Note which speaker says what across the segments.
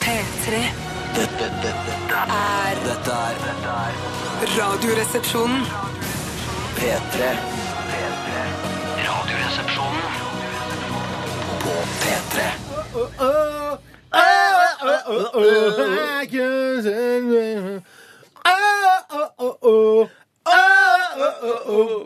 Speaker 1: P3
Speaker 2: Dette, dette, dette,
Speaker 1: er
Speaker 2: dette er dette er
Speaker 1: Radioresepsjonen.
Speaker 2: P3. P3. Radioresepsjonen på P3.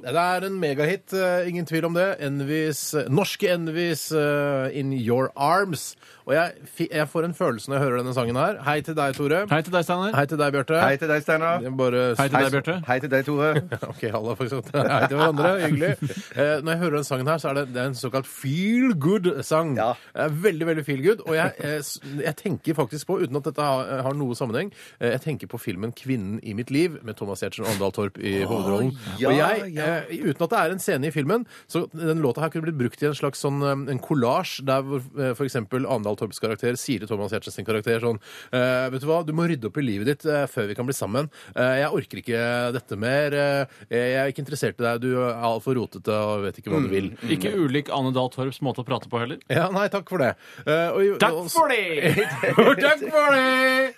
Speaker 3: Det er en megahit, eh, ingen tvil om det. Envis, eh, norske Envis, eh, In Your Arms. Og jeg, fi- jeg får en følelse når jeg hører denne sangen her. Hei til deg, Tore.
Speaker 4: Hei til deg, Steinar.
Speaker 3: Hei til deg, Bjarte.
Speaker 5: Hei til deg, Steinar.
Speaker 3: Jeg Bare...
Speaker 4: Hei til deg, Bjarte.
Speaker 5: Hei til deg, Tore.
Speaker 3: Ok, alle har faktisk sagt hei til hverandre. Hyggelig. Eh, når jeg hører den sangen her, så er det, det er en såkalt feel good-sang.
Speaker 5: Ja.
Speaker 3: Det er Veldig, veldig feel good. Og jeg, eh, s- jeg tenker faktisk på, uten at dette har, har noe sammenheng, eh, jeg tenker på filmen 'Kvinnen i mitt liv' med Thomas Giertsen og Åndal Torp i hovedrollen.
Speaker 5: ja,
Speaker 3: og jeg,
Speaker 5: ja.
Speaker 3: eh, uten at det er en scene i filmen, så den låta her kunne blitt brukt i en slags sånn eh, en kollasj der hvor eh, for eksempel Åndal Torps karakter sier til Thomas Giertsen sin karakter sånn eh, Vet du hva, du må rydde opp i livet ditt eh, før vi kan bli sammen. Eh, jeg orker ikke dette mer. eh, jeg er ikke interessert i deg. Du er altfor rotete og vet ikke hva du vil.
Speaker 4: Ikke ulik Anne Dahl Torps måte å prate på heller.
Speaker 3: Ja, nei, takk for det. Eh, og-
Speaker 4: Takk for det!
Speaker 3: takk for det!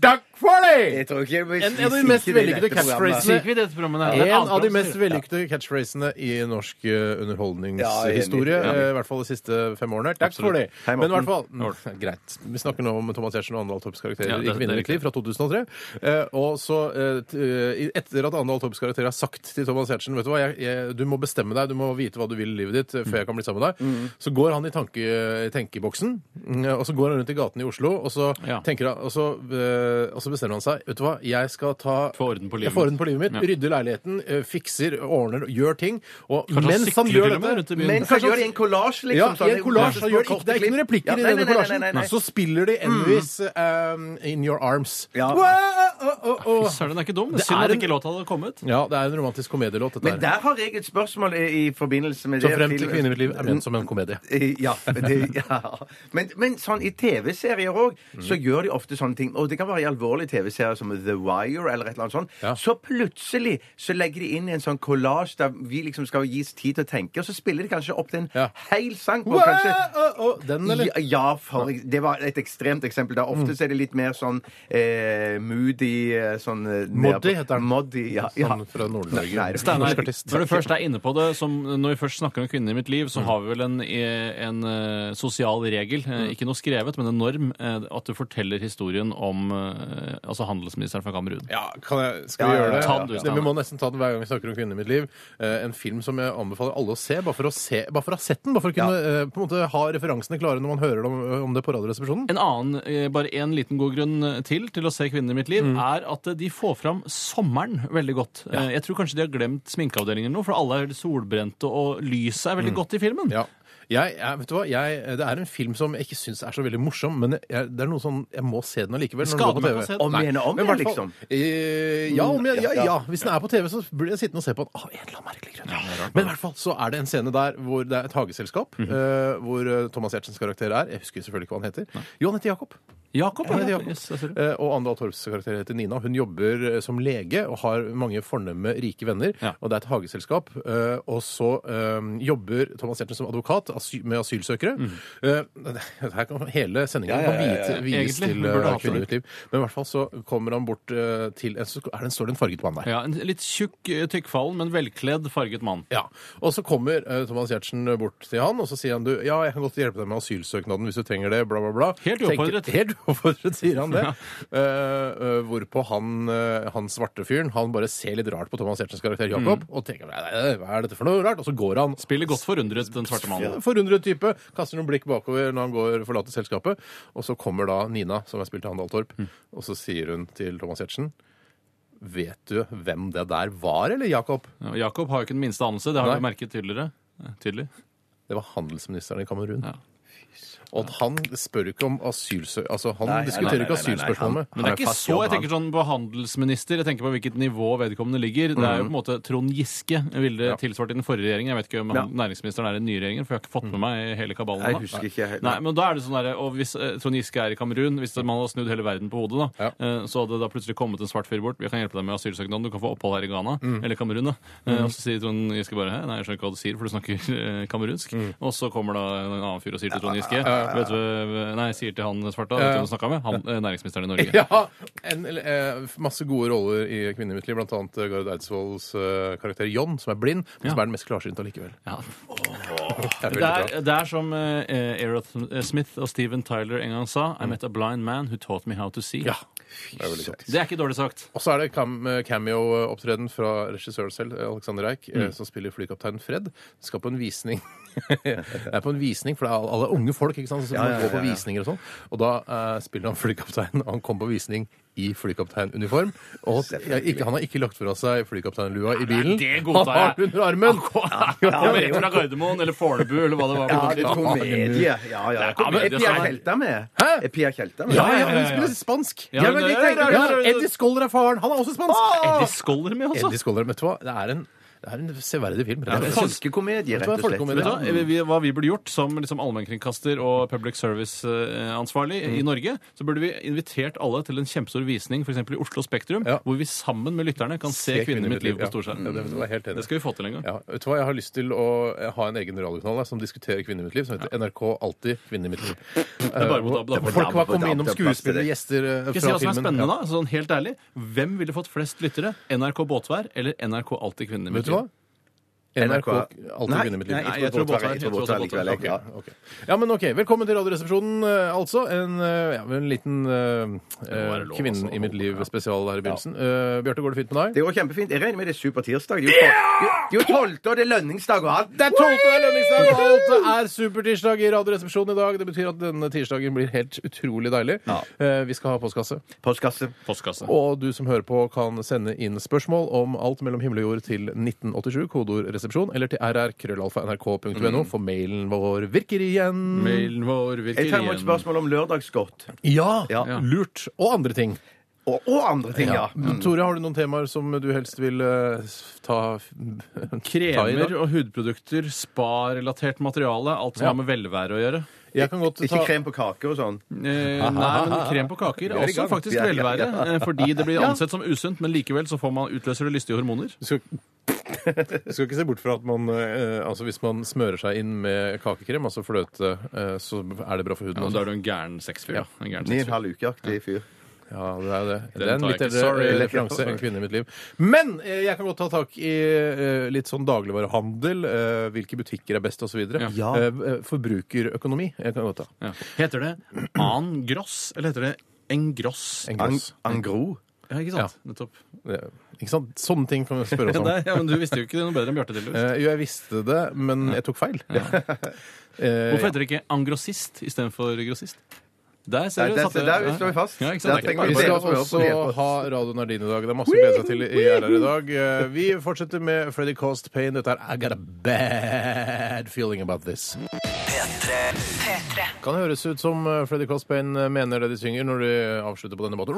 Speaker 3: Takk for det!
Speaker 5: Jeg tror ikke jeg blir
Speaker 3: En av de mest
Speaker 5: sikker i dette
Speaker 3: vellykkede
Speaker 5: programmet.
Speaker 3: catchphrases.
Speaker 4: Sier ikke vi dette programmet her? Det er et
Speaker 3: En
Speaker 4: annet
Speaker 3: av de
Speaker 4: program,
Speaker 3: mest
Speaker 4: sier vi.
Speaker 3: vellykkede catchphrasene i norsk eh,
Speaker 5: Ja, jeg er enig.
Speaker 3: underholdningshistorie.
Speaker 5: Ja.
Speaker 3: eh, I hvert fall de siste fem årene. Takk for det.
Speaker 5: Hei,
Speaker 3: Men i hvert fall,
Speaker 5: Morten.
Speaker 3: mm, greit. Vi snakker nå om Thomas Giertsen og Andal Torps karakterer
Speaker 4: Ja, det-
Speaker 3: i Kvinner i
Speaker 4: det er
Speaker 3: mitt liv fra 2003. Eh, Og så, eh, t- eh, etter at Andal Torps karakter har sagt til Thomas Giertsen vet du hva, jeg, jeg, du må bestemme deg, du må vite hva du vil i livet ditt eh, før jeg kan bli sammen med deg, så går han i tanke, eh, i tenkeboksen, mm, og så går han rundt i gaten i Oslo, og så,
Speaker 4: Ja.
Speaker 3: tenker han, og så, eh, og så bestemmer han seg, vet du hva, jeg skal ta
Speaker 4: Få orden på livet
Speaker 3: jeg får orden på livet mitt,
Speaker 4: Ja.
Speaker 3: rydder leiligheten, eh, fikser, ordner, gjør ting. Og
Speaker 4: han
Speaker 3: mens han
Speaker 4: sykler
Speaker 3: gjør
Speaker 4: til og med rundt i
Speaker 3: dette
Speaker 4: byen.
Speaker 5: Men
Speaker 3: Kanskje
Speaker 5: kanskje gjør det i en kollasj, liksom.
Speaker 3: ja, i
Speaker 5: sånn,
Speaker 3: en kollasj. Han
Speaker 5: sånn,
Speaker 3: gjør
Speaker 5: korte
Speaker 3: ikke- Det er ikke noen
Speaker 5: klipp.
Speaker 3: replikker
Speaker 5: Ja,
Speaker 3: i
Speaker 5: nei,
Speaker 3: denne
Speaker 5: nei, nei, nei,
Speaker 3: kollasjen. Mm.
Speaker 5: nei.
Speaker 3: Så spiller de Envis um,
Speaker 4: eh,
Speaker 3: In Your Arms.
Speaker 5: Ja.
Speaker 3: Wow, oh, oh, oh.
Speaker 4: Søren, den er ikke dum. Det
Speaker 3: Det
Speaker 4: er synd
Speaker 3: er
Speaker 4: at
Speaker 3: en-
Speaker 4: ikke låta hadde kommet.
Speaker 3: Ja, det er en romantisk komedielåt, dette
Speaker 5: Men
Speaker 3: her.
Speaker 5: der har jeg et spørsmål i, i forbindelse med
Speaker 3: Så
Speaker 5: det.
Speaker 3: frem til kvinnen i mitt liv er ment som en komedie.
Speaker 5: Eh, Ja. men Det, ja. Men, men sånn i TV-serier òg, så
Speaker 3: Mm.
Speaker 5: gjør de ofte sånne ting. Og det kan være i alvorlige TV-serier som The Wire eller et eller annet sånt.
Speaker 3: Ja.
Speaker 5: Så plutselig så legger de inn en sånn kollasj der vi liksom skal gis tid til å tenke, og så spiller de kanskje opp til en
Speaker 3: Ja.
Speaker 5: hel sang på
Speaker 3: Wow,
Speaker 5: kanskje
Speaker 3: oh, oh. Den, eller?
Speaker 5: ja, ja, for, det var et ekstremt eksempel. Da. Ofte så er det litt mer sånn eh, moody eh, sånn, eh, ned
Speaker 3: Moddy
Speaker 5: på-
Speaker 3: heter den.
Speaker 5: Moddy, ja, ja.
Speaker 3: Sånn fra Nord-Norge.
Speaker 5: Nei, nei,
Speaker 4: Steinar,
Speaker 3: Norsk artist.
Speaker 4: når du først er inne på det, som når vi først snakker om kvinner i mitt liv, så har vi vel en, en eh, sosial regel, eh,
Speaker 3: Mm.
Speaker 4: ikke noe skrevet, men en norm, eh, at du forteller historien om eh, altså handelsministeren fra Kamerun.
Speaker 3: Ja, kan jeg, skal vi
Speaker 5: Ja, ja,
Speaker 3: gjøre det?
Speaker 4: ta den, du,
Speaker 3: det? Vi
Speaker 4: Steinar.
Speaker 3: må nesten ta den hver gang vi snakker om kvinner i mitt liv. Eh, en film som jeg anbefaler alle å se, bare for å, se, bare for å ha sett den. Bare for å kunne eh, på en måte ha referansene klare når man hører om, om det på Radioresepsjonen.
Speaker 4: En annen, eh, bare en liten god grunn eh, til til å se kvinner i mitt
Speaker 3: Mm.
Speaker 4: liv, er at eh, de får fram sommeren veldig godt. Eh, Jeg tror kanskje de har glemt sminkeavdelingen nå, for alle er solbrente, og lyset er veldig godt i filmen.
Speaker 3: Mm. Ja. Jeg, jeg, vet du hva? Jeg, det er en film som jeg ikke syns er så veldig morsom, men jeg, det er noe sånn, jeg må se den allikevel. når den
Speaker 4: Skader
Speaker 3: går på
Speaker 4: meg
Speaker 3: TV.
Speaker 4: å se den.
Speaker 5: Om
Speaker 3: Nei,
Speaker 5: igjen og om
Speaker 3: men i hvert
Speaker 5: igjen,
Speaker 3: fall-
Speaker 5: liksom.
Speaker 3: Eh, ja,
Speaker 4: Mm,
Speaker 3: om igjen, ja,
Speaker 5: ja.
Speaker 3: ja. Hvis den er på TV, så blir jeg sittende og se på den av en eller annen merkelig grunn. Men i hvert fall så er det en scene der hvor det er et hageselskap,
Speaker 4: Mhm.
Speaker 3: eh, hvor eh, Thomas Giertsens karakter er. Jeg husker selvfølgelig ikke hva han heter. Johan heter Jakob.
Speaker 4: Jakob,
Speaker 3: Ja,
Speaker 4: ja.
Speaker 3: det er Jakob.
Speaker 4: Yes, jeg ser det.
Speaker 3: Eh, Og Andal Torps karakter heter Nina. Hun jobber eh, som lege og har mange fornemme, rike venner.
Speaker 4: Ja.
Speaker 3: Og det er et hageselskap. Eh, Og så eh, jobber Thomas Giertsen som advokat asy med asylsøkere.
Speaker 4: Mm.
Speaker 3: Eh, det her kan, hele sendingen
Speaker 5: Ja, ja, ja, ja, ja.
Speaker 3: kan vies
Speaker 4: Egentlig,
Speaker 3: til
Speaker 4: vi burde
Speaker 3: eh,
Speaker 4: hatt det.
Speaker 3: kvinner i mitt liv. Men i hvert fall så kommer han bort eh, til en, så er det en, står det en farget mann der.
Speaker 4: Ja, en litt tjukk, eh, tykkfallen, men velkledd, farget mann.
Speaker 3: Ja, Og så kommer eh, Thomas Giertsen bort til han, og så sier han du, ja, jeg kan godt hjelpe deg med asylsøknaden hvis du trenger det, bla, bla, bla.
Speaker 4: Helt
Speaker 3: Tenker-
Speaker 4: uoppfordret.
Speaker 3: Helt uoppfordret, sier han det. Eh, eh, hvorpå han, eh, han svarte fyren han bare ser litt rart på Thomas Giertsens karakter Jakob,
Speaker 4: Mm.
Speaker 3: og tenker nei, nei, nei, hva er dette for noe rart? Og så går han.
Speaker 4: Spiller godt forundret, den svarte mannen.
Speaker 3: Forundret type. Kaster noen blikk bakover når han går forlater selskapet. Og så kommer da Nina, som er spilt av Handal Torp,
Speaker 4: Mm.
Speaker 3: og så sier hun til Thomas Giertsen Vet du hvem det der var, eller, Jakob?
Speaker 4: Ja, og Jakob har jo ikke den minste anelse, det har
Speaker 3: Nei.
Speaker 4: vi merket tydeligere. Eh, Tydelig.
Speaker 3: Det var handelsministeren i Kamerun.
Speaker 4: Ja.
Speaker 3: Og at han spør ikke om asylsø... Altså, han
Speaker 5: Nei, nei,
Speaker 3: diskuterer
Speaker 5: nei,
Speaker 3: ikke
Speaker 5: nei, nei, nei,
Speaker 3: asylspørsmålet.
Speaker 4: Men det
Speaker 5: Han
Speaker 4: er
Speaker 5: er
Speaker 4: ikke
Speaker 5: fast
Speaker 4: så
Speaker 5: jobb,
Speaker 4: jeg tenker sånn på handelsminister, jeg tenker på hvilket nivå vedkommende ligger. Det er jo på en måte Trond Giske ville
Speaker 3: Mm. Ja.
Speaker 4: tilsvart i den forrige regjeringen. Jeg vet ikke om han- næringsministeren er i den nye regjeringen, for jeg har ikke fått
Speaker 3: Mm.
Speaker 4: med meg hele kabalen.
Speaker 5: Jeg
Speaker 4: da.
Speaker 5: husker ikke helt.
Speaker 4: Nei, men da er det sånn der, og Hvis eh, Trond Giske er i Kamerun, hvis man hadde snudd hele verden på hodet, da,
Speaker 3: Ja.
Speaker 4: eh, så hadde det da plutselig kommet en svart fyr bort. Vi kan hjelpe deg med asylsøknaden, du kan få opphold her i Ghana
Speaker 3: Mm.
Speaker 4: eller Kamerun. da. Eh, Og Så sier Trond Giske bare «Hæ? nei, jeg skjønner ikke hva du sier, for du snakker eh, kamerunsk. Og så kommer da en annen fyr og sier til Trond Giske
Speaker 3: Mm. ja, ja.
Speaker 4: Vet du, hva- eh, nei, sier til han svarta,
Speaker 3: Ja,
Speaker 4: vet du
Speaker 3: ja.
Speaker 4: hvem du snakka med? Han, eh, Næringsministeren i Norge.
Speaker 3: Ja! En, eller, eh, masse gode roller i Kvinner i mitt liv, blant annet eh, Gard Eidsvolls eh, karakter John, som er blind, men
Speaker 4: Ja.
Speaker 3: som er den mest klarsynte allikevel.
Speaker 4: Ja.
Speaker 3: Det er
Speaker 4: Det
Speaker 3: veldig bra.
Speaker 4: er, det er som eh, Aerosmith Smith og Steven Tyler en gang sa I met a blind man who taught me how to see.
Speaker 3: Ja. Det er veldig godt.
Speaker 4: Det er ikke dårlig sagt.
Speaker 3: Og så er det cam- cameo-opptreden fra regissøren selv, Alexander Eik,
Speaker 4: Mm.
Speaker 3: eh, som spiller flykaptein Fred. Skal på en visning. det er på en visning, for det er alle- alle unge folk ikke sant, som
Speaker 5: Ja, ja, ja,
Speaker 3: går på
Speaker 5: ja, ja.
Speaker 3: visninger og sånn. Og da eh, spiller han flykaptein, og han kom på visning i flykapteinuniform. Og jeg, ikke, han har ikke lagt fra seg flykapteinlua i bilen.
Speaker 4: det
Speaker 3: han
Speaker 4: godtar
Speaker 3: har
Speaker 4: jeg.
Speaker 3: den under armen!
Speaker 4: Kommer rett fra Gardermoen eller Fornebu eller hva det var.
Speaker 5: Ja, det er komedie. Ja, ja.
Speaker 4: Det er
Speaker 5: ja.
Speaker 4: komedie,
Speaker 5: Er Pia
Speaker 4: sånn.
Speaker 5: Kjelta med?
Speaker 3: Hæ?
Speaker 5: Er Pia Kjelta med?
Speaker 3: Ja, ja,
Speaker 4: ja,
Speaker 3: hun
Speaker 4: ja.
Speaker 3: spiller spansk!
Speaker 4: Ja, men det- det- det- det- det-
Speaker 3: Eddie Skoller er faren! Han er også spansk!
Speaker 4: Eddie Scholler med, altså.
Speaker 3: Eddie Skoller, vet du hva? Det er en, det er en severdig film.
Speaker 5: Det er Folkekomedie,
Speaker 3: Vet
Speaker 5: rett
Speaker 3: du hva,
Speaker 5: og slett.
Speaker 3: folkekomedie?
Speaker 4: Vet du hva? Vi- vi- hva vi burde gjort som liksom allmennkringkaster og public service-ansvarlig i Norge, så burde vi invitert alle til en kjempestor visning for eksempel i Oslo Spektrum,
Speaker 3: Ja.
Speaker 4: hvor vi sammen med lytterne kan se, Kvinnen i mitt liv Mm. på storskjerm.
Speaker 3: Ja, det vet du hva, jeg er helt enig.
Speaker 4: Det skal vi få til en gang.
Speaker 3: Ja, vet du hva, Jeg har lyst til å ha en egen radiokanal jeg, som diskuterer kvinner i mitt liv, som heter NRK Alltid kvinner i mitt liv.
Speaker 4: bare mot Abdel.
Speaker 3: Eh, Folk var kommet
Speaker 5: Abdel,
Speaker 3: innom
Speaker 5: det er plass til
Speaker 3: skuespillere,
Speaker 5: det.
Speaker 3: gjester eh, fra
Speaker 4: Skal jeg
Speaker 3: filmen.
Speaker 4: si hva som er spennende
Speaker 3: Ja.
Speaker 4: da? Sånn helt ærlig, Hvem ville fått flest lyttere? NRK Båtvær eller NRK Alltid kvinner? i mitt
Speaker 3: Vet du hva?
Speaker 4: liv?
Speaker 3: NRK Alltid kvinner
Speaker 5: Nei,
Speaker 3: i mitt liv.
Speaker 4: nei,
Speaker 5: jeg tror båtvær. Jeg tror båtvær likevel.
Speaker 3: Ok,
Speaker 5: Ja.
Speaker 3: ok. Ja, men ok. Velkommen til Radioresepsjonen, eh, altså. En, eh, ja, en liten eh,
Speaker 4: må være lov,
Speaker 3: Kvinnen
Speaker 4: altså,
Speaker 3: i mitt
Speaker 4: å- ja.
Speaker 3: liv-spesial her i begynnelsen. Eh, Bjarte, går det fint med deg?
Speaker 5: Det går kjempefint. Jeg regner med det er supertirsdag. Det er jo tol- det er jo tolvte, og det er lønningsdag og alt.
Speaker 3: Det er 12. lønningsdag, og alt er supertirsdag i Radioresepsjonen i dag. Det betyr at denne tirsdagen blir helt utrolig deilig.
Speaker 5: Ja.
Speaker 3: Eh, Vi skal ha postkasse.
Speaker 5: Postkasse.
Speaker 4: Postkasse.
Speaker 3: Og du som hører på, kan sende inn spørsmål om alt mellom himmel og jord til 1987, kodeord 'resepsjon', eller til rrkrøllalfa.nrk.no,
Speaker 5: Mm.
Speaker 3: for mailen vår virker igjen.
Speaker 4: Mailen vår virker
Speaker 5: Jeg tar imot
Speaker 4: igjen.
Speaker 5: spørsmål om lørdagsgodt.
Speaker 3: Ja,
Speaker 5: Ja.
Speaker 3: Lurt. Og andre ting.
Speaker 5: Og, og andre ting, ja.
Speaker 3: Tore, har du noen temaer som du helst vil eh, ta, ta i
Speaker 4: Kremer
Speaker 3: dag?
Speaker 4: og hudprodukter, spa-relatert materiale, alt som
Speaker 3: Ja.
Speaker 4: har med velvære å gjøre.
Speaker 3: Jeg kan godt
Speaker 5: Ikke
Speaker 3: ta
Speaker 5: krem på kake og sånn.
Speaker 4: Eh, nei, men krem på kaker er
Speaker 5: Vi er i
Speaker 4: også
Speaker 5: gang.
Speaker 4: faktisk
Speaker 5: Vi er i gang,
Speaker 4: velvære.
Speaker 5: ja.
Speaker 4: eh, Fordi det blir ansett som usunt, men likevel så får man utløser det lystige hormoner.
Speaker 3: Du skal, du skal ikke se bort fra at man eh, altså hvis man smører seg inn med kakekrem, altså fløte, eh, så er det bra for huden.
Speaker 4: Ja,
Speaker 3: også.
Speaker 4: da er du en gæren sexfyr. Ja. En gæren
Speaker 5: Ni og en
Speaker 4: sexfyr.
Speaker 5: halv ukeaktig fyr.
Speaker 3: Ja, det er jo det.
Speaker 4: Den
Speaker 3: Det er en
Speaker 4: tar jeg
Speaker 3: litt
Speaker 4: ikke.
Speaker 3: eldre
Speaker 4: Sorry.
Speaker 3: eh, referanse enn kvinne i mitt liv. Men eh, jeg kan godt ta tak i eh, litt sånn dagligvarehandel, eh, hvilke butikker er best osv.
Speaker 4: Ja.
Speaker 5: Ja.
Speaker 3: Eh, Forbrukerøkonomi jeg kan godt ta.
Speaker 4: Ja. Heter det an gross, eller heter det en gross?
Speaker 3: En
Speaker 5: Ang
Speaker 3: gross.
Speaker 5: angro.
Speaker 4: Ja, ikke sant? Nettopp.
Speaker 3: Eh, Ikke sant? Sånne ting kan vi spørre oss om.
Speaker 4: Nei, ja, men du visste jo ikke det noe bedre enn Bjarte Delhus.
Speaker 3: Eh, Jo, jeg visste det, men jeg tok feil. Eh,
Speaker 4: Hvorfor heter det ikke angrossist istedenfor grossist? Der
Speaker 5: Nei,
Speaker 4: ser du.
Speaker 5: der-
Speaker 4: satte-
Speaker 5: der står vi fast.
Speaker 4: Ja, ikke sant?
Speaker 5: Der
Speaker 4: Det er
Speaker 5: trenger
Speaker 4: ikke
Speaker 3: Vi
Speaker 4: bare-
Speaker 3: skal
Speaker 5: Dere som hører
Speaker 3: også
Speaker 5: på, dere på.
Speaker 3: ha Radio Nardin i dag. Det er masse å glede seg til i RR i dag. Eh, Vi fortsetter med Freddy Cost Pain. Dette er I Got a Bad Feeling About This.
Speaker 2: P3.
Speaker 1: P3.
Speaker 3: Kan det høres ut som eh, Freddy Cost Pain mener det de synger når de avslutter på denne måten.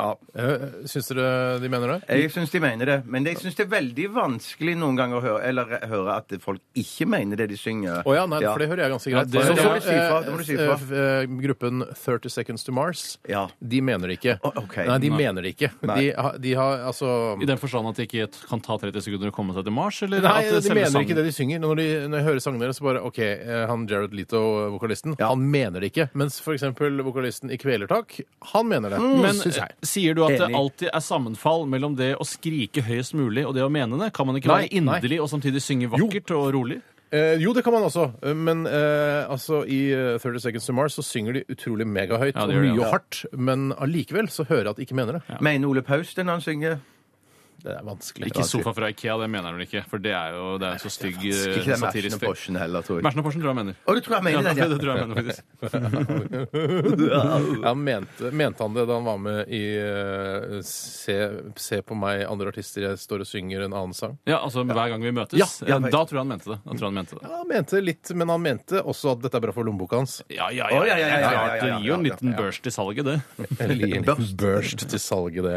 Speaker 5: Ja.
Speaker 3: Eh, Syns dere de mener det?
Speaker 5: Jeg syns de mener det. Men jeg syns det er veldig vanskelig noen ganger å høre, eller høre at folk ikke mener det de synger.
Speaker 3: Å ja, nei, for det hører jeg ganske
Speaker 4: Ja,
Speaker 3: greit.
Speaker 4: det-
Speaker 3: Så-
Speaker 4: det må
Speaker 5: du si fra, det må du si fra.
Speaker 3: eh, eh, Gruppen 30 Seconds to Mars,
Speaker 5: Ja.
Speaker 3: de mener det ikke.
Speaker 5: Å, ok.
Speaker 3: Nei, de
Speaker 4: Nei.
Speaker 3: mener det ikke. De, har- de har altså
Speaker 4: I den forstand at det ikke kan ta 30 sekunder å komme seg til Mars? Eller
Speaker 3: Nei, de
Speaker 4: at selve
Speaker 3: mener
Speaker 4: sangen-
Speaker 3: ikke det de synger. Når, de, når jeg hører sangene deres, så bare OK, eh, han Jared Leto, eh, vokalisten,
Speaker 5: Ja.
Speaker 3: han mener det ikke. Mens for eksempel vokalisten i Kvelertak, han mener det.
Speaker 4: Men eh,
Speaker 3: synes jeg.
Speaker 4: sier du at det
Speaker 5: Enig.
Speaker 4: alltid er sammenfall mellom det å skrike høyest mulig og det å mene det? Kan man ikke
Speaker 3: Nei,
Speaker 4: være inderlig og samtidig synge vakkert og rolig?
Speaker 3: Eh, jo, det kan man også, eh, men eh, altså, i eh, 30 Seconds to Mars så synger de utrolig megahøyt
Speaker 4: Ja,
Speaker 3: og
Speaker 4: det gjør
Speaker 3: mye
Speaker 4: de,
Speaker 3: og
Speaker 4: ja.
Speaker 3: hardt, men allikevel så hører jeg at de ikke mener det.
Speaker 5: Mener Ole Paus det når han synger?
Speaker 3: Det er vanskelig.
Speaker 4: Ikke sofa fra Ikea, det mener han vel ikke, for det er jo det er en så stygg eh,
Speaker 5: Ikke den matchen og
Speaker 4: satirisk ting.
Speaker 5: Porschen heller, tror jeg.
Speaker 4: Mersen og Porsen tror jeg mener.
Speaker 5: Å, du tror
Speaker 4: Ja,
Speaker 5: jeg
Speaker 4: det
Speaker 5: mener den, ja.
Speaker 4: tror jeg mener faktisk.
Speaker 3: Ja, mente, mente han det da han var med i eh, se, se på meg, andre artister, jeg står og synger en annen sang?
Speaker 4: Ja, altså hver gang vi møtes.
Speaker 3: Ja,
Speaker 5: ja,
Speaker 4: eh, da tror jeg han mente det. Da tror jeg han mente det.
Speaker 3: Ja, han mente litt, men han mente også at dette er bra for lommeboka hans.
Speaker 4: Ja, ja,
Speaker 5: Å, ja, ja, ja, ja, ja,
Speaker 4: klart. Det
Speaker 5: ja,
Speaker 4: gir jo en
Speaker 5: ja, ja,
Speaker 4: liten børst i salget, det.
Speaker 3: Eller gi en liten børst til salget,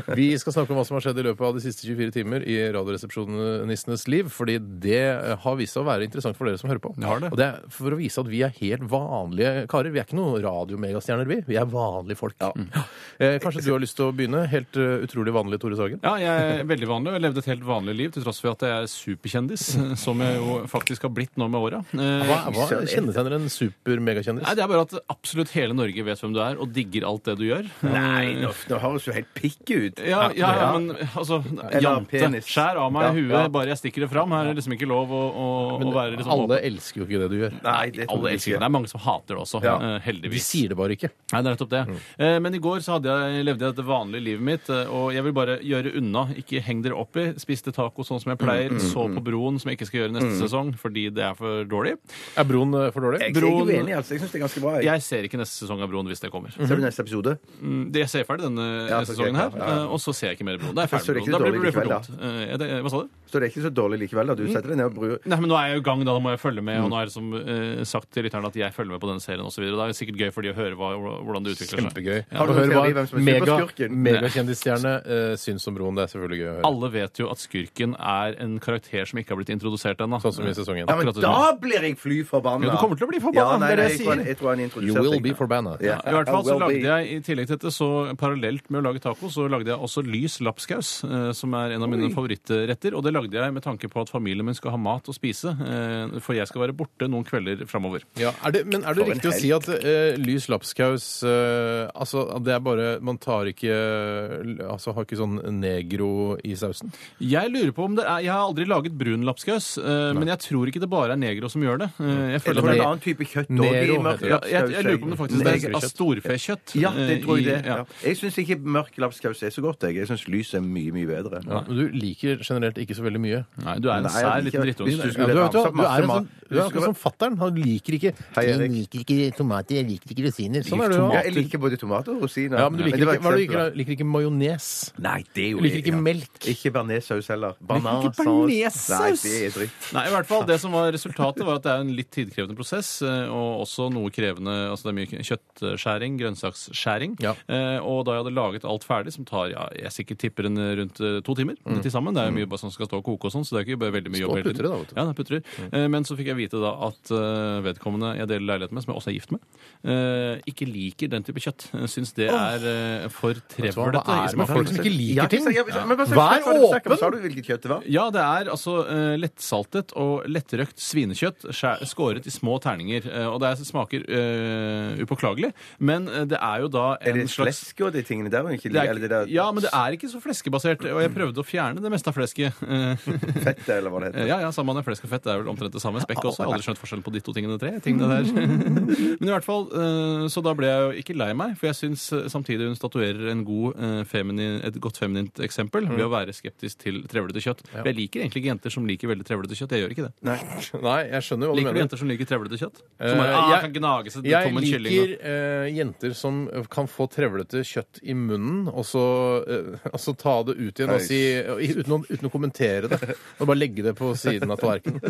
Speaker 3: det. Vi skal snakke om hva som har skjedd i løpet hva de siste 24 timer i Radioresepsjonistenes liv, fordi det eh, har vist seg å være interessant for dere som hører på.
Speaker 4: Det har det.
Speaker 3: Og det er for å vise at vi er helt vanlige karer. Vi er ikke noen radiomegastjerner, vi. Vi er vanlige folk. Eh, kanskje du har lyst til å begynne? Helt eh, utrolig vanlig, Tore Sagen?
Speaker 4: Ja, jeg er veldig vanlig og jeg levde et helt vanlig liv til tross for at jeg er superkjendis, som jeg jo faktisk har blitt nå med åra. Eh,
Speaker 3: Hva, hva kjennetegner en super-megakjendis?
Speaker 4: Nei, det er bare at absolutt hele Norge vet hvem du er, og digger alt det du gjør. Eh,
Speaker 5: Nei, nå, nå høres jo helt pikk ut.
Speaker 4: Ja, ja, ja, men altså Jante.
Speaker 5: penis.
Speaker 4: Skjær av meg
Speaker 5: Ja,
Speaker 4: huet,
Speaker 5: ja. bare
Speaker 4: bare jeg stikker det fram. Her er det liksom ikke lov å, å, å være liksom
Speaker 3: Alle elsker jo ikke det du gjør.
Speaker 5: Nei, det tror
Speaker 4: Alle
Speaker 5: jeg
Speaker 4: elsker det.
Speaker 5: ikke.
Speaker 4: Det er mange som hater det også,
Speaker 5: Ja.
Speaker 4: eh,
Speaker 3: De
Speaker 4: heldigvis.
Speaker 3: sier det bare ikke.
Speaker 4: Nei, det er nettopp det. Eh, Men i går så hadde jeg, levde jeg det vanlige livet mitt, eh, og jeg vil bare gjøre unna. Ikke heng dere opp i. Spiste taco sånn som jeg pleier. Så på Broen, som jeg ikke skal gjøre neste sesong fordi det er for dårlig.
Speaker 3: Er broen eh, for dårlig?
Speaker 5: Jeg er ikke
Speaker 4: Broen-
Speaker 5: uenig, altså. Jeg syns det er ganske bra. Jeg.
Speaker 4: Jeg ser ikke neste sesong av Broen hvis det kommer.
Speaker 5: Ser du neste episode?
Speaker 4: Mm, det- Jeg ser ferdig denne
Speaker 5: Mm-hmm. Ja, så
Speaker 4: sesongen her,
Speaker 5: greit, ja, ja.
Speaker 4: eh, og så ser jeg ikke mer Broen. Da er jeg
Speaker 5: Ja, så
Speaker 4: ferdig
Speaker 5: det er
Speaker 4: med Broen. Da blir blir
Speaker 5: ikke så
Speaker 4: det for
Speaker 5: dårlig
Speaker 4: dumt. Eh, jeg- det- Hva sa du?
Speaker 5: Så det er ikke så dårlig likevel, da.
Speaker 4: Mm.
Speaker 5: Du setter deg ned og bruker
Speaker 4: Nei, men Nå er jeg jo i gang, da, da må jeg følge med. Og nå er det som eh, sagt til lytterne at jeg følger med på denne serien osv. Det er sikkert gøy for de å høre hva, hvordan det utvikler seg.
Speaker 3: Kjempegøy.
Speaker 4: Ja.
Speaker 5: Har du
Speaker 3: Og
Speaker 5: noen
Speaker 3: hør
Speaker 5: teori
Speaker 3: hva
Speaker 5: hvem som er
Speaker 3: mega-
Speaker 5: superskurken?
Speaker 3: megakjendisstjerne eh, syns om broen. Det er selvfølgelig gøy å høre.
Speaker 4: Alle vet jo at skurken er en karakter som ikke har blitt introdusert ennå.
Speaker 3: Sånn som i sesongen.
Speaker 5: Ja, men
Speaker 4: Akkurat sånn. det
Speaker 5: da blir jeg fly forbanna!
Speaker 4: Ja, du kommer til å bli forbanna,
Speaker 5: Ja, nei,
Speaker 4: det er
Speaker 5: nei,
Speaker 4: det jeg
Speaker 5: jeg tror han-
Speaker 4: sier.
Speaker 5: Jeg tror han introduserte
Speaker 3: You will
Speaker 5: deg.
Speaker 3: be forbanna.
Speaker 5: Ja.
Speaker 4: I hvert fall
Speaker 5: I
Speaker 4: så
Speaker 5: will
Speaker 4: lagde
Speaker 5: be.
Speaker 4: jeg i tillegg til dette, så parallelt med å lage taco, så lagde jeg også lys lapskaus, eh, som er en av mine favorittretter. Og det lagde jeg med tanke på at familien min skal ha mat å spise, eh, for jeg skal være borte noen kvelder framover.
Speaker 3: Ja, er det, men er det
Speaker 5: For en
Speaker 3: riktig å si at eh, lys lapskaus eh, Altså, at det er bare Man tar ikke Altså, har ikke sånn negro i sausen?
Speaker 4: Jeg lurer på om det er Jeg har aldri laget brun lapskaus, eh, men jeg tror ikke det bare er negro som gjør det. Eh, Jeg
Speaker 5: Det
Speaker 4: føler
Speaker 5: var
Speaker 4: at
Speaker 5: en
Speaker 4: det
Speaker 5: annen type kjøtt.
Speaker 3: Nero
Speaker 5: også, de
Speaker 3: heter
Speaker 5: mørke
Speaker 3: det.
Speaker 4: ja, jeg, jeg lurer på om det faktisk
Speaker 5: lapskausene.
Speaker 4: er av storfekjøtt.
Speaker 5: Ja, det
Speaker 4: eh,
Speaker 5: tror jeg
Speaker 4: i-
Speaker 5: det.
Speaker 4: ja.
Speaker 5: Ja. Jeg syns ikke mørk lapskaus er så godt. Jeg, jeg syns lys er mye, mye bedre.
Speaker 3: Ja, men du liker generelt ikke så veldig mye.
Speaker 4: Nei, du er en
Speaker 5: Nei, jeg
Speaker 4: sær
Speaker 5: liker-
Speaker 4: liten drittunge.
Speaker 5: Hvis du
Speaker 3: Ja,
Speaker 5: skulle
Speaker 3: du, vet du, hva,
Speaker 5: ramse opp
Speaker 3: du Mm. er
Speaker 5: masse
Speaker 3: en
Speaker 5: mat
Speaker 3: sånn, du er akkurat som fatter'n. Han liker ikke
Speaker 5: Hei, Erik.
Speaker 3: Jeg liker ikke tomater, jeg liker ikke rosiner. Sånn er du
Speaker 5: Ja,
Speaker 3: jo.
Speaker 5: jeg liker både tomater og rosiner.
Speaker 3: Ja, men du liker,
Speaker 5: det var
Speaker 3: ikke, hva er det du liker,
Speaker 5: eksempler.
Speaker 3: da? liker ikke majones.
Speaker 5: Nei, det er jo
Speaker 3: Du liker ikke
Speaker 5: ja.
Speaker 3: melk.
Speaker 5: Ikke bearnéssaus heller.
Speaker 3: ikke bearnéssaus?
Speaker 5: Nei, det er dritt.
Speaker 4: Nei, i hvert fall. Det som var resultatet, var at det er en litt tidkrevende prosess, eh, og også noe krevende Altså det er mye kjøttskjæring, grønnsaksskjæring.
Speaker 3: Ja.
Speaker 4: Eh, Og da jeg hadde laget alt ferdig, som tar ja, jeg sikkert tipper en rundt eh, to timer
Speaker 3: Mm.
Speaker 4: eh, til sammen Det er jo mye bare som skal stå og koke og sånn, så det er ikke bare veldig mye
Speaker 3: Stå
Speaker 4: jobb.
Speaker 3: og
Speaker 4: hele
Speaker 3: putre
Speaker 4: tiden.
Speaker 3: da, vet du. Mm.
Speaker 4: Ja, det putrer. Eh, Men så fikk jeg vite da at eh, vedkommende jeg deler leilighet med, som jeg også er gift med, eh, ikke liker den type kjøtt. Eh, Syns det er eh, for
Speaker 3: hva?
Speaker 4: trevlete.
Speaker 3: Hva er
Speaker 4: i
Speaker 3: det med
Speaker 4: smaken.
Speaker 3: folk som ikke
Speaker 5: Ja,
Speaker 3: liker ting?
Speaker 5: jeg- jeg- men hva
Speaker 3: Vær
Speaker 5: slags kjøtt var det du snakket om?
Speaker 3: åpen!
Speaker 5: Sa du hvilket kjøtt det var?
Speaker 4: Ja, det er altså eh, lettsaltet og lettrøkt svinekjøtt skjæ- skåret i små terninger. eh, og det er, smaker eh, upåklagelig, men eh, det er jo da
Speaker 5: Er
Speaker 4: en
Speaker 5: det
Speaker 4: slags
Speaker 5: flesk og de tingene der? og Ikke,
Speaker 4: det er
Speaker 5: eller det
Speaker 4: ikke,
Speaker 5: der
Speaker 4: ja, men det er ikke så fleskebasert. Og jeg prøvde å fjerne det meste av flesket. eh,
Speaker 5: fettet, eller hva det heter?
Speaker 4: ja, ja, samme det. Flesk og fett det er vel omtrent det samme.
Speaker 3: Ah,
Speaker 4: Spekk også. Jeg har aldri skjønt forskjellen på de to tingene tre. tingene der. Men i hvert fall, eh, så da ble jeg jo ikke lei meg, for jeg syns eh, samtidig hun statuerer en god, eh, feminin, et godt feminint eksempel ved
Speaker 3: Mm.
Speaker 4: å være skeptisk til trevlete kjøtt. For jeg liker egentlig ikke jenter som liker veldig trevlete kjøtt. Jeg gjør ikke det.
Speaker 3: Nei, jeg skjønner hva du
Speaker 4: Liker du
Speaker 3: mener.
Speaker 4: jenter som liker trevlete kjøtt?
Speaker 3: Eh,
Speaker 4: Som bare, ah,
Speaker 3: jeg-
Speaker 4: kan gnage seg til
Speaker 3: Jeg
Speaker 4: tom en kylling.
Speaker 3: liker eh, jenter som kan få trevlete kjøtt i munnen, og så, eh, og så ta det ut igjen og
Speaker 5: Hei.
Speaker 3: si, og i- uten, å, uten å kommentere det. Og bare legge det på siden av tallerkenen.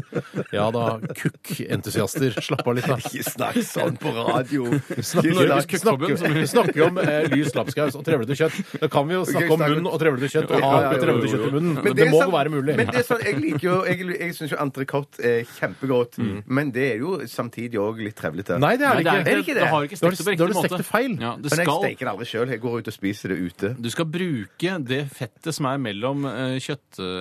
Speaker 3: Ja da, kukk-entusiaster. Slapp av litt, da.
Speaker 5: Ikke snakk sånn på radio!
Speaker 3: Snakker,
Speaker 5: Ikke
Speaker 4: Norges
Speaker 5: snakk-
Speaker 4: Kukkforbund, som-
Speaker 3: vi snakker om eh, lys lapskaus og trevlete kjøtt. Da kan vi jo snakke om munn og trevlete kjøtt og
Speaker 5: Ja, ja,
Speaker 3: ha
Speaker 5: ja,
Speaker 3: trevlete
Speaker 5: jo, jo.
Speaker 3: kjøtt i munnen.
Speaker 5: Men
Speaker 3: Men det må
Speaker 5: som-
Speaker 3: være mulig.
Speaker 5: Men det er sånn, jeg liker jo, jeg, jeg syns jo entrecôte er kjempegodt, men det er jo samtidig òg litt trevlete.
Speaker 3: Mm. Nei, det er
Speaker 4: Nei,
Speaker 3: det ikke.
Speaker 5: Er det ikke det?
Speaker 4: har ikke
Speaker 3: Da har
Speaker 4: stekt det
Speaker 3: du-
Speaker 4: på
Speaker 3: da har
Speaker 4: riktig
Speaker 3: du stekt
Speaker 4: måte.
Speaker 3: det feil.
Speaker 4: Ja, det
Speaker 5: men jeg
Speaker 4: skal
Speaker 5: steker det aldri sjøl. Jeg går ut og spiser det ute.
Speaker 3: Eh.
Speaker 4: Du skal bruke det fettet som er mellom eh,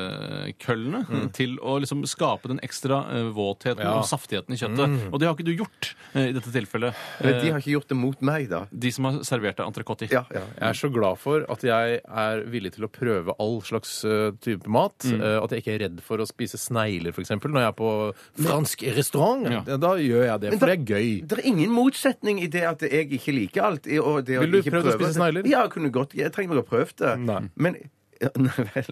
Speaker 4: kjøttkøllene,
Speaker 5: Mm.
Speaker 4: til å liksom skape den ekstra eh, våtheten
Speaker 3: Ja.
Speaker 4: og saftigheten i kjøttet. Og det har ikke du gjort eh, i dette tilfellet.
Speaker 5: Men Mm. de
Speaker 4: Eh,
Speaker 5: har ikke gjort det mot meg, da.
Speaker 4: de som har servert deg entrecôte.
Speaker 5: Ja, ja.
Speaker 3: Jeg er så glad for at jeg er villig til å prøve all slags eh, type mat.
Speaker 4: Mm.
Speaker 3: eh, at jeg ikke er redd for å spise snegler, f.eks. Når jeg er på fransk restaurant.
Speaker 4: Ja.
Speaker 3: Da gjør jeg det,
Speaker 5: Men
Speaker 3: for
Speaker 5: da-
Speaker 3: det er gøy.
Speaker 5: Det er ingen motsetning i det at jeg ikke liker alt. i- Og det
Speaker 3: Vil du
Speaker 5: ikke
Speaker 3: prøve å
Speaker 5: prøve
Speaker 3: spise
Speaker 5: det.
Speaker 3: snegler?
Speaker 5: Ja, jeg kunne godt. Jeg trenger ikke å prøve det.
Speaker 3: Nei.
Speaker 5: Men ja, Nei vel.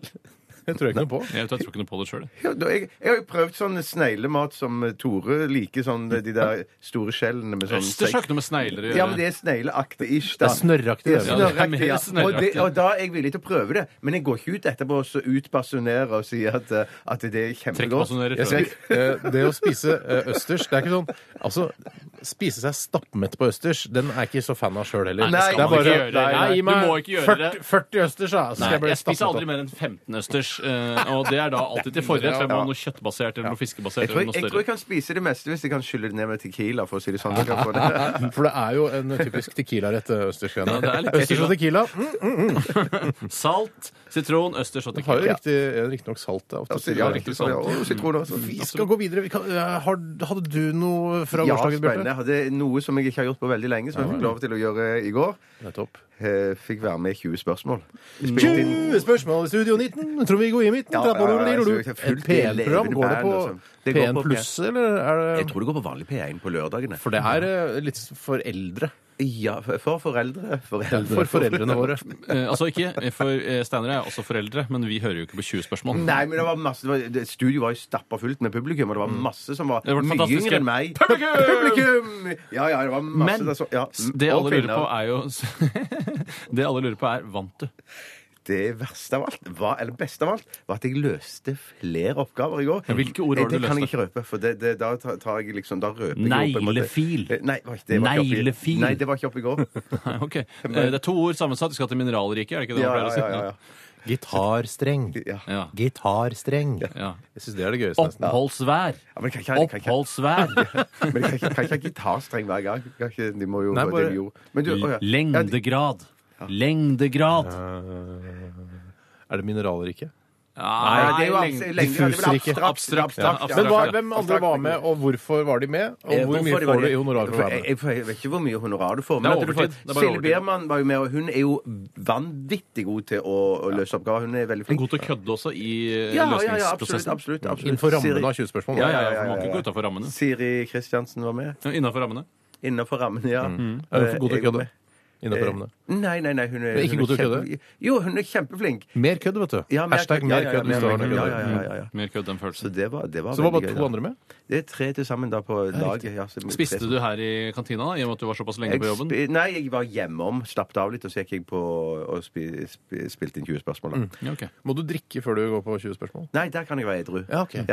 Speaker 3: Det tror jeg ikke noe på.
Speaker 4: Jeg, tror- jeg tror ikke noe på det sjøl.
Speaker 5: Ja, da- jeg, jeg har jo prøvd sånn sneglemat som eh, Tore liker, sånn de der store skjellene med sånn
Speaker 4: Østers har ikke noe med snegler å gjøre.
Speaker 5: Ja, men det er snegleaktig-ish, da.
Speaker 3: Det er snørraktig,
Speaker 5: Det er
Speaker 3: det.
Speaker 4: Ja, det er
Speaker 5: snørraktig,
Speaker 4: mer
Speaker 5: ja. Og,
Speaker 4: snørraktig.
Speaker 5: det, og da er jeg villig til å prøve det, men jeg går ikke ut etterpå og så utbasunerer og sier at, eh, at det er kjempegodt.
Speaker 4: Trekkbasunerer
Speaker 3: Jeg
Speaker 4: før.
Speaker 3: skal, eh, det å spise eh, østers Det er ikke sånn Altså, spise seg stappmett på østers, den er jeg ikke så fan av sjøl heller.
Speaker 5: Nei, det
Speaker 4: skal man
Speaker 5: er
Speaker 4: ikke
Speaker 5: bare-
Speaker 4: gjøre. det.
Speaker 5: nei,
Speaker 4: Nei,
Speaker 3: gi
Speaker 4: du
Speaker 3: meg
Speaker 4: må ikke gjøre det.
Speaker 3: 40, 40 østers, da, så skal
Speaker 4: Nei,
Speaker 3: jeg bli
Speaker 4: jeg spiser
Speaker 3: stappmett opp.
Speaker 4: aldri mer enn 15 østers, eh, og det er da alltid til forrett. For jeg må ha noe kjøttbasert eller noe fiskebasert
Speaker 5: Jeg tror
Speaker 4: eller
Speaker 5: jeg,
Speaker 4: noe
Speaker 5: jeg tror
Speaker 4: større.
Speaker 5: jeg kan spise det meste hvis jeg kan skylle det ned med Tequila. for å si det sånn. Jeg kan få det.
Speaker 3: For det er jo en typisk tequila-rett, eh, østers.
Speaker 4: Ja, det er litt
Speaker 3: østers og tequila. Mm,
Speaker 4: Salt, sitron, østers og
Speaker 3: det har
Speaker 4: tequila.
Speaker 3: jo riktig- riktignok salt. da, ofte.
Speaker 5: Ja, riktig sånn. Ja, og sitron også.
Speaker 3: Vi skal gå videre. Vi kan, eh, har, hadde du noe fra
Speaker 5: Ja,
Speaker 3: gårsdagen,
Speaker 5: spennende.
Speaker 3: Bjarte?
Speaker 5: Jeg hadde noe som jeg ikke har gjort på veldig lenge, som jeg fikk lov til å gjøre i går.
Speaker 3: Nettopp.
Speaker 5: Eh, Fikk være med i 20 spørsmål.
Speaker 3: 20 spørsmål i Studio 19. Tror vi går i midten.
Speaker 5: Ja, ja, ja, jeg tror jeg
Speaker 3: Et
Speaker 5: fullt i
Speaker 3: P1-program.
Speaker 5: levende
Speaker 3: Går det
Speaker 5: band og sånn.
Speaker 3: på
Speaker 5: Det går
Speaker 3: P1
Speaker 5: på
Speaker 3: pluss, eller er det
Speaker 5: tror det går på vanlig P1 på lørdagene.
Speaker 3: For det er eh, litt for eldre.
Speaker 5: Ja, for for foreldre. foreldre.
Speaker 3: For foreldrene våre.
Speaker 4: Eh, altså ikke, eh, for eh, Steinar er også foreldre, men vi hører jo ikke på 20 spørsmål.
Speaker 5: Nei, men det var masse, det var, det, studio var jo stappa fullt med publikum, og det var masse som var
Speaker 4: Mm. Det var
Speaker 5: mye
Speaker 4: fantastiske.
Speaker 5: yngre enn meg.
Speaker 4: Publikum!
Speaker 5: Publikum! Ja, ja, det var masse
Speaker 4: Men
Speaker 5: der som- ja,
Speaker 4: s- det
Speaker 5: og
Speaker 4: alle lurer
Speaker 5: kvinner.
Speaker 4: på, er jo Det alle lurer på, er vant du?
Speaker 5: Det verste av alt, var, eller beste av alt, var at jeg løste flere oppgaver i går.
Speaker 4: Ja, hvilke ord var det
Speaker 5: det
Speaker 4: du
Speaker 5: kan jeg
Speaker 4: løste?
Speaker 5: ikke røpe, for det, det, da tar tar jeg liksom Da røper jeg jo på en måte-
Speaker 4: Neglefil.
Speaker 5: Eh, Nei, det var ikke- det var ikke oppe i-
Speaker 4: Neglefil.
Speaker 5: Nei, det var ikke oppe i går.
Speaker 4: Nei, ok. Eh, Det er to ord sammensatt. Vi skal til mineralriket, er det ikke det
Speaker 5: Ja,
Speaker 4: man pleier
Speaker 5: ja,
Speaker 4: å si?
Speaker 5: ja, ja, ja.
Speaker 3: Gitarstreng.
Speaker 5: ja.
Speaker 4: Ja.
Speaker 3: Gitarstreng.
Speaker 4: Ja.
Speaker 3: Jeg syns det er det gøyeste, nesten.
Speaker 4: Oppholdsvær.
Speaker 5: Ja, men kan ikke- kan ikke-
Speaker 4: Oppholdsvær.
Speaker 5: Men jeg kan ikke- kan ikke ha gitarstreng hver gang. Kan ikke, de må jo
Speaker 3: Nei,
Speaker 5: det
Speaker 3: bare-
Speaker 5: de gjorde. Men du, å, ja. Ja, de-
Speaker 4: Lengdegrad. Lengdegrad.
Speaker 3: Eh, Er det mineralrike?
Speaker 5: Nei,
Speaker 4: Nei,
Speaker 5: det er jo
Speaker 4: lengde-
Speaker 5: abstrakt. lengde, det er vel
Speaker 3: Diffusriket.
Speaker 5: abstrakt,
Speaker 4: Abstrakt, ja, abstrakt.
Speaker 3: Men
Speaker 5: ja.
Speaker 3: hva,
Speaker 4: ja.
Speaker 3: hvem andre var med, og hvorfor var de med? Og hvor
Speaker 5: Eh, hvorfor
Speaker 3: mye
Speaker 5: det var
Speaker 3: får du i
Speaker 5: det?
Speaker 3: honorar for å være
Speaker 5: Jeg,
Speaker 3: med?
Speaker 5: jeg, jeg vet ikke hvor mye honorar du får.
Speaker 4: Det er
Speaker 5: at du
Speaker 4: overtid.
Speaker 5: får-
Speaker 4: Det er bare
Speaker 5: Silje
Speaker 4: overtid.
Speaker 5: Biermann var jo med, og hun er jo vanvittig god til å, å løse oppgaver. Hun er veldig flink.
Speaker 4: God til å kødde også i eh,
Speaker 5: Ja, ja, ja, absolutt.
Speaker 4: løsningsprosessen.
Speaker 5: absolutt, absolutt.
Speaker 3: Mm. Innenfor rammen
Speaker 5: Siri-
Speaker 3: av 20 spørsmål?
Speaker 4: Ja, ja, ja, for
Speaker 5: ja,
Speaker 4: Man kan ikke
Speaker 5: ja, ja.
Speaker 4: gå utafor rammene.
Speaker 5: Siri Kristiansen var med.
Speaker 4: Innafor rammene.
Speaker 5: Innenfor rammene, ja. Mm.
Speaker 3: Er du for
Speaker 4: Eh,
Speaker 3: god til å kødde? Innenfor rammene.
Speaker 5: Nei, nei, nei. Hun er,
Speaker 3: er ikke
Speaker 5: hun
Speaker 3: god til å
Speaker 5: kjempe- Jo, hun er kjempeflink.
Speaker 3: Mer kødd, vet du.
Speaker 5: Ja, mer
Speaker 3: Hashtag
Speaker 5: kødd.
Speaker 3: mer
Speaker 5: Ja, ja, ja,
Speaker 3: kødd. hvis du har
Speaker 5: mer
Speaker 3: noe
Speaker 5: kødd.
Speaker 3: kødd.
Speaker 5: Ja, ja, ja, ja.
Speaker 4: Mer kødd enn
Speaker 5: Så
Speaker 4: følelsen.
Speaker 5: det var, det var
Speaker 3: Så det var
Speaker 5: veldig
Speaker 3: bare
Speaker 5: gøy,
Speaker 3: to
Speaker 5: da.
Speaker 3: andre med?
Speaker 5: Det er tre til sammen da på laget. Ja, så-
Speaker 4: Spiste du her i kantina da, i og med at du var såpass lenge
Speaker 5: Jeg
Speaker 4: på jobben?
Speaker 5: spi- Nei, jeg var hjemom, slappet av litt, og så gikk jeg på og spi, spi, spilte inn 20 spørsmål. da.
Speaker 4: Ja, ok.
Speaker 3: Må du drikke før du går på 20 spørsmål?
Speaker 5: Nei, der kan jeg være edru.
Speaker 3: Ja, ok.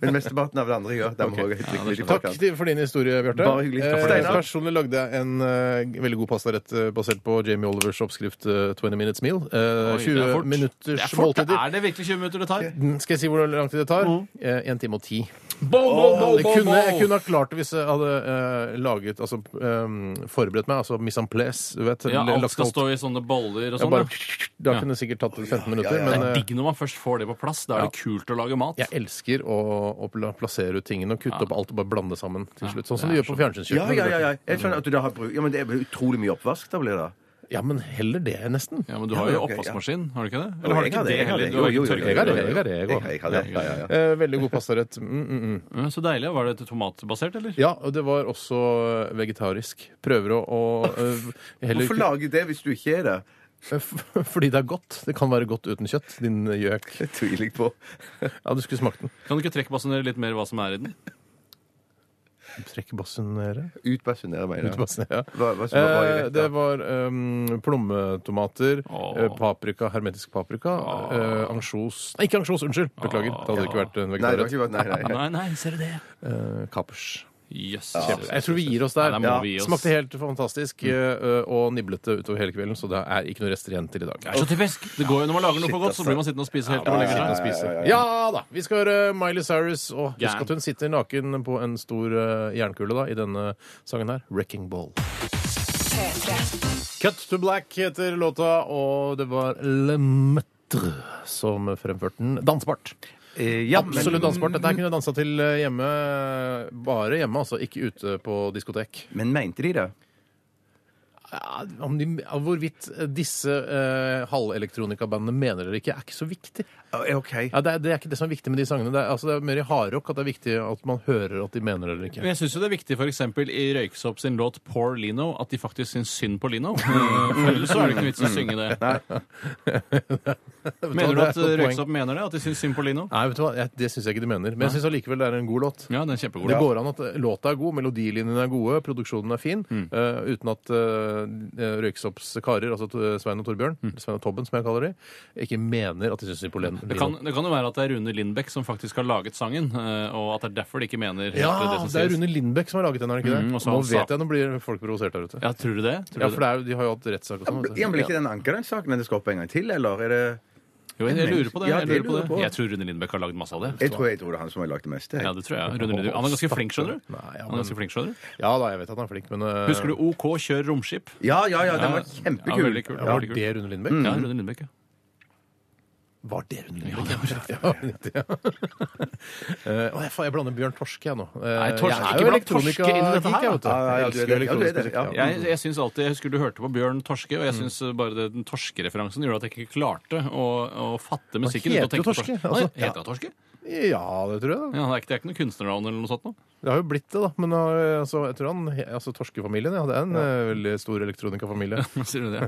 Speaker 5: Men mesteparten av det andre gjør. Der må jeg trykke litt i
Speaker 3: Takk
Speaker 5: forkant.
Speaker 3: til- for din historie, Bjarte.
Speaker 5: Bare hyggelig. Takk for
Speaker 3: Eh,
Speaker 5: det, Einar.
Speaker 3: Personlig lagde jeg en eh, veldig god pastarett eh, basert på Jamie Olivers oppskrift eh, 20 Minutes Meal. Eh,
Speaker 4: Oi, det er
Speaker 3: 20
Speaker 4: fort. Det
Speaker 3: minutters
Speaker 4: er fort! Det
Speaker 3: måltider.
Speaker 4: er Mm. det virkelig 20 minutter det tar?
Speaker 3: Mm, Skal jeg si hvor lang tid det tar? Eh, En time og ti.
Speaker 4: Bow, bow, bow,
Speaker 3: Jeg
Speaker 4: bow,
Speaker 3: kunne,
Speaker 4: bow.
Speaker 3: jeg kunne ha klart det hvis jeg hadde eh, laget Altså eh, forberedt meg. Altså mise en place. Du vet,
Speaker 4: Ja,
Speaker 3: lagt
Speaker 4: alt skal
Speaker 3: alt-
Speaker 4: stå i sånne boller
Speaker 3: Ja,
Speaker 4: og sånn.
Speaker 3: bare,
Speaker 4: ja.
Speaker 3: Da kunne det sikkert tatt 15 minutter.
Speaker 4: Det
Speaker 3: Men
Speaker 4: er
Speaker 3: eh,
Speaker 4: digg når man først får det på plass. Da er det kult å lage mat.
Speaker 3: jeg elsker å, å pla- plassere ut tingene og kutte opp alt og bare blande sammen til slutt. Sånn som
Speaker 4: det
Speaker 3: du
Speaker 4: er
Speaker 3: gjør på
Speaker 5: Ja,
Speaker 3: fjernsynskjøkkenet.
Speaker 5: ja, ja, ja. Jeg skjønner at du da har bruk... Ja, men det er utrolig mye oppvask da blir det. da.
Speaker 3: Ja, men heller det, nesten.
Speaker 4: Ja, Men du har jo
Speaker 5: Ja, ok, ja.
Speaker 4: oppvaskmaskin, har du ikke det? Eller har du
Speaker 5: Jeg har
Speaker 4: ikke
Speaker 5: det,
Speaker 4: det
Speaker 5: jeg har
Speaker 4: heller?
Speaker 5: det.
Speaker 4: Du har
Speaker 5: Jo,
Speaker 4: ikke
Speaker 5: jo, jo,
Speaker 4: tørket
Speaker 3: Jeg har det,
Speaker 4: det.
Speaker 3: jeg har det, jeg
Speaker 5: Jeg,
Speaker 3: har det.
Speaker 5: jeg har det. Ja, ja, ja.
Speaker 3: Eh, Veldig god pastarett. Mm, mm, mm.
Speaker 4: Ja, Så deilig. Var det tomatbasert, eller?
Speaker 3: Ja, og det var også eh, vegetarisk. Prøver å, å eh, heller
Speaker 5: Hvorfor lage det hvis du ikke er det?
Speaker 3: Fordi det er godt. Det kan være godt uten kjøtt, din gjøk.
Speaker 5: Det tviler jeg på.
Speaker 3: Ja, du skulle smakt den.
Speaker 4: Kan du ikke trekkbasunere litt mer hva som er i den?
Speaker 3: Trekkbasunere?
Speaker 5: Utbasunere meg. da.
Speaker 3: Utbasunere, ja.
Speaker 5: Hva, hva, som var- var i
Speaker 3: Eh,
Speaker 5: rett, da?
Speaker 3: det var eh, plommetomater,
Speaker 4: Åh.
Speaker 3: eh, paprika, hermetisk paprika, eh, ansjos Nei, ikke ansjos, unnskyld! Beklager. Det hadde ikke vært en
Speaker 5: Nei, det var
Speaker 3: vegetarrett.
Speaker 5: ikke bare Nei, nei.
Speaker 4: Nei, nei, ser du det?
Speaker 3: Eh, Kapers.
Speaker 4: Jøss.
Speaker 3: Jeg tror vi gir oss der.
Speaker 4: Nei, der må
Speaker 3: Ja.
Speaker 4: vi gi oss. Mm.
Speaker 3: Smakte helt fantastisk eh, og niblete utover hele kvelden, så det er ikke noe rester igjen til i dag.
Speaker 4: Det er så typisk! Det går jo Når man lager noe for godt, så blir man sittende og spise helt til man legger seg.
Speaker 3: altså. Ja da! Vi skal høre Miley Cyrus, og husk
Speaker 4: Gæren.
Speaker 3: at hun sitter naken på en stor eh, jernkule da, i denne sangen her. 'Wrecking Ball'. Cut to Black heter låta, og det var Le Metre som fremførte den. Dansbart.
Speaker 5: Eh, ja, men-
Speaker 3: Absolutt dansbart. Dette her kunne jeg dansa til eh, hjemme, bare hjemme, altså. Ikke ute på diskotek.
Speaker 5: Men mente de det?
Speaker 3: om de, om hvorvidt disse eh, halvelektronikabandene mener eller ikke, er ikke så viktig.
Speaker 5: Ja, OK.
Speaker 3: Ja, det, er, det er ikke det som er viktig med de sangene. Det er, altså, det er mer i hardrock at det er viktig at man hører at de mener det eller ikke.
Speaker 4: Men jeg syns jo det er viktig f.eks. i Røyksopp sin låt 'Poor Lino' at de faktisk syns synd på Lino. Eh, For ellers så er det ikke noe vits i å synge det. Mener du
Speaker 3: Det er et
Speaker 4: at
Speaker 3: godt
Speaker 4: Røyksopp mener det? At de syns synd på Lino?
Speaker 3: Nei, vet du hva? Jeg, det syns jeg ikke de mener. Men jeg syns allikevel det er en god låt.
Speaker 4: Ja, den er kjempegod.
Speaker 3: Det går an at låta er god, melodilinjene er gode, produksjonen er fin, eh, uten at uh, Røyksops karer, altså T- Svein og Torbjørn, Svein og Tobben som jeg kaller de, ikke mener at de syns synd på Len.
Speaker 4: Det kan, det kan jo være at det er Rune Lindbekk som faktisk har laget sangen, eh, og at det er derfor de ikke mener helt
Speaker 3: Ja,
Speaker 4: det som
Speaker 3: det er
Speaker 4: sies.
Speaker 3: Rune Lindbekk som har laget den, er det ikke det?
Speaker 4: Mm, og så
Speaker 3: Nå
Speaker 4: han sa-
Speaker 3: vet jeg, nå blir folk provosert der ute.
Speaker 4: Ja, tror du det? Tror
Speaker 3: Ja,
Speaker 4: du
Speaker 3: for det er, jo- de har jo hatt rettssak og sånn. vet du.
Speaker 5: Ja, men Blir ikke den anka, den saken? Er det skal opp en gang til, eller er det
Speaker 4: det? Jo, jeg, jeg lurer på det.
Speaker 5: Ja,
Speaker 4: jeg,
Speaker 5: det
Speaker 4: lurer på det.
Speaker 5: lurer jeg på.
Speaker 4: jeg tror Rune Lindbekk har lagd masse av det.
Speaker 5: Jeg tror, jeg tror det er han som har lagd det meste. jeg.
Speaker 4: Ja, det tror jeg. Rune Lindbekk. Han er ganske flink, skjønner du.
Speaker 3: Nei, ja,
Speaker 4: Han er ganske flink, skjønner du.
Speaker 3: Ja da, jeg vet at han er flink, men eh,
Speaker 4: Husker du OK kjør romskip?
Speaker 5: Ja, ja, ja, den var
Speaker 4: Ja,
Speaker 5: kjempekul.
Speaker 4: veldig kul.
Speaker 3: ja, Var
Speaker 4: veldig kul.
Speaker 3: det Mm. Rune Lindbekk?
Speaker 4: Ja, Rune Lindbekk, ja.
Speaker 3: Var det Rune Lindbekk? Ja, det var det. Eh, å, jeg, faen, jeg blander Bjørn Torske, jeg nå. Eh,
Speaker 4: Nei, Torske,
Speaker 3: jeg
Speaker 4: ikke blant Torske inn i dette
Speaker 3: elektronika-geek,
Speaker 4: her,
Speaker 3: jeg, vet du.
Speaker 5: da. Ja, ja, ja,
Speaker 3: Jeg
Speaker 5: du
Speaker 3: elsker
Speaker 5: er
Speaker 3: jo
Speaker 5: det. Ja, du er det,
Speaker 3: elektronisk
Speaker 5: ja.
Speaker 3: musikk. ja.
Speaker 4: Jeg, jeg synes alltid, jeg husker du hørte på Bjørn Torske,
Speaker 3: Mm.
Speaker 4: og jeg synes bare det, den torskereferansen gjorde at jeg ikke klarte å, å fatte musikken.
Speaker 3: heter
Speaker 4: uten å tenke
Speaker 3: jo
Speaker 4: på
Speaker 3: Torske,
Speaker 4: Han
Speaker 3: altså.
Speaker 4: Heter han Torske?
Speaker 3: Ja, det tror jeg. da.
Speaker 4: Ja, det, er ikke, det er ikke noe kunstnernavn eller noe sånt noe.
Speaker 3: Det har jo blitt det, da. Men eh, altså, jeg tror han, altså, Torskefamilien ja, det er en eh, veldig stor elektronikafamilie.
Speaker 4: Sier du det?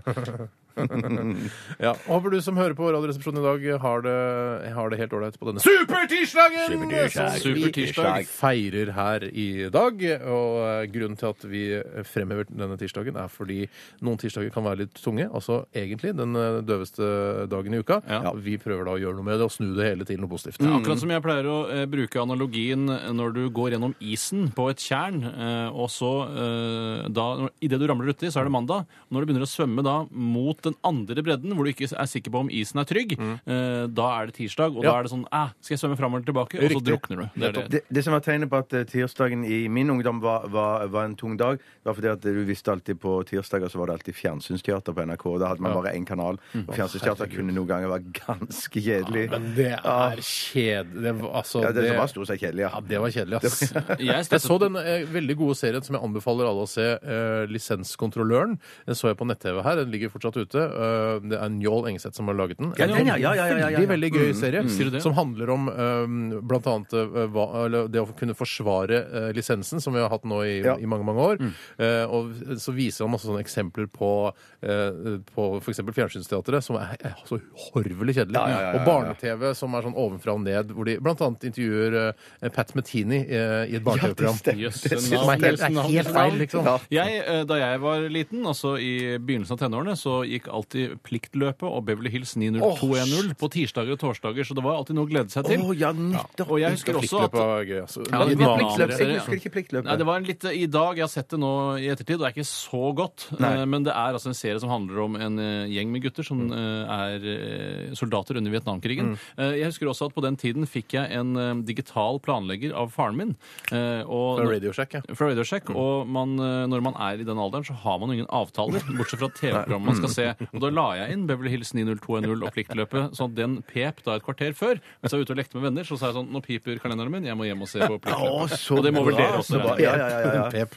Speaker 3: Ja. og Håper du som hører på Radioresepsjonen i dag, har det, har det helt ålreit på denne supertirsdagen!
Speaker 5: Supertirsdag.
Speaker 3: som vi
Speaker 4: Supertirsdag.
Speaker 3: feirer her i dag. Og eh, grunnen til at vi fremhever denne tirsdagen, er fordi noen tirsdager kan være litt tunge. Altså egentlig den eh, døveste dagen i uka.
Speaker 4: Ja. Mm.
Speaker 3: Vi prøver da å gjøre noe med det og snu det hele til noe positivt.
Speaker 4: Ja, Akkurat som jeg pleier å eh, bruke analogien eh, når du går gjennom isen på et tjern, eh, og så eh, da Idet du ramler uti, så er det mandag. Når du begynner å svømme da mot den andre bredden, hvor du ikke er sikker på om isen er trygg, eh, da er det tirsdag, og da
Speaker 3: Mm. Ja.
Speaker 4: er det sånn eh, Skal jeg svømme fram eller tilbake? Og så
Speaker 3: Riktig.
Speaker 4: drukner du. Det er det.
Speaker 5: Det, det som var tegnet på at eh, tirsdagen i min ungdom var, var, var en tung dag, var fordi at eh, du visste alltid på tirsdager så var det alltid fjernsynsteater på NRK. Da hadde man bare én kanal. Og Fjernsynsteater kunne noen ganger være ganske kjedelig.
Speaker 3: Men det er kjedelig. Det var- Altså,
Speaker 5: Ja, det som var stort sett kjedelig,
Speaker 3: Ja,
Speaker 5: ja.
Speaker 3: det var kjedelig, ass.
Speaker 4: Jeg
Speaker 3: Jeg så den eh, veldig gode serien som jeg anbefaler alle å se, eh, Lisenskontrolløren. Den så jeg på nett-TV her. Den ligger fortsatt ute. Eh, det er Njål Engseth som har laget den.
Speaker 5: Ja, den, ja, ja, ja, ja, ja, ja.
Speaker 3: Veldig, veldig gøy serie
Speaker 4: Mm. Sier du det?
Speaker 3: som handler om eh, blant annet eh, hva, eller det å kunne forsvare eh, lisensen, som vi har hatt nå i,
Speaker 5: Ja. Mm.
Speaker 3: i mange, mange år. Eh, og så viser han masse sånne eksempler på, uh, på f.eks. Fjernsynsteatret, som er, er så horvelig kjedelig.
Speaker 5: Ja, ja, ja, ja, ja.
Speaker 3: Og barne-TV, som er sånn ovenfra og ned, hvor de blant annet intervjuer eh, Pat Metini eh, i et barne-TV-program.
Speaker 4: Jøss,
Speaker 3: Som er
Speaker 4: navn,
Speaker 3: helt, det
Speaker 4: jøss,
Speaker 3: er
Speaker 4: navn,
Speaker 3: helt
Speaker 4: jøss,
Speaker 3: feil,
Speaker 4: navn.
Speaker 3: liksom.
Speaker 4: Jeg, eh, da jeg var liten, altså i begynnelsen av tenårene, så gikk alltid Pliktløpet og Beverly Hills 90210 på tirsdager og torsdager, så det var alltid noe å glede seg
Speaker 5: Å
Speaker 4: til.
Speaker 5: ja, nettopp!
Speaker 4: Og jeg husker også
Speaker 3: Pliktløp
Speaker 4: at
Speaker 3: var gøy, altså.
Speaker 4: Ja, det
Speaker 3: Litt
Speaker 4: var
Speaker 3: vanlig.
Speaker 4: pliktløp.
Speaker 5: Pliktløpet. Jeg husker ikke pliktløpet.
Speaker 4: Nei, det var en litt I dag, jeg har sett det nå i ettertid, og det er ikke så godt.
Speaker 5: Nei.
Speaker 4: eh, Men det er altså en serie som handler om en eh, gjeng med gutter
Speaker 3: Mm.
Speaker 4: som eh, er eh, soldater under Vietnamkrigen. Eh, Jeg husker også at på den tiden fikk jeg en eh, digital planlegger av faren min. eh, Og
Speaker 3: Fra Radio Mm. Shack, ja.
Speaker 4: fra Radio Shack, og man, eh, når man er i den alderen, så har man jo ingen avtaler, bortsett fra TV-programmet man
Speaker 3: Mm.
Speaker 4: skal se. Og da la jeg inn Beverly Hills 90210 og Pliktløpet, sånn at den pep da et kvarter før. Mens jeg var ute og lekte med venner, så sa jeg sånn Nå piper kalenderen min, jeg må hjem og se på
Speaker 5: Å,
Speaker 4: Pliktløpet.
Speaker 5: så
Speaker 4: Og det må vel
Speaker 5: bra,
Speaker 4: dere også
Speaker 5: så bra.
Speaker 4: gjøre.
Speaker 5: Ja, ja, ja, ja.
Speaker 3: Pep.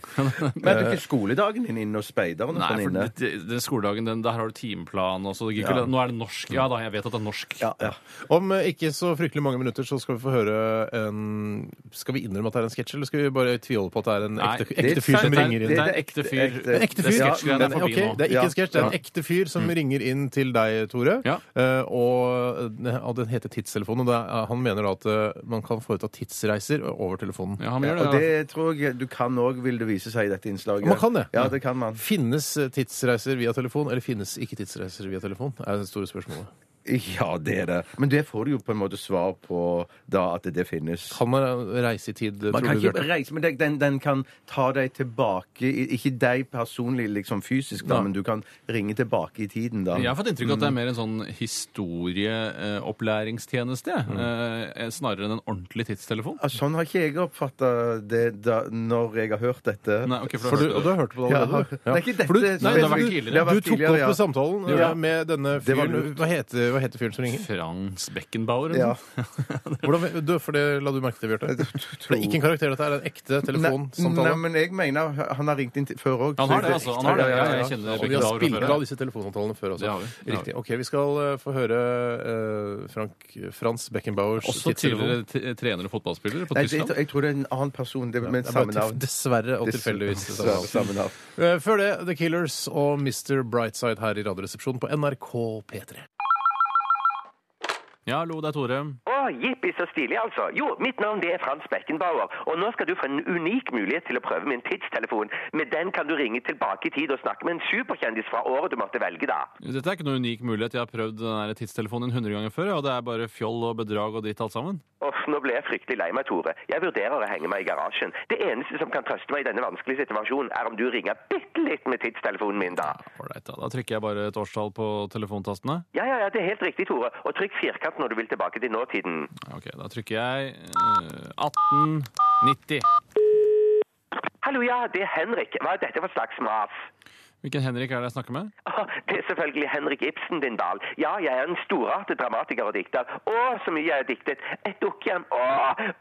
Speaker 5: Men tok ikke skoledagen din inn og speideren og
Speaker 4: Nei,
Speaker 5: sånn
Speaker 4: for
Speaker 5: inne?
Speaker 4: det- det- den skoledagen, den, der har du timeplan og så det gikk vel- Nå er det norsk. Ja da, jeg vet at det er norsk.
Speaker 5: Ja, ja.
Speaker 3: Om eh, ikke så fryktelig mange minutter så skal vi få høre en Skal vi innrømme at det er en sketsj, eller skal vi bare tviholde på at det er en
Speaker 4: Nei,
Speaker 3: ekte,
Speaker 4: det
Speaker 3: ekte fyr som
Speaker 4: det er-
Speaker 3: ringer
Speaker 4: Det
Speaker 3: inn?
Speaker 4: er ekte fyr.
Speaker 3: En ekte fyr?
Speaker 4: Det er
Speaker 3: Ja,
Speaker 4: sketsjgreiene
Speaker 3: men-
Speaker 4: er forbi
Speaker 3: ok,
Speaker 4: nå.
Speaker 3: Det er ikke
Speaker 5: Ja. Mm.
Speaker 3: en sketsj, det er en ekte fyr som ringer inn til deg, Tore.
Speaker 4: Ja.
Speaker 3: Eh, Og, eh, og den heter Tidstelefonen. Og det er, han mener da at eh, man kan foreta tidsreiser over telefonen.
Speaker 4: Ja, han gjør
Speaker 5: Og
Speaker 4: det. Ja.
Speaker 5: det tror jeg du kan òg, vil det vise seg i dette innslaget.
Speaker 3: Man kan det.
Speaker 5: Ja, det kan man.
Speaker 3: Finnes eh, tidsreiser via telefon, eller finnes ikke tidsreiser via telefon? er det store spørsmålet.
Speaker 5: Ja, det er det. Men det får du jo på en måte svar på da, at det finnes.
Speaker 3: Kan man eh, reise i tid,
Speaker 5: Man
Speaker 3: tror
Speaker 5: kan
Speaker 3: du?
Speaker 5: ikke
Speaker 3: Bjarte?
Speaker 5: reise med deg, den, den kan ta deg tilbake i- Ikke deg personlig, liksom fysisk, da, men du kan ringe tilbake i tiden, da.
Speaker 4: Jeg har fått inntrykk av at det er mer en sånn historieopplæringstjeneste eh, snarere enn en ordentlig tidstelefon.
Speaker 5: Ja, Sånn har ikke jeg oppfatta det da, når jeg har hørt dette.
Speaker 4: Nei, ok, for
Speaker 3: For
Speaker 4: da
Speaker 3: du, og du
Speaker 4: hørte
Speaker 3: har hørt på det allerede? du?
Speaker 5: Ja. Det er ikke dette
Speaker 3: For du,
Speaker 5: som
Speaker 3: nei,
Speaker 4: det har
Speaker 3: du-
Speaker 4: vært
Speaker 3: du-
Speaker 4: tidligere.
Speaker 5: Det har vært
Speaker 3: Du tok
Speaker 5: tidligere,
Speaker 3: opp
Speaker 5: ja.
Speaker 3: samtalen eh,
Speaker 5: Ja.
Speaker 3: med denne
Speaker 5: Det var
Speaker 3: fyren.
Speaker 5: lurt.
Speaker 3: Hva heter hva heter fyren som ringer?
Speaker 4: Frans Beckenbauer?
Speaker 5: Ja.
Speaker 4: eller
Speaker 3: Hvordan, du, for det la du merke til, Bjarte.
Speaker 5: Jeg
Speaker 3: Det
Speaker 5: tror-
Speaker 3: er ikke en karakter, dette er en ekte
Speaker 5: Nei,
Speaker 3: telefonsamtale.
Speaker 5: men jeg mener han har ringt inn til- før òg.
Speaker 4: Han har det, altså. Han har det. Ja, jeg kjenner
Speaker 3: Og vi har
Speaker 4: Beckenbauer fra
Speaker 3: spilt
Speaker 4: før.
Speaker 3: av disse telefonsamtalene før også.
Speaker 4: Det har vi. Det har
Speaker 3: Riktig. Ok, vi skal eh, få høre eh, Frank, Frans Beckenbauers
Speaker 4: Også tidligere t- trener og fotballspiller på
Speaker 5: Nei, det, jeg,
Speaker 4: Tyskland.
Speaker 5: tror- jeg tror det er en annen person det, med
Speaker 3: Det er
Speaker 5: samme
Speaker 3: bare
Speaker 5: navn.
Speaker 3: tilf- Dessverre og tilfeldigvis. det samme navn.
Speaker 5: Samme navn.
Speaker 3: Eh, Før det, The Killers og Mr. Brightside her i Radioresepsjonen på NRK P3.
Speaker 4: Ja, hallo, det er Tore.
Speaker 2: Å, jippi, så stilig, altså. Jo, mitt navn det er Frans Beckenbauer, og nå skal du få en unik mulighet til å prøve min tidstelefon. Med den kan du ringe tilbake i tid og snakke med en superkjendis fra året du måtte velge, da.
Speaker 4: Dette er ikke noen unik mulighet. Jeg har prøvd den her tidstelefonen 100 ganger før, og det er bare fjoll og bedrag og dritt alt sammen.
Speaker 2: Uff, nå ble jeg fryktelig lei meg, Tore. Jeg vurderer å henge meg i garasjen. Det eneste som kan trøste meg i denne vanskelige situasjonen, er om du ringer bitte litt med tidstelefonen min, da.
Speaker 4: Ålreit, da. Da trykker jeg bare et årstall på telefontastene.
Speaker 2: Ja, ja, ja, det er helt riktig, Tore. Og trykk firkant når du vil tilbake til nåtiden.
Speaker 4: Ja, Ok, da trykker jeg eh, 1890.
Speaker 2: Hallo, ja, det er Henrik. Hva er dette for slags mas?
Speaker 4: Hvilken Henrik er det jeg snakker med?
Speaker 2: Å, Det er selvfølgelig Henrik Ibsen din, Dahl. Ja, jeg er en storartet dramatiker og dikter. Å, så mye jeg har diktet. Et dukkehjem. Å,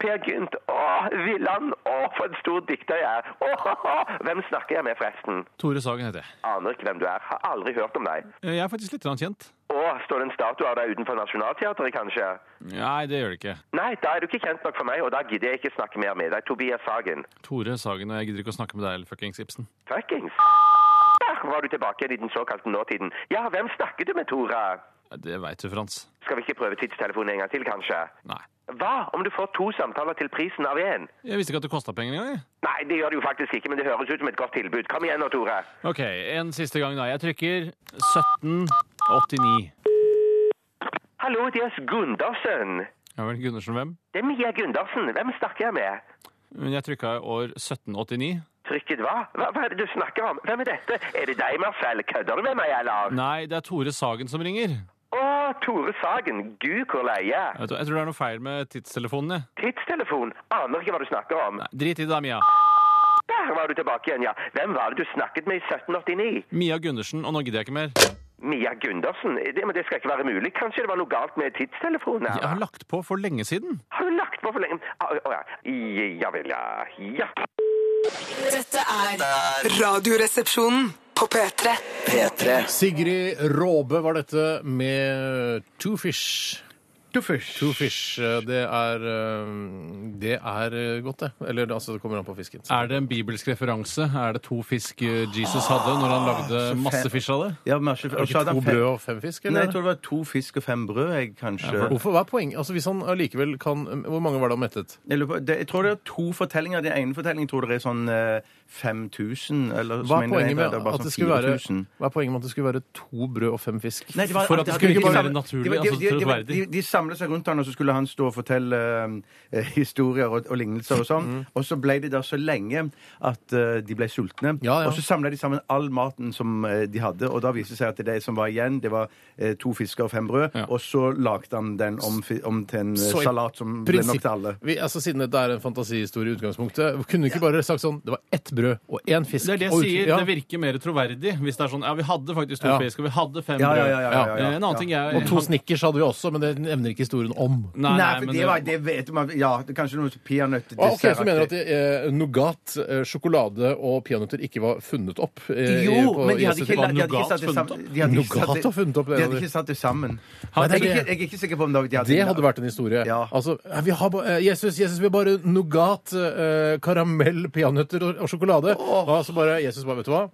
Speaker 2: Per Gynt. Å, Villand. Å, for en stor dikter jeg er. Å, ha, ha. Hvem snakker jeg med, forresten?
Speaker 4: Tore Sagen heter jeg.
Speaker 2: Aner ikke hvem du er. Har aldri hørt om deg.
Speaker 4: Eh, Jeg er faktisk litt grann kjent.
Speaker 2: Å, står det en statue av deg utenfor Nationaltheatret, kanskje?
Speaker 4: Nei, det gjør det ikke.
Speaker 2: Nei, da er du ikke kjent nok for meg, og da gidder jeg ikke snakke mer med deg. Tobias Sagen.
Speaker 4: Tore Sagen, og jeg gidder ikke å snakke med deg, fuckings Ibsen.
Speaker 2: Fuckings. Der var du tilbake igjen i den såkalte nåtiden. Ja, hvem snakker du med, Tora?
Speaker 4: Ja, Det veit du, Frans.
Speaker 2: Skal vi ikke prøve tidstelefonen en gang til, kanskje?
Speaker 4: Nei.
Speaker 2: Hva om du får to samtaler til prisen av én?
Speaker 4: Jeg visste ikke at det kosta penger engang. jeg.
Speaker 2: Nei, det gjør det jo faktisk ikke, men det høres ut som et godt tilbud. Kom igjen nå, Tore.
Speaker 4: OK, en siste gang, da. Jeg trykker 1789.
Speaker 2: Hallo, det er Gundersen.
Speaker 4: Ja vel, Gundersen hvem?
Speaker 2: Det er Mia Gundersen. Hvem snakker jeg med?
Speaker 4: Men jeg trykka i år 1789.
Speaker 2: Trykket hva? hva? Hva er det du snakker om? Hvem er dette? Er det deg, Marcel? Kødder du med meg, eller?
Speaker 4: Nei, det er Tore Sagen som ringer.
Speaker 2: Å, Tore Sagen. Gud, hvor leie.
Speaker 4: Jeg tror, jeg tror det er noe feil med tidstelefonen. jeg.
Speaker 2: Tidstelefon. Aner ikke hva du snakker om.
Speaker 4: Nei, Drit i det, da, Mia.
Speaker 2: Der var du tilbake igjen, ja. Hvem var det du snakket med i 1789?
Speaker 4: Mia Gundersen, og nå gidder jeg ikke mer.
Speaker 2: Mia Gundersen? Det, men det skal ikke være mulig. Kanskje det var noe galt med tidstelefonen? her,
Speaker 4: Jeg har
Speaker 2: da?
Speaker 4: lagt på for lenge siden.
Speaker 2: Har du lagt på for lenge? Å å, Ah, oh, ja. I- Ja vel, ja. ja.
Speaker 1: Dette er Radioresepsjonen på P3.
Speaker 3: Sigrid Råbe var dette med Eh, Two Fish. Two Fish. eh, Det er eh, Det er eh, godt, det. Eller altså, det kommer an på fisken.
Speaker 4: Er det en bibelsk referanse? Er det to fisk eh, Jesus hadde når han lagde
Speaker 5: Ah, så
Speaker 4: masse
Speaker 5: fæ-
Speaker 4: fisk av det?
Speaker 5: Ja, men, altså, ikke,
Speaker 3: Er det ikke to brød og fem fisk?
Speaker 5: Nei,
Speaker 3: Eller?
Speaker 5: jeg tror det var to fisk og fem brød, jeg, kanskje.
Speaker 3: Hvorfor, hva er poenget? Altså, hvis han allikevel kan eh, Hvor mange var det han mettet?
Speaker 5: Jeg, lurer på, det, jeg tror det er to fortellinger. Den ene fortellingen tror jeg det er sånn eh, 5000. Eller,
Speaker 3: Hva
Speaker 5: som
Speaker 3: er
Speaker 5: en-
Speaker 3: poenget med
Speaker 5: er bare
Speaker 3: at
Speaker 5: sånn
Speaker 3: det skulle være,
Speaker 5: 4000.
Speaker 3: hva er poenget med at det skulle være to brød og fem fisk?
Speaker 5: Nei, var-
Speaker 4: For at det skulle
Speaker 5: ikke
Speaker 4: virke
Speaker 5: bare-
Speaker 4: mer naturlig,
Speaker 5: de var-
Speaker 4: altså,
Speaker 5: de- de-
Speaker 4: troverdig.
Speaker 5: de- De samlet seg rundt han, og så skulle han stå og fortelle eh, historier og, og lignelser og sånn. Og så ble de der så lenge at eh, de ble sultne.
Speaker 3: Ja, ja.
Speaker 5: Og så samla de sammen all maten som eh, de hadde, og da viste det seg at det som var igjen, det var eh, to fisker og fem brød.
Speaker 4: Ja.
Speaker 5: Og så lagde han den om, fi- om til en eh,
Speaker 3: Så i
Speaker 5: salat som ble nok
Speaker 3: prinsipp-
Speaker 5: til alle.
Speaker 3: Vi, altså, siden det er en fantasihistorie i utgangspunktet, kunne du ikke bare sagt sånn Det var ett brød og én fisk.
Speaker 4: Det er det
Speaker 3: og ut-
Speaker 4: jeg sier.
Speaker 3: ja.
Speaker 4: Det virker mer troverdig hvis det er sånn Ja, vi hadde faktisk to
Speaker 3: Ja.
Speaker 4: fisk, og vi hadde fem
Speaker 5: Ja,
Speaker 4: brød.
Speaker 5: ja, ja, ja, ja, ja,
Speaker 4: Eh, En annen
Speaker 5: ja.
Speaker 4: ting jeg
Speaker 3: Og to snickers hadde vi også, men det nevner ikke historien om.
Speaker 4: Nei,
Speaker 5: Nei,
Speaker 4: nei,
Speaker 5: for
Speaker 4: men
Speaker 5: det, var, det vet man Ja, det er kanskje
Speaker 3: Ah,
Speaker 5: noe
Speaker 3: Ok,
Speaker 5: peanøttdessert.
Speaker 3: Så mener du at eh, nougat, eh, sjokolade og peanøtter ikke var funnet opp? eh,
Speaker 5: jo,
Speaker 3: på-
Speaker 5: men de
Speaker 3: i
Speaker 5: hadde
Speaker 3: Sør-
Speaker 5: ikke, de hadde ikke
Speaker 4: Nougat
Speaker 5: satt det
Speaker 4: funnet
Speaker 5: sammen. De hadde ikke satt
Speaker 3: Nougat har funnet opp
Speaker 5: det-
Speaker 3: det,
Speaker 5: de hadde
Speaker 3: eller?
Speaker 5: ikke satt det sammen.
Speaker 3: Nei,
Speaker 5: Jeg er
Speaker 3: det-
Speaker 5: ikke, jeg er ikke sikker på om det
Speaker 3: Det hadde vært en historie.
Speaker 5: Ja.
Speaker 3: Altså, eh, vi har ba, eh, Jesus, Jesus, vi har bare nougat, eh, karamell, peanøtter og, og sjokolade. Og så bare Jesus bare, vet du hva?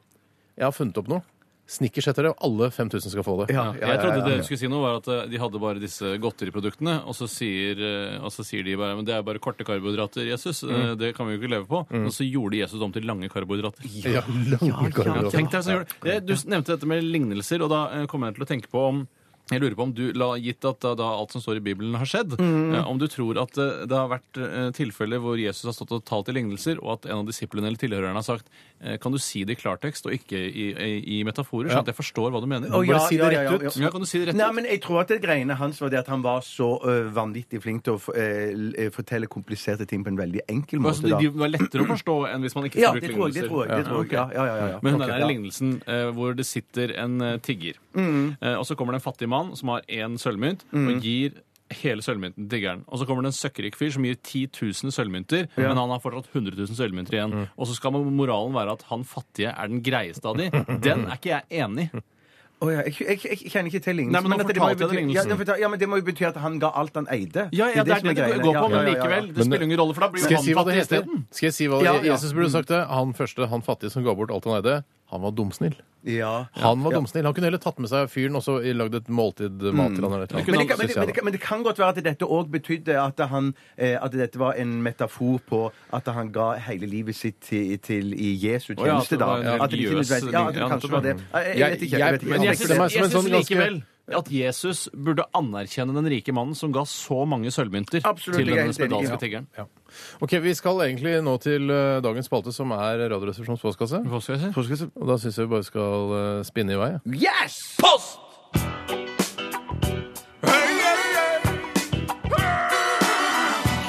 Speaker 3: Jeg har funnet opp noe. Snickers heter det, og alle 5000 skal få det.
Speaker 5: Ja, ja,
Speaker 4: Jeg trodde
Speaker 5: ja,
Speaker 4: det
Speaker 5: ja.
Speaker 4: du skulle si noe var at eh, de hadde bare disse godteriproduktene, og så sier, eh, og så sier de bare men det er bare korte karbohydrater, Jesus. eh,
Speaker 5: Mm.
Speaker 4: Det kan vi jo ikke leve på. Og så gjorde Jesus om til lange karbohydrater.
Speaker 3: Ja, lange altså. karbohydrater.
Speaker 4: Tenk deg, så gjør det. Det- Du nevnte dette med lignelser, og da eh, kommer jeg til å tenke på om jeg lurer på om du, la, Gitt at da, da alt som står i Bibelen, har skjedd,
Speaker 5: Mm.
Speaker 4: eh, om du tror at eh, det har vært eh, tilfeller hvor Jesus har stått og talt i lignelser, og at en av disiplene eller tilhørerne har sagt eh, Kan du si det i klartekst og ikke i, i, i metaforer, sånn at jeg forstår hva du mener?
Speaker 5: Å, ja,
Speaker 3: Bare si det
Speaker 5: ja, ja,
Speaker 3: rett
Speaker 5: ja,
Speaker 3: ut.
Speaker 5: ja.
Speaker 4: Ja, kan du si det rett
Speaker 5: Nei,
Speaker 4: ut?
Speaker 5: men jeg tror at det greiene hans var det at han var så ø, vanvittig flink til å f- eh, l- eh, fortelle kompliserte ting på en veldig enkel
Speaker 4: Altså, de,
Speaker 5: måte. da.
Speaker 4: de var lettere å forstå enn hvis man ikke
Speaker 5: Ja,
Speaker 4: skulle
Speaker 5: det
Speaker 4: bruke
Speaker 5: tror jeg. det
Speaker 4: lignelser.
Speaker 5: tror jeg, det tror jeg.
Speaker 4: Ja,
Speaker 5: Ja, ja, ja, ja.
Speaker 4: Men
Speaker 5: Ok,
Speaker 4: den der
Speaker 5: ja. Mm.
Speaker 4: lignelsen eh, hvor det sitter en eh, tigger, eh, og så kommer det en fattig mann mann som har én sølvmynt, og gir hele sølvmynten til tiggeren. Og så kommer det en søkkrik fyr som gir 10 000 sølvmynter, men han har fortsatt 100 000 sølvmynter igjen.
Speaker 5: Mm.
Speaker 4: Og så skal moralen være at han fattige er den greieste av de. Den er ikke jeg enig i.
Speaker 5: Å ja, jeg, jeg, jeg, jeg kjenner ikke til lignelsen.
Speaker 4: Nei, men nå
Speaker 5: at det
Speaker 4: fortalte
Speaker 5: må jo
Speaker 4: jeg den
Speaker 5: bety-
Speaker 4: lignelsen.
Speaker 5: Ja, det fortal- ja, men det må jo bety at han ga alt han eide.
Speaker 4: Ja, ja, det er
Speaker 5: som
Speaker 4: det det
Speaker 5: greia.
Speaker 4: går på,
Speaker 5: Ja,
Speaker 4: men
Speaker 5: ja, ja, ja.
Speaker 4: likevel. Det
Speaker 3: Men det-
Speaker 4: spiller ingen rolle, for da blir
Speaker 3: Skal
Speaker 4: jo
Speaker 3: jeg si
Speaker 4: han
Speaker 3: hva det
Speaker 4: fattig
Speaker 3: heter?
Speaker 4: isteden.
Speaker 3: Skal jeg si hva
Speaker 5: Ja, ja.
Speaker 3: Jesus burde sagt det? Han første, han fattige som ga bort alt han eide, han var dumsnill.
Speaker 5: Ja. Mm.
Speaker 3: Han var dumsnill. Han kunne heller tatt med seg fyren og så lagd et måltid mat til han. Eller et eller annet.
Speaker 5: Men det, kan, men,
Speaker 3: Synes jeg
Speaker 5: det, men,
Speaker 3: da.
Speaker 5: det, kan- men det kan godt være at dette òg betydde at, han, eh, at dette var en metafor på at han ga hele livet sitt til, til i Jesu
Speaker 4: Å ja, at
Speaker 5: tjeneste,
Speaker 4: det
Speaker 5: da.
Speaker 4: var en
Speaker 5: At det ikke
Speaker 4: religiøs
Speaker 5: nødvendigvis- Ja, at det
Speaker 4: ting, ja,
Speaker 5: kanskje var det. Jeg, jeg, vet ikke. Jeg vet ikke.
Speaker 3: Men
Speaker 4: Men jeg
Speaker 3: det
Speaker 4: syns,
Speaker 3: er meg som en
Speaker 5: aner ikke.
Speaker 4: jeg syns
Speaker 3: sånn ganske-
Speaker 4: likevel at Jesus burde anerkjenne den rike mannen som ga så mange sølvmynter
Speaker 5: Absolutt,
Speaker 4: til
Speaker 5: jeg er
Speaker 4: den
Speaker 5: helt enig, ja.
Speaker 4: spedalske tiggeren.
Speaker 3: Ja. Ok, Vi skal egentlig nå til eh, dagens spalte, som er Radioresepsjonens postkasse.
Speaker 4: Hva skal jeg si?
Speaker 3: Og da syns jeg vi bare skal eh, spinne i vei. ja.
Speaker 5: Yes!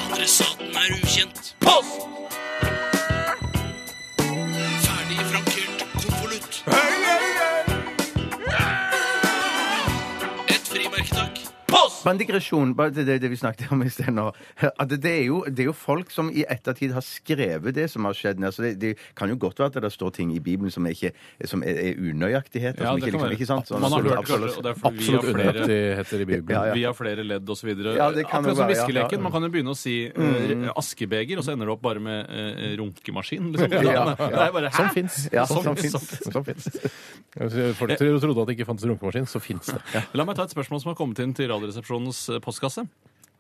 Speaker 6: Adressaten er ukjent. Post! Ferdig frankert konvolutt. Et frimerke, takk. Post!
Speaker 5: Bare en digresjon, bare til det, det vi snakket om i sted nå. At det, det, er jo, det er jo folk som i ettertid har skrevet det som har skjedd. Altså det, det kan jo godt være at det står ting i Bibelen som er, ikke, som er, er unøyaktigheter.
Speaker 4: Ja,
Speaker 5: som
Speaker 4: det kan
Speaker 5: ikke, liksom,
Speaker 4: være.
Speaker 5: ikke sant? Sånn,
Speaker 4: Man har
Speaker 5: absolutt,
Speaker 4: hørt kanskje, og
Speaker 5: absolutt.
Speaker 4: det er
Speaker 3: Unnaktigheter i
Speaker 4: fordi vi har flere
Speaker 3: Bibelen.
Speaker 5: Ja, ja.
Speaker 4: Via flere ledd osv.
Speaker 5: Ja, det kan jo
Speaker 4: Akkurat som
Speaker 5: være, ja. Mm.
Speaker 4: viskeleken.
Speaker 5: Ja.
Speaker 4: Man kan jo begynne å si eh, askebeger, og så ender det opp bare med eh, runkemaskin. Liksom. Det er bare,
Speaker 3: Som
Speaker 4: hæ?
Speaker 3: fins.
Speaker 5: Ja,
Speaker 4: Sånn
Speaker 5: sånn
Speaker 3: Som fins.
Speaker 5: som
Speaker 3: Som fins. Hvis sånn Altså, Folk tro- trodde at det ikke fantes runkemaskin, så fins det.
Speaker 4: La meg ta et spørsmål som har kommet inn til Radioresepsjonens eh, postkasse.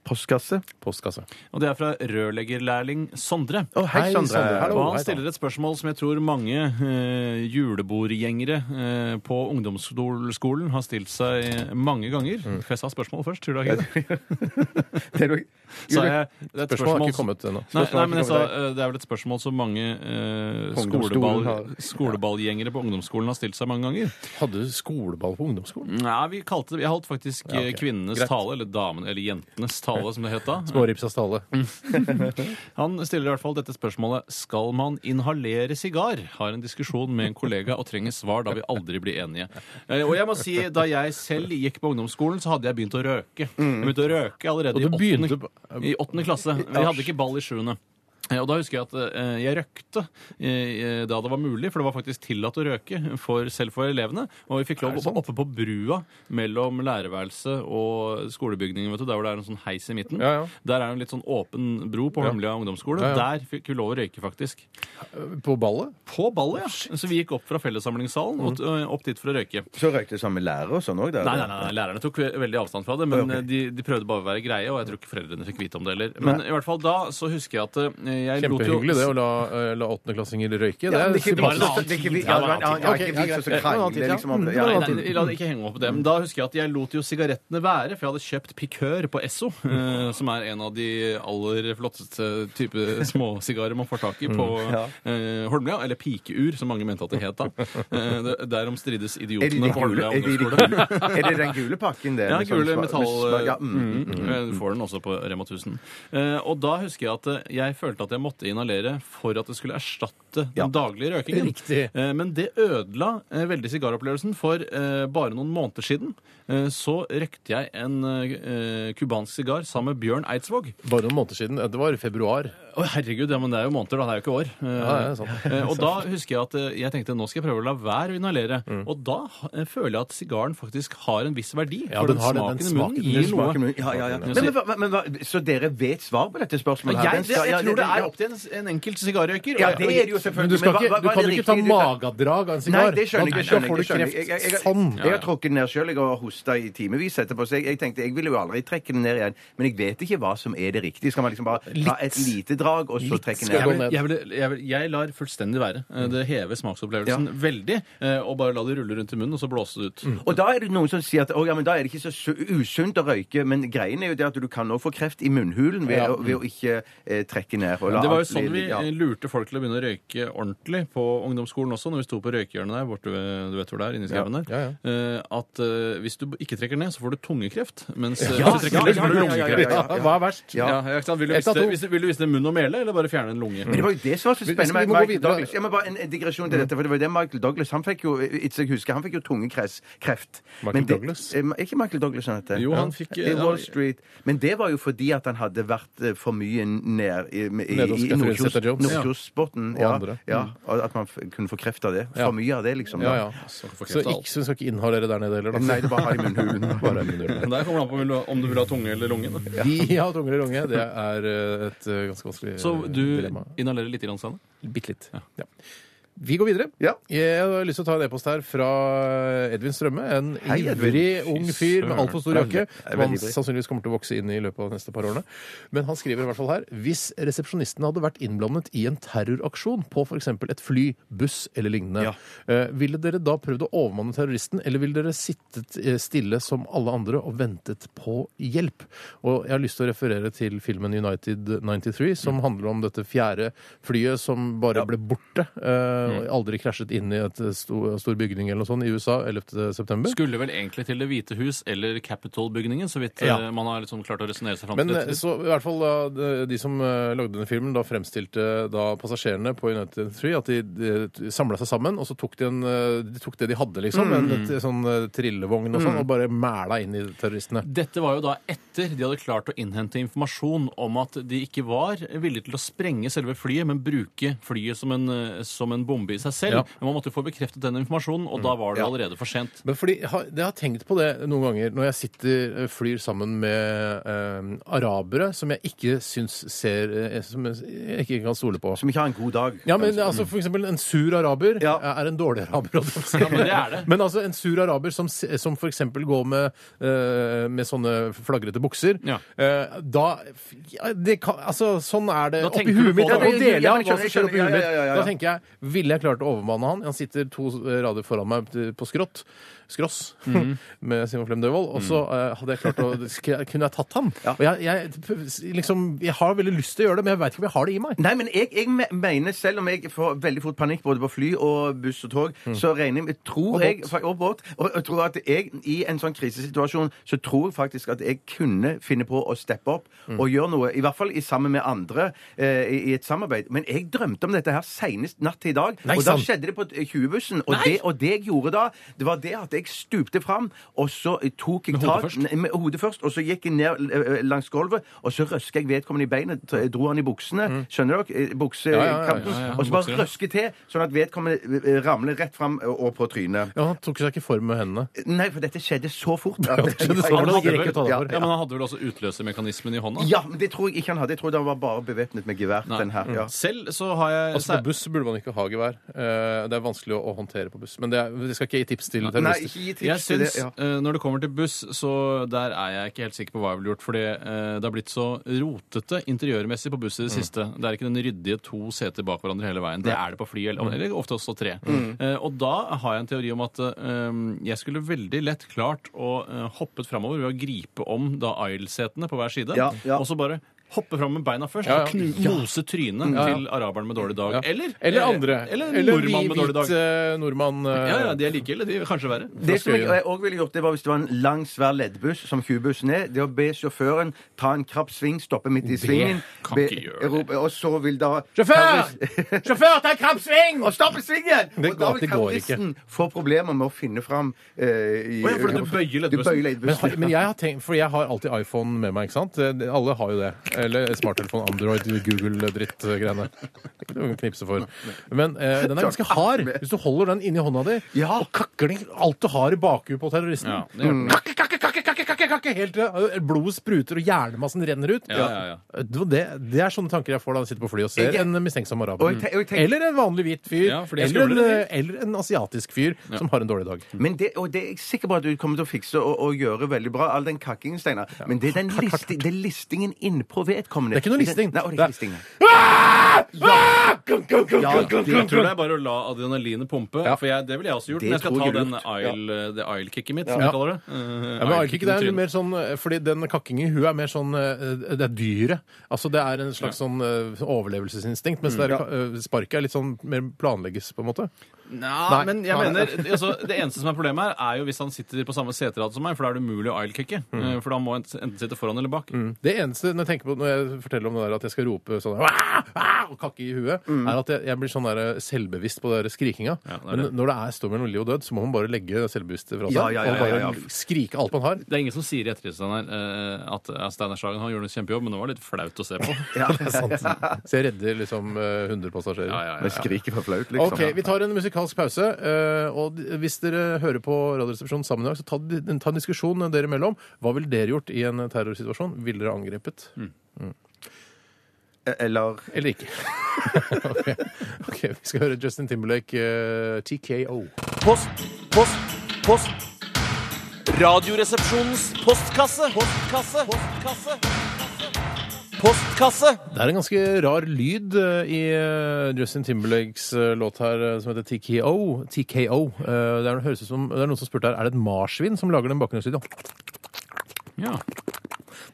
Speaker 5: Postkasse.
Speaker 3: Postkasse.
Speaker 4: Og det er fra rørleggerlærling Sondre.
Speaker 5: Å, hei,
Speaker 3: Hei,
Speaker 5: Sondre.
Speaker 3: Sondre. Hallo.
Speaker 4: Og han
Speaker 3: hei da.
Speaker 4: stiller et spørsmål som jeg tror mange eh, julebordgjengere eh, på ungdomsskolen har stilt seg eh, mange ganger.
Speaker 3: Mm.
Speaker 4: For jeg sa spørsmål først, tror du det er gøy?
Speaker 5: Det er jo-
Speaker 4: Sa jeg- det er et
Speaker 3: Spørsmålet har ikke
Speaker 4: som-
Speaker 3: kommet ennå.
Speaker 4: Nei,
Speaker 5: Spørsmålet
Speaker 4: nei,
Speaker 5: har
Speaker 4: men jeg
Speaker 5: ikke
Speaker 4: sa,
Speaker 5: kommet
Speaker 4: eh, Det er vel et spørsmål som mange eh,
Speaker 5: På ungdomsskolen har-
Speaker 4: skoleball, skoleballgjengere på ungdomsskolen har stilt seg mange ganger.
Speaker 3: Hadde du skoleball på ungdomsskolen?
Speaker 4: Nei, vi kalte det, Jeg holdt
Speaker 3: Mm.
Speaker 4: faktisk
Speaker 3: Ja, ok.
Speaker 4: eh, kvinnenes
Speaker 3: Greit.
Speaker 4: tale, eller damen, eller jentenes tale, som det het da.
Speaker 3: Småripsas tale.
Speaker 5: Mm.
Speaker 4: Han stiller i hvert fall dette spørsmålet Skal man inhalere sigar? Har en diskusjon med en kollega og trenger svar da vi aldri blir enige. Eh, Og jeg må si, da jeg selv gikk på ungdomsskolen, så hadde jeg begynt å røke. Jeg begynte å røke allerede
Speaker 3: Og du
Speaker 4: i åttende-
Speaker 3: begynte på-
Speaker 4: i åttende klasse. Vi hadde ikke ball i sjuende. Eh, Og da husker jeg at eh, jeg røkte eh, da det var mulig, for det var faktisk tillatt å røke for, selv for elevene. Og vi fikk lov oppe, oppe på brua mellom lærerværelset og skolebygningen, vet du, der hvor det er en sånn heis i midten.
Speaker 3: Ja, ja.
Speaker 4: Der er en litt sånn åpen bro på Holmlia ungdomsskole.
Speaker 3: Ja, ja.
Speaker 4: Der fikk vi lov å røyke, faktisk.
Speaker 3: På ballet? Mm.
Speaker 4: På ballet, ja. Så vi gikk opp fra fellessamlingssalen og t- øh, opp dit for å røyke.
Speaker 5: Så røykte du sammen med lærere og sånn òg?
Speaker 4: Nei, nei, nei, nei, lærerne tok ve- veldig avstand fra det, men
Speaker 5: Ok.
Speaker 4: eh, de, de prøvde bare å være greie, og jeg tror ikke foreldrene fikk vite om det heller. Men i hvert fall da så husker jeg at eh, jeg lot jo-
Speaker 3: Kjempehyggelig det å la, eh, la åttendeklassinger røyke.
Speaker 5: Ja,
Speaker 3: Det
Speaker 5: men
Speaker 3: er
Speaker 5: det er
Speaker 4: var en
Speaker 5: ikke vits å-
Speaker 4: annen
Speaker 5: det er ikke
Speaker 4: tid.
Speaker 5: vits-
Speaker 4: Ja,
Speaker 5: ja,
Speaker 4: det var en
Speaker 5: det var- ja,
Speaker 4: annen
Speaker 5: ikke
Speaker 3: tid.
Speaker 5: vits å
Speaker 3: Ja, greit.
Speaker 5: krangle liksom om det.
Speaker 3: Ja, det var en
Speaker 4: Nei,
Speaker 5: Ja,
Speaker 3: annen
Speaker 4: nei, la det ikke henge meg opp i det. Men da husker jeg at jeg lot jo sigarettene være, for jeg hadde kjøpt Pikør på Esso, eh, som er en av de aller flotteste type småsigarer man får tak i på eh, Holmlia. Eller pikeur, som mange mente at det het da. Eh, det- Derom strides
Speaker 5: Er det de
Speaker 4: idiotene på
Speaker 5: gule,
Speaker 4: Holmlia
Speaker 5: er det de
Speaker 4: ungdomsskole.
Speaker 5: gule, er det den gule pakken, det?
Speaker 4: Ja,
Speaker 5: Med
Speaker 3: liksom
Speaker 4: kule
Speaker 5: sånn sma- med
Speaker 4: metall...
Speaker 5: smak- ja, mm.
Speaker 4: Mm, eh, Du får den også på Rema 1000. Eh, og da husker jeg at eh, jeg følte at jeg måtte inhalere for at det skulle erstatte den daglige røkingen.
Speaker 3: Riktig.
Speaker 4: Eh, men det ødela eh, veldig sigaropplevelsen, for eh, bare noen måneder siden eh, så røkte jeg en eh, cubansk sigar sammen med Bjørn Eidsvåg.
Speaker 3: Bare noen måneder siden. Det var i februar.
Speaker 4: Å, herregud, ja, men det er jo måneder, da. Det er jo ikke år. Eh,
Speaker 3: Ja, det er sant.
Speaker 4: eh, og da husker jeg at eh, jeg tenkte nå skal jeg prøve å la være å inhalere.
Speaker 3: Mm.
Speaker 4: Og da eh, føler jeg at sigaren faktisk har en viss verdi.
Speaker 3: Ja,
Speaker 4: for
Speaker 3: den
Speaker 4: den,
Speaker 3: har det, den
Speaker 4: smaken i
Speaker 3: smaken,
Speaker 4: munnen
Speaker 5: Det
Speaker 4: gir noe.
Speaker 5: smaker mye. Ja, ja, ja. Men, men, hva- men, hva- så dere vet svar på dette spørsmålet?
Speaker 4: Jeg,
Speaker 5: her? Den
Speaker 4: jeg,
Speaker 5: skal- ja,
Speaker 4: tror det er opp til en, en enkelt sigarrøyker.
Speaker 5: Ja,
Speaker 4: og jeg-
Speaker 5: det er det jo
Speaker 3: Men
Speaker 5: selvfølgelig.
Speaker 3: du, skal
Speaker 5: Men hva-
Speaker 3: ikke,
Speaker 5: hva-
Speaker 3: du
Speaker 5: hva er
Speaker 3: kan
Speaker 5: det
Speaker 3: jo ikke ta
Speaker 5: riktige du-
Speaker 3: magedrag av en sigar.
Speaker 5: Nei, det skjønner jeg
Speaker 3: Da-
Speaker 5: ikke.
Speaker 3: Da
Speaker 5: skjønner
Speaker 3: får du
Speaker 5: jeg ikke, skjønner jeg. Jeg- jeg-
Speaker 3: kreft
Speaker 5: jeg-
Speaker 3: sånn.
Speaker 5: Jeg har trukket den ned sjøl. Jeg har hosta i timevis etterpå. Så jeg, jeg tenkte jeg ville jo aldri trekke den ned igjen. Men jeg vet ikke hva som er det riktige. Skal man liksom bare ta et lite drag og så trekke den
Speaker 3: skal
Speaker 5: ned?
Speaker 3: gå
Speaker 4: Jeg, vil,
Speaker 3: ned.
Speaker 4: jeg, vil, jeg, vil, jeg lar fullstendig være. Eh, Det hever smaksopplevelsen veldig. eh, Og bare la det rulle rundt i munnen, og så blåse det ut.
Speaker 5: Og da er det noen som sier at å, ja, men da er det ikke så su- usunt å røyke. Men greien er jo det at du kan nå få kreft i munnhulen ved,
Speaker 3: Ja.
Speaker 5: å- ved å ikke eh, trekke ned. Og la
Speaker 4: Det var jo
Speaker 5: alt
Speaker 4: sånn
Speaker 5: bli-
Speaker 4: vi
Speaker 5: ja.
Speaker 4: eh, lurte folk til å begynne å røyke ordentlig på ungdomsskolen også, når vi sto på røykehjørnet der borte ved, du vet hvor det er, inni skauen der,
Speaker 3: Ja,
Speaker 4: eh, at eh, hvis du ikke trekker ned, så får du tungekreft, mens eh,
Speaker 5: Ja,
Speaker 4: hvis du trekker
Speaker 5: ja,
Speaker 4: ned, så
Speaker 5: ja,
Speaker 4: får du
Speaker 5: ja, ja, ja,
Speaker 4: lungekreft.
Speaker 5: ja.
Speaker 3: Hva er verst?
Speaker 4: Ja, ikke sant? Vil du
Speaker 3: Ett av
Speaker 4: vise det-
Speaker 3: to.
Speaker 4: hvis du- Vil du vise det munn og mele eller bare fjerne en lunge?
Speaker 5: Men det var jo det som var så spennende
Speaker 3: vi må gå
Speaker 5: med Michael
Speaker 3: videre.
Speaker 5: Douglas. Ja, men bare en en digresjon til dette, for det var jo det Michael Douglas Han fikk jo ikke jeg husker, han fikk jo tungekreft. kreft.
Speaker 3: Michael
Speaker 5: Men det-
Speaker 3: Douglas?
Speaker 5: Eh, Er ikke Michael Douglas han heter?
Speaker 4: Jo, han
Speaker 5: Ja.
Speaker 4: fikk,
Speaker 5: I
Speaker 4: eh,
Speaker 5: Wall Street. Men det var jo fordi at han hadde vært eh, for mye ned i, i, i,
Speaker 3: Nede hos
Speaker 5: i
Speaker 3: Catherine
Speaker 5: Nordkjos-
Speaker 3: Zeta-Jones.
Speaker 5: Nordkjosbotn.
Speaker 3: Og
Speaker 5: Ja,
Speaker 3: andre.
Speaker 5: ja, og at man f kunne få kreft av det.
Speaker 3: Ja.
Speaker 5: For mye av det, liksom.
Speaker 3: Ja,
Speaker 5: da.
Speaker 3: ja. Så ikke, så skal ikke inhalere der nede heller, da.
Speaker 5: Nei, det bare har i munnhulen.
Speaker 3: Bare munnhulen.
Speaker 4: Der kommer det an på om du vil ha- om du vil ha tunge eller lunge. Da.
Speaker 3: De har tunger i lunge. Det er eh, et eh, ganske vanskelig eh,
Speaker 4: Så du
Speaker 3: dilemma.
Speaker 4: inhalerer litt? Grann, Steinar?
Speaker 3: Bitte litt. Ja. Vi går videre.
Speaker 5: Ja.
Speaker 3: Jeg har lyst til å ta en e-post her fra Edvin Strømme. En
Speaker 5: Hei, Edvin.
Speaker 3: ivrig ung fyr med altfor stor jakke.
Speaker 5: Veldig,
Speaker 3: Som han
Speaker 5: veldig ivrig.
Speaker 3: sannsynligvis kommer til å vokse inn i i løpet av de neste par årene. Men han skriver i hvert fall her hvis resepsjonistene hadde vært innblandet i en terroraksjon på f.eks. et fly, buss eller lignende, eh, ville dere da prøvd å overmanne terroristen, eller ville dere sittet eh, stille som alle andre og ventet på hjelp? Og jeg har lyst til å referere til filmen United 93, som handler om dette fjerde flyet som bare ble borte. eh, og aldri krasjet inn i et eh, sto- stor bygning eller noe sånt i USA 11. september.
Speaker 4: Skulle vel egentlig til Det hvite hus eller Capitol-bygningen, så vidt
Speaker 3: Ja.
Speaker 4: eh, man har liksom klart å resonnere seg fram
Speaker 3: Men
Speaker 4: til.
Speaker 3: eh,
Speaker 4: dette.
Speaker 3: så i hvert fall da, de- de som eh, lagde denne filmen, da fremstilte da passasjerene på United 3 at de, de samla seg sammen, og så tok de, en, eh, de tok det de hadde, liksom. En t- sånn eh, trillevogn og sånn, og bare mæla inn i terroristene.
Speaker 4: Dette var jo da etter de hadde klart å innhente informasjon om at de ikke var villige til å sprenge selve flyet, men bruke flyet som en, eh, som en bombe i seg selv.
Speaker 3: Ja. Mm.
Speaker 4: Men man måtte jo få bekreftet den informasjonen, og da var det allerede for sent.
Speaker 3: Men fordi, ha- jeg har tenkt på det noen ganger når jeg sitter eh, flyr sammen med eh, arabere som jeg ikke syns ser eh, Som jeg ikke kan stole på.
Speaker 5: Som ikke har en god dag.
Speaker 3: Ja, men altså for eksempel en sur araber
Speaker 5: Ja.
Speaker 3: er en dårlig araber. holdt jeg på å si.
Speaker 4: Ja, men det er det.
Speaker 3: Men altså en sur araber som, s- som for eksempel går med, eh, med sånne flagrete bukser,
Speaker 4: Ja.
Speaker 3: eh, da ja, det kan, Altså, sånn er det
Speaker 4: Da
Speaker 3: oppi
Speaker 4: tenker
Speaker 3: huet
Speaker 4: du på
Speaker 3: mitt.
Speaker 4: det.
Speaker 3: Ja, Nå
Speaker 5: Ja, det-
Speaker 3: deler jeg
Speaker 5: ja,
Speaker 3: av
Speaker 5: men jeg
Speaker 3: hva som skjer
Speaker 5: skjønner,
Speaker 3: oppi huet
Speaker 5: ja,
Speaker 3: mitt.
Speaker 5: ja, ja, ja,
Speaker 3: Da
Speaker 5: ja.
Speaker 3: tenker jeg, ville jeg klart å overmanne han? Han sitter to eh, rader foran meg på skrått. Skross med Simon Flem Døvold. Og så eh, hadde jeg klart å Kunne jeg tatt han? Og jeg, jeg, liksom, jeg har veldig lyst til å gjøre det, men jeg veit ikke om jeg har det i meg.
Speaker 5: Nei, men jeg, jeg me- mener, selv om jeg får veldig fort panikk både på fly og buss og tog, så regner jeg, tror
Speaker 3: Mm. Og
Speaker 5: jeg
Speaker 3: båt.
Speaker 5: fa- og båt, og jeg tror at jeg i en sånn krisesituasjon, så tror jeg faktisk at jeg kunne finne på å steppe opp
Speaker 3: Mm.
Speaker 5: og gjøre noe, i hvert fall i sammen med andre eh, i, i et samarbeid. Men jeg drømte om dette her senest natt til i dag,
Speaker 3: Nei,
Speaker 5: og da
Speaker 3: sant.
Speaker 5: skjedde det på 20-bussen, og det, og det jeg gjorde da, det var det at jeg stupte fram, og så tok jeg
Speaker 4: Med hodet
Speaker 5: tak...
Speaker 4: først?
Speaker 5: Nei, med hodet først, og så gikk jeg ned eh, langs gulvet, og så røska jeg vedkommende i beinet. t- eh, Dro han i buksene, skjønner dere? Eh,
Speaker 4: Mm.
Speaker 5: Buksekanten.
Speaker 4: ja, ja, ja,
Speaker 5: Og så bare
Speaker 4: bukser, ja.
Speaker 5: røske til, sånn at vedkommende eh, ramler rett fram og på trynet.
Speaker 3: Ja, han tok seg ikke for med hendene.
Speaker 5: Nei, for dette skjedde så fort.
Speaker 3: skjedde så fort.
Speaker 4: Han
Speaker 3: det
Speaker 4: hadde
Speaker 3: ikke
Speaker 4: vel,
Speaker 3: rekke å ta det
Speaker 4: ja,
Speaker 3: for.
Speaker 4: ja, men han hadde vel også utløsermekanismen i hånda?
Speaker 5: Ja, men det tror jeg ikke han hadde. Jeg tror han var bare bevæpnet med gevær.
Speaker 4: Nei.
Speaker 5: den her. Ja.
Speaker 4: Selv så har jeg
Speaker 3: Altså, på buss burde man ikke ha gevær. Eh, Det er vanskelig å, å håndtere på buss. Men det, er, vi skal ikke gi tips til
Speaker 5: Nei,
Speaker 3: terrorister.
Speaker 5: ikke gi
Speaker 4: Jeg
Speaker 5: tips til det.
Speaker 4: syns,
Speaker 5: Ja.
Speaker 4: eh, Når det kommer til buss, så der er jeg ikke helt sikker på hva jeg ville gjort. Fordi eh, det har blitt så rotete interiørmessig på buss i det siste. Det er ikke den ryddige to seter bak hverandre hele veien. Det er det på fly, eller, eller ofte også tre. Eh, og da har jeg en teori om at eh, jeg skulle veldig lett klart å eh, hoppet framover ved å gripe om da aisle-setene på hver side,
Speaker 5: Ja, ja.
Speaker 4: og så bare Hoppe fram med beina først
Speaker 3: Ja, ja.
Speaker 4: og knu, mose trynet til araberen med dårlig dag.
Speaker 3: Ja.
Speaker 4: Eller,
Speaker 3: eller andre.
Speaker 4: Eller,
Speaker 3: vi
Speaker 4: nordmann med dårlig dag.
Speaker 3: hvit eh, nordmann. eh,
Speaker 4: Ja, ja, De er like ille, de. Kanskje verre.
Speaker 5: Det som jeg òg ville gjort, det var hvis det var en lang, svær leddbuss, som 20-bussen er, det å be sjåføren ta en krapp sving, stoppe midt i svingen
Speaker 4: kan
Speaker 5: be-
Speaker 4: ikke gjøre det.
Speaker 5: rope- Og så vil da
Speaker 3: Sjåfør! Sjåfør, ta en krapp sving!
Speaker 5: Og stoppe svingen!
Speaker 3: Det-
Speaker 5: og da vil
Speaker 3: det går ikke.
Speaker 5: terroristen få problemer med å finne fram eh, i,
Speaker 4: Å ja, fordi du bøyer leddbussen.
Speaker 5: Du bøyer
Speaker 3: Men,
Speaker 5: leddbussen.
Speaker 3: har- men jeg har tenkt, for jeg har alltid iPhone med meg, ikke sant? Eh, Alle har jo det. Eller smarttelefon, Android, Google-dritt-greiene. Det er ikke noe å knipse for. Men eh, den er ganske hard. Hvis du holder den inni hånda di
Speaker 5: Ja.
Speaker 3: og kakker den alt du har i bakhuet på terroristen
Speaker 4: Ja, det
Speaker 3: Mm. Kakke, kakke, kakke, kakke, kakke, kakke, Helt til eh, blodet spruter og hjernemassen renner ut. Øh,
Speaker 4: Ja, ja, ja.
Speaker 3: Det, var det- det er sånne tanker jeg får da jeg sitter på flyet og ser
Speaker 5: Jeg-
Speaker 3: en mistenksom araber.
Speaker 5: Og jeg te- og jeg tenker-
Speaker 3: Eller en vanlig hvit fyr.
Speaker 4: Ja, for de er
Speaker 3: eller, en,
Speaker 4: skumlere, de.
Speaker 3: eh, eller en asiatisk fyr som har en dårlig dag.
Speaker 5: Men det, og det er jeg sikker på at du kommer til å fikse og, og gjøre veldig bra, all den kakkingen, Steinar. Men det er den listi, det er listingen innpå vedkommende.
Speaker 3: Det er ikke noe listing.
Speaker 5: Nei, å, det er ikke
Speaker 3: Det er- Ah!
Speaker 5: listing. nei.
Speaker 4: Jeg tror det er bare å la adrenalinet pumpe.
Speaker 3: Ja.
Speaker 4: For jeg, det ville jeg også gjort.
Speaker 5: Det
Speaker 4: Men jeg skal
Speaker 5: tror
Speaker 4: ta
Speaker 5: jeg
Speaker 4: den
Speaker 5: lurt.
Speaker 4: aisle, det aisle-kicket mitt, som
Speaker 3: Ja.
Speaker 4: jeg kaller det.
Speaker 3: Ja,
Speaker 4: Eh,
Speaker 3: men er det
Speaker 4: aisle-kicket
Speaker 3: ikke det
Speaker 4: med
Speaker 3: er
Speaker 4: trynet.
Speaker 3: mer sånn, eh, fordi den kakkingen i huet er mer sånn eh, Det er dyret. Altså det er en øh,
Speaker 4: Mm.
Speaker 3: slags sånn eh, overlevelsesinstinkt. Mens det der, eh, sparket er litt sånn mer planlegges, på en måte. Nei.
Speaker 4: men jeg
Speaker 3: Nei.
Speaker 4: mener, altså, Det eneste som er problemet her, er jo hvis han sitter på samme seterad som meg, for da er det umulig å ilekikke.
Speaker 3: Mm.
Speaker 4: Eh, For da må han enten sitte foran eller bak.
Speaker 3: Det eneste når jeg tenker på når jeg forteller om det der at jeg skal rope sånn «Wah! Wah!» og kakke i huet,
Speaker 5: Mm.
Speaker 3: er at jeg, jeg blir sånn der selvbevisst på det der skrikinga.
Speaker 4: Ja, det er det.
Speaker 3: Men når det er står mellom liv og død, så må man bare legge det selvbevisste fra seg.
Speaker 5: Ja, ja, ja,
Speaker 3: og bare
Speaker 5: ja, ja.
Speaker 3: skrike alt man har.
Speaker 4: Det er ingen som sier i ettertid Steinar, eh, at eh, Steinar Sagen han gjorde en kjempejobb, men det var litt flaut å se på.
Speaker 3: Det er sant. Så jeg redder liksom eh, 100 passasjerer.
Speaker 4: Ja, ja, ja.
Speaker 5: Men skriker for flaut, liksom.
Speaker 3: Ok, Vi tar en musikalsk pause. eh, og d- Hvis dere hører på Radioresepsjonen sammen i dag, så ta, d- ta en diskusjon dere imellom. Hva ville dere gjort i en terrorsituasjon? Ville dere angrepet?
Speaker 5: Eller
Speaker 3: Eller ikke? ok, Ok, Vi skal høre Justin Timberlake, eh, TKO.
Speaker 6: Post, post, post. Radioresepsjonens postkasse. Postkasse. Postkasse. Postkasse.
Speaker 3: Det er en ganske rar lyd eh, i eh, Justin Timberlakes eh, låt her eh, som heter TKO. TKO. Eh, Det, er, høres ut som, det er noen som spurte her, er det et marsvin som lager den bakgrunnslyden?
Speaker 4: Ja.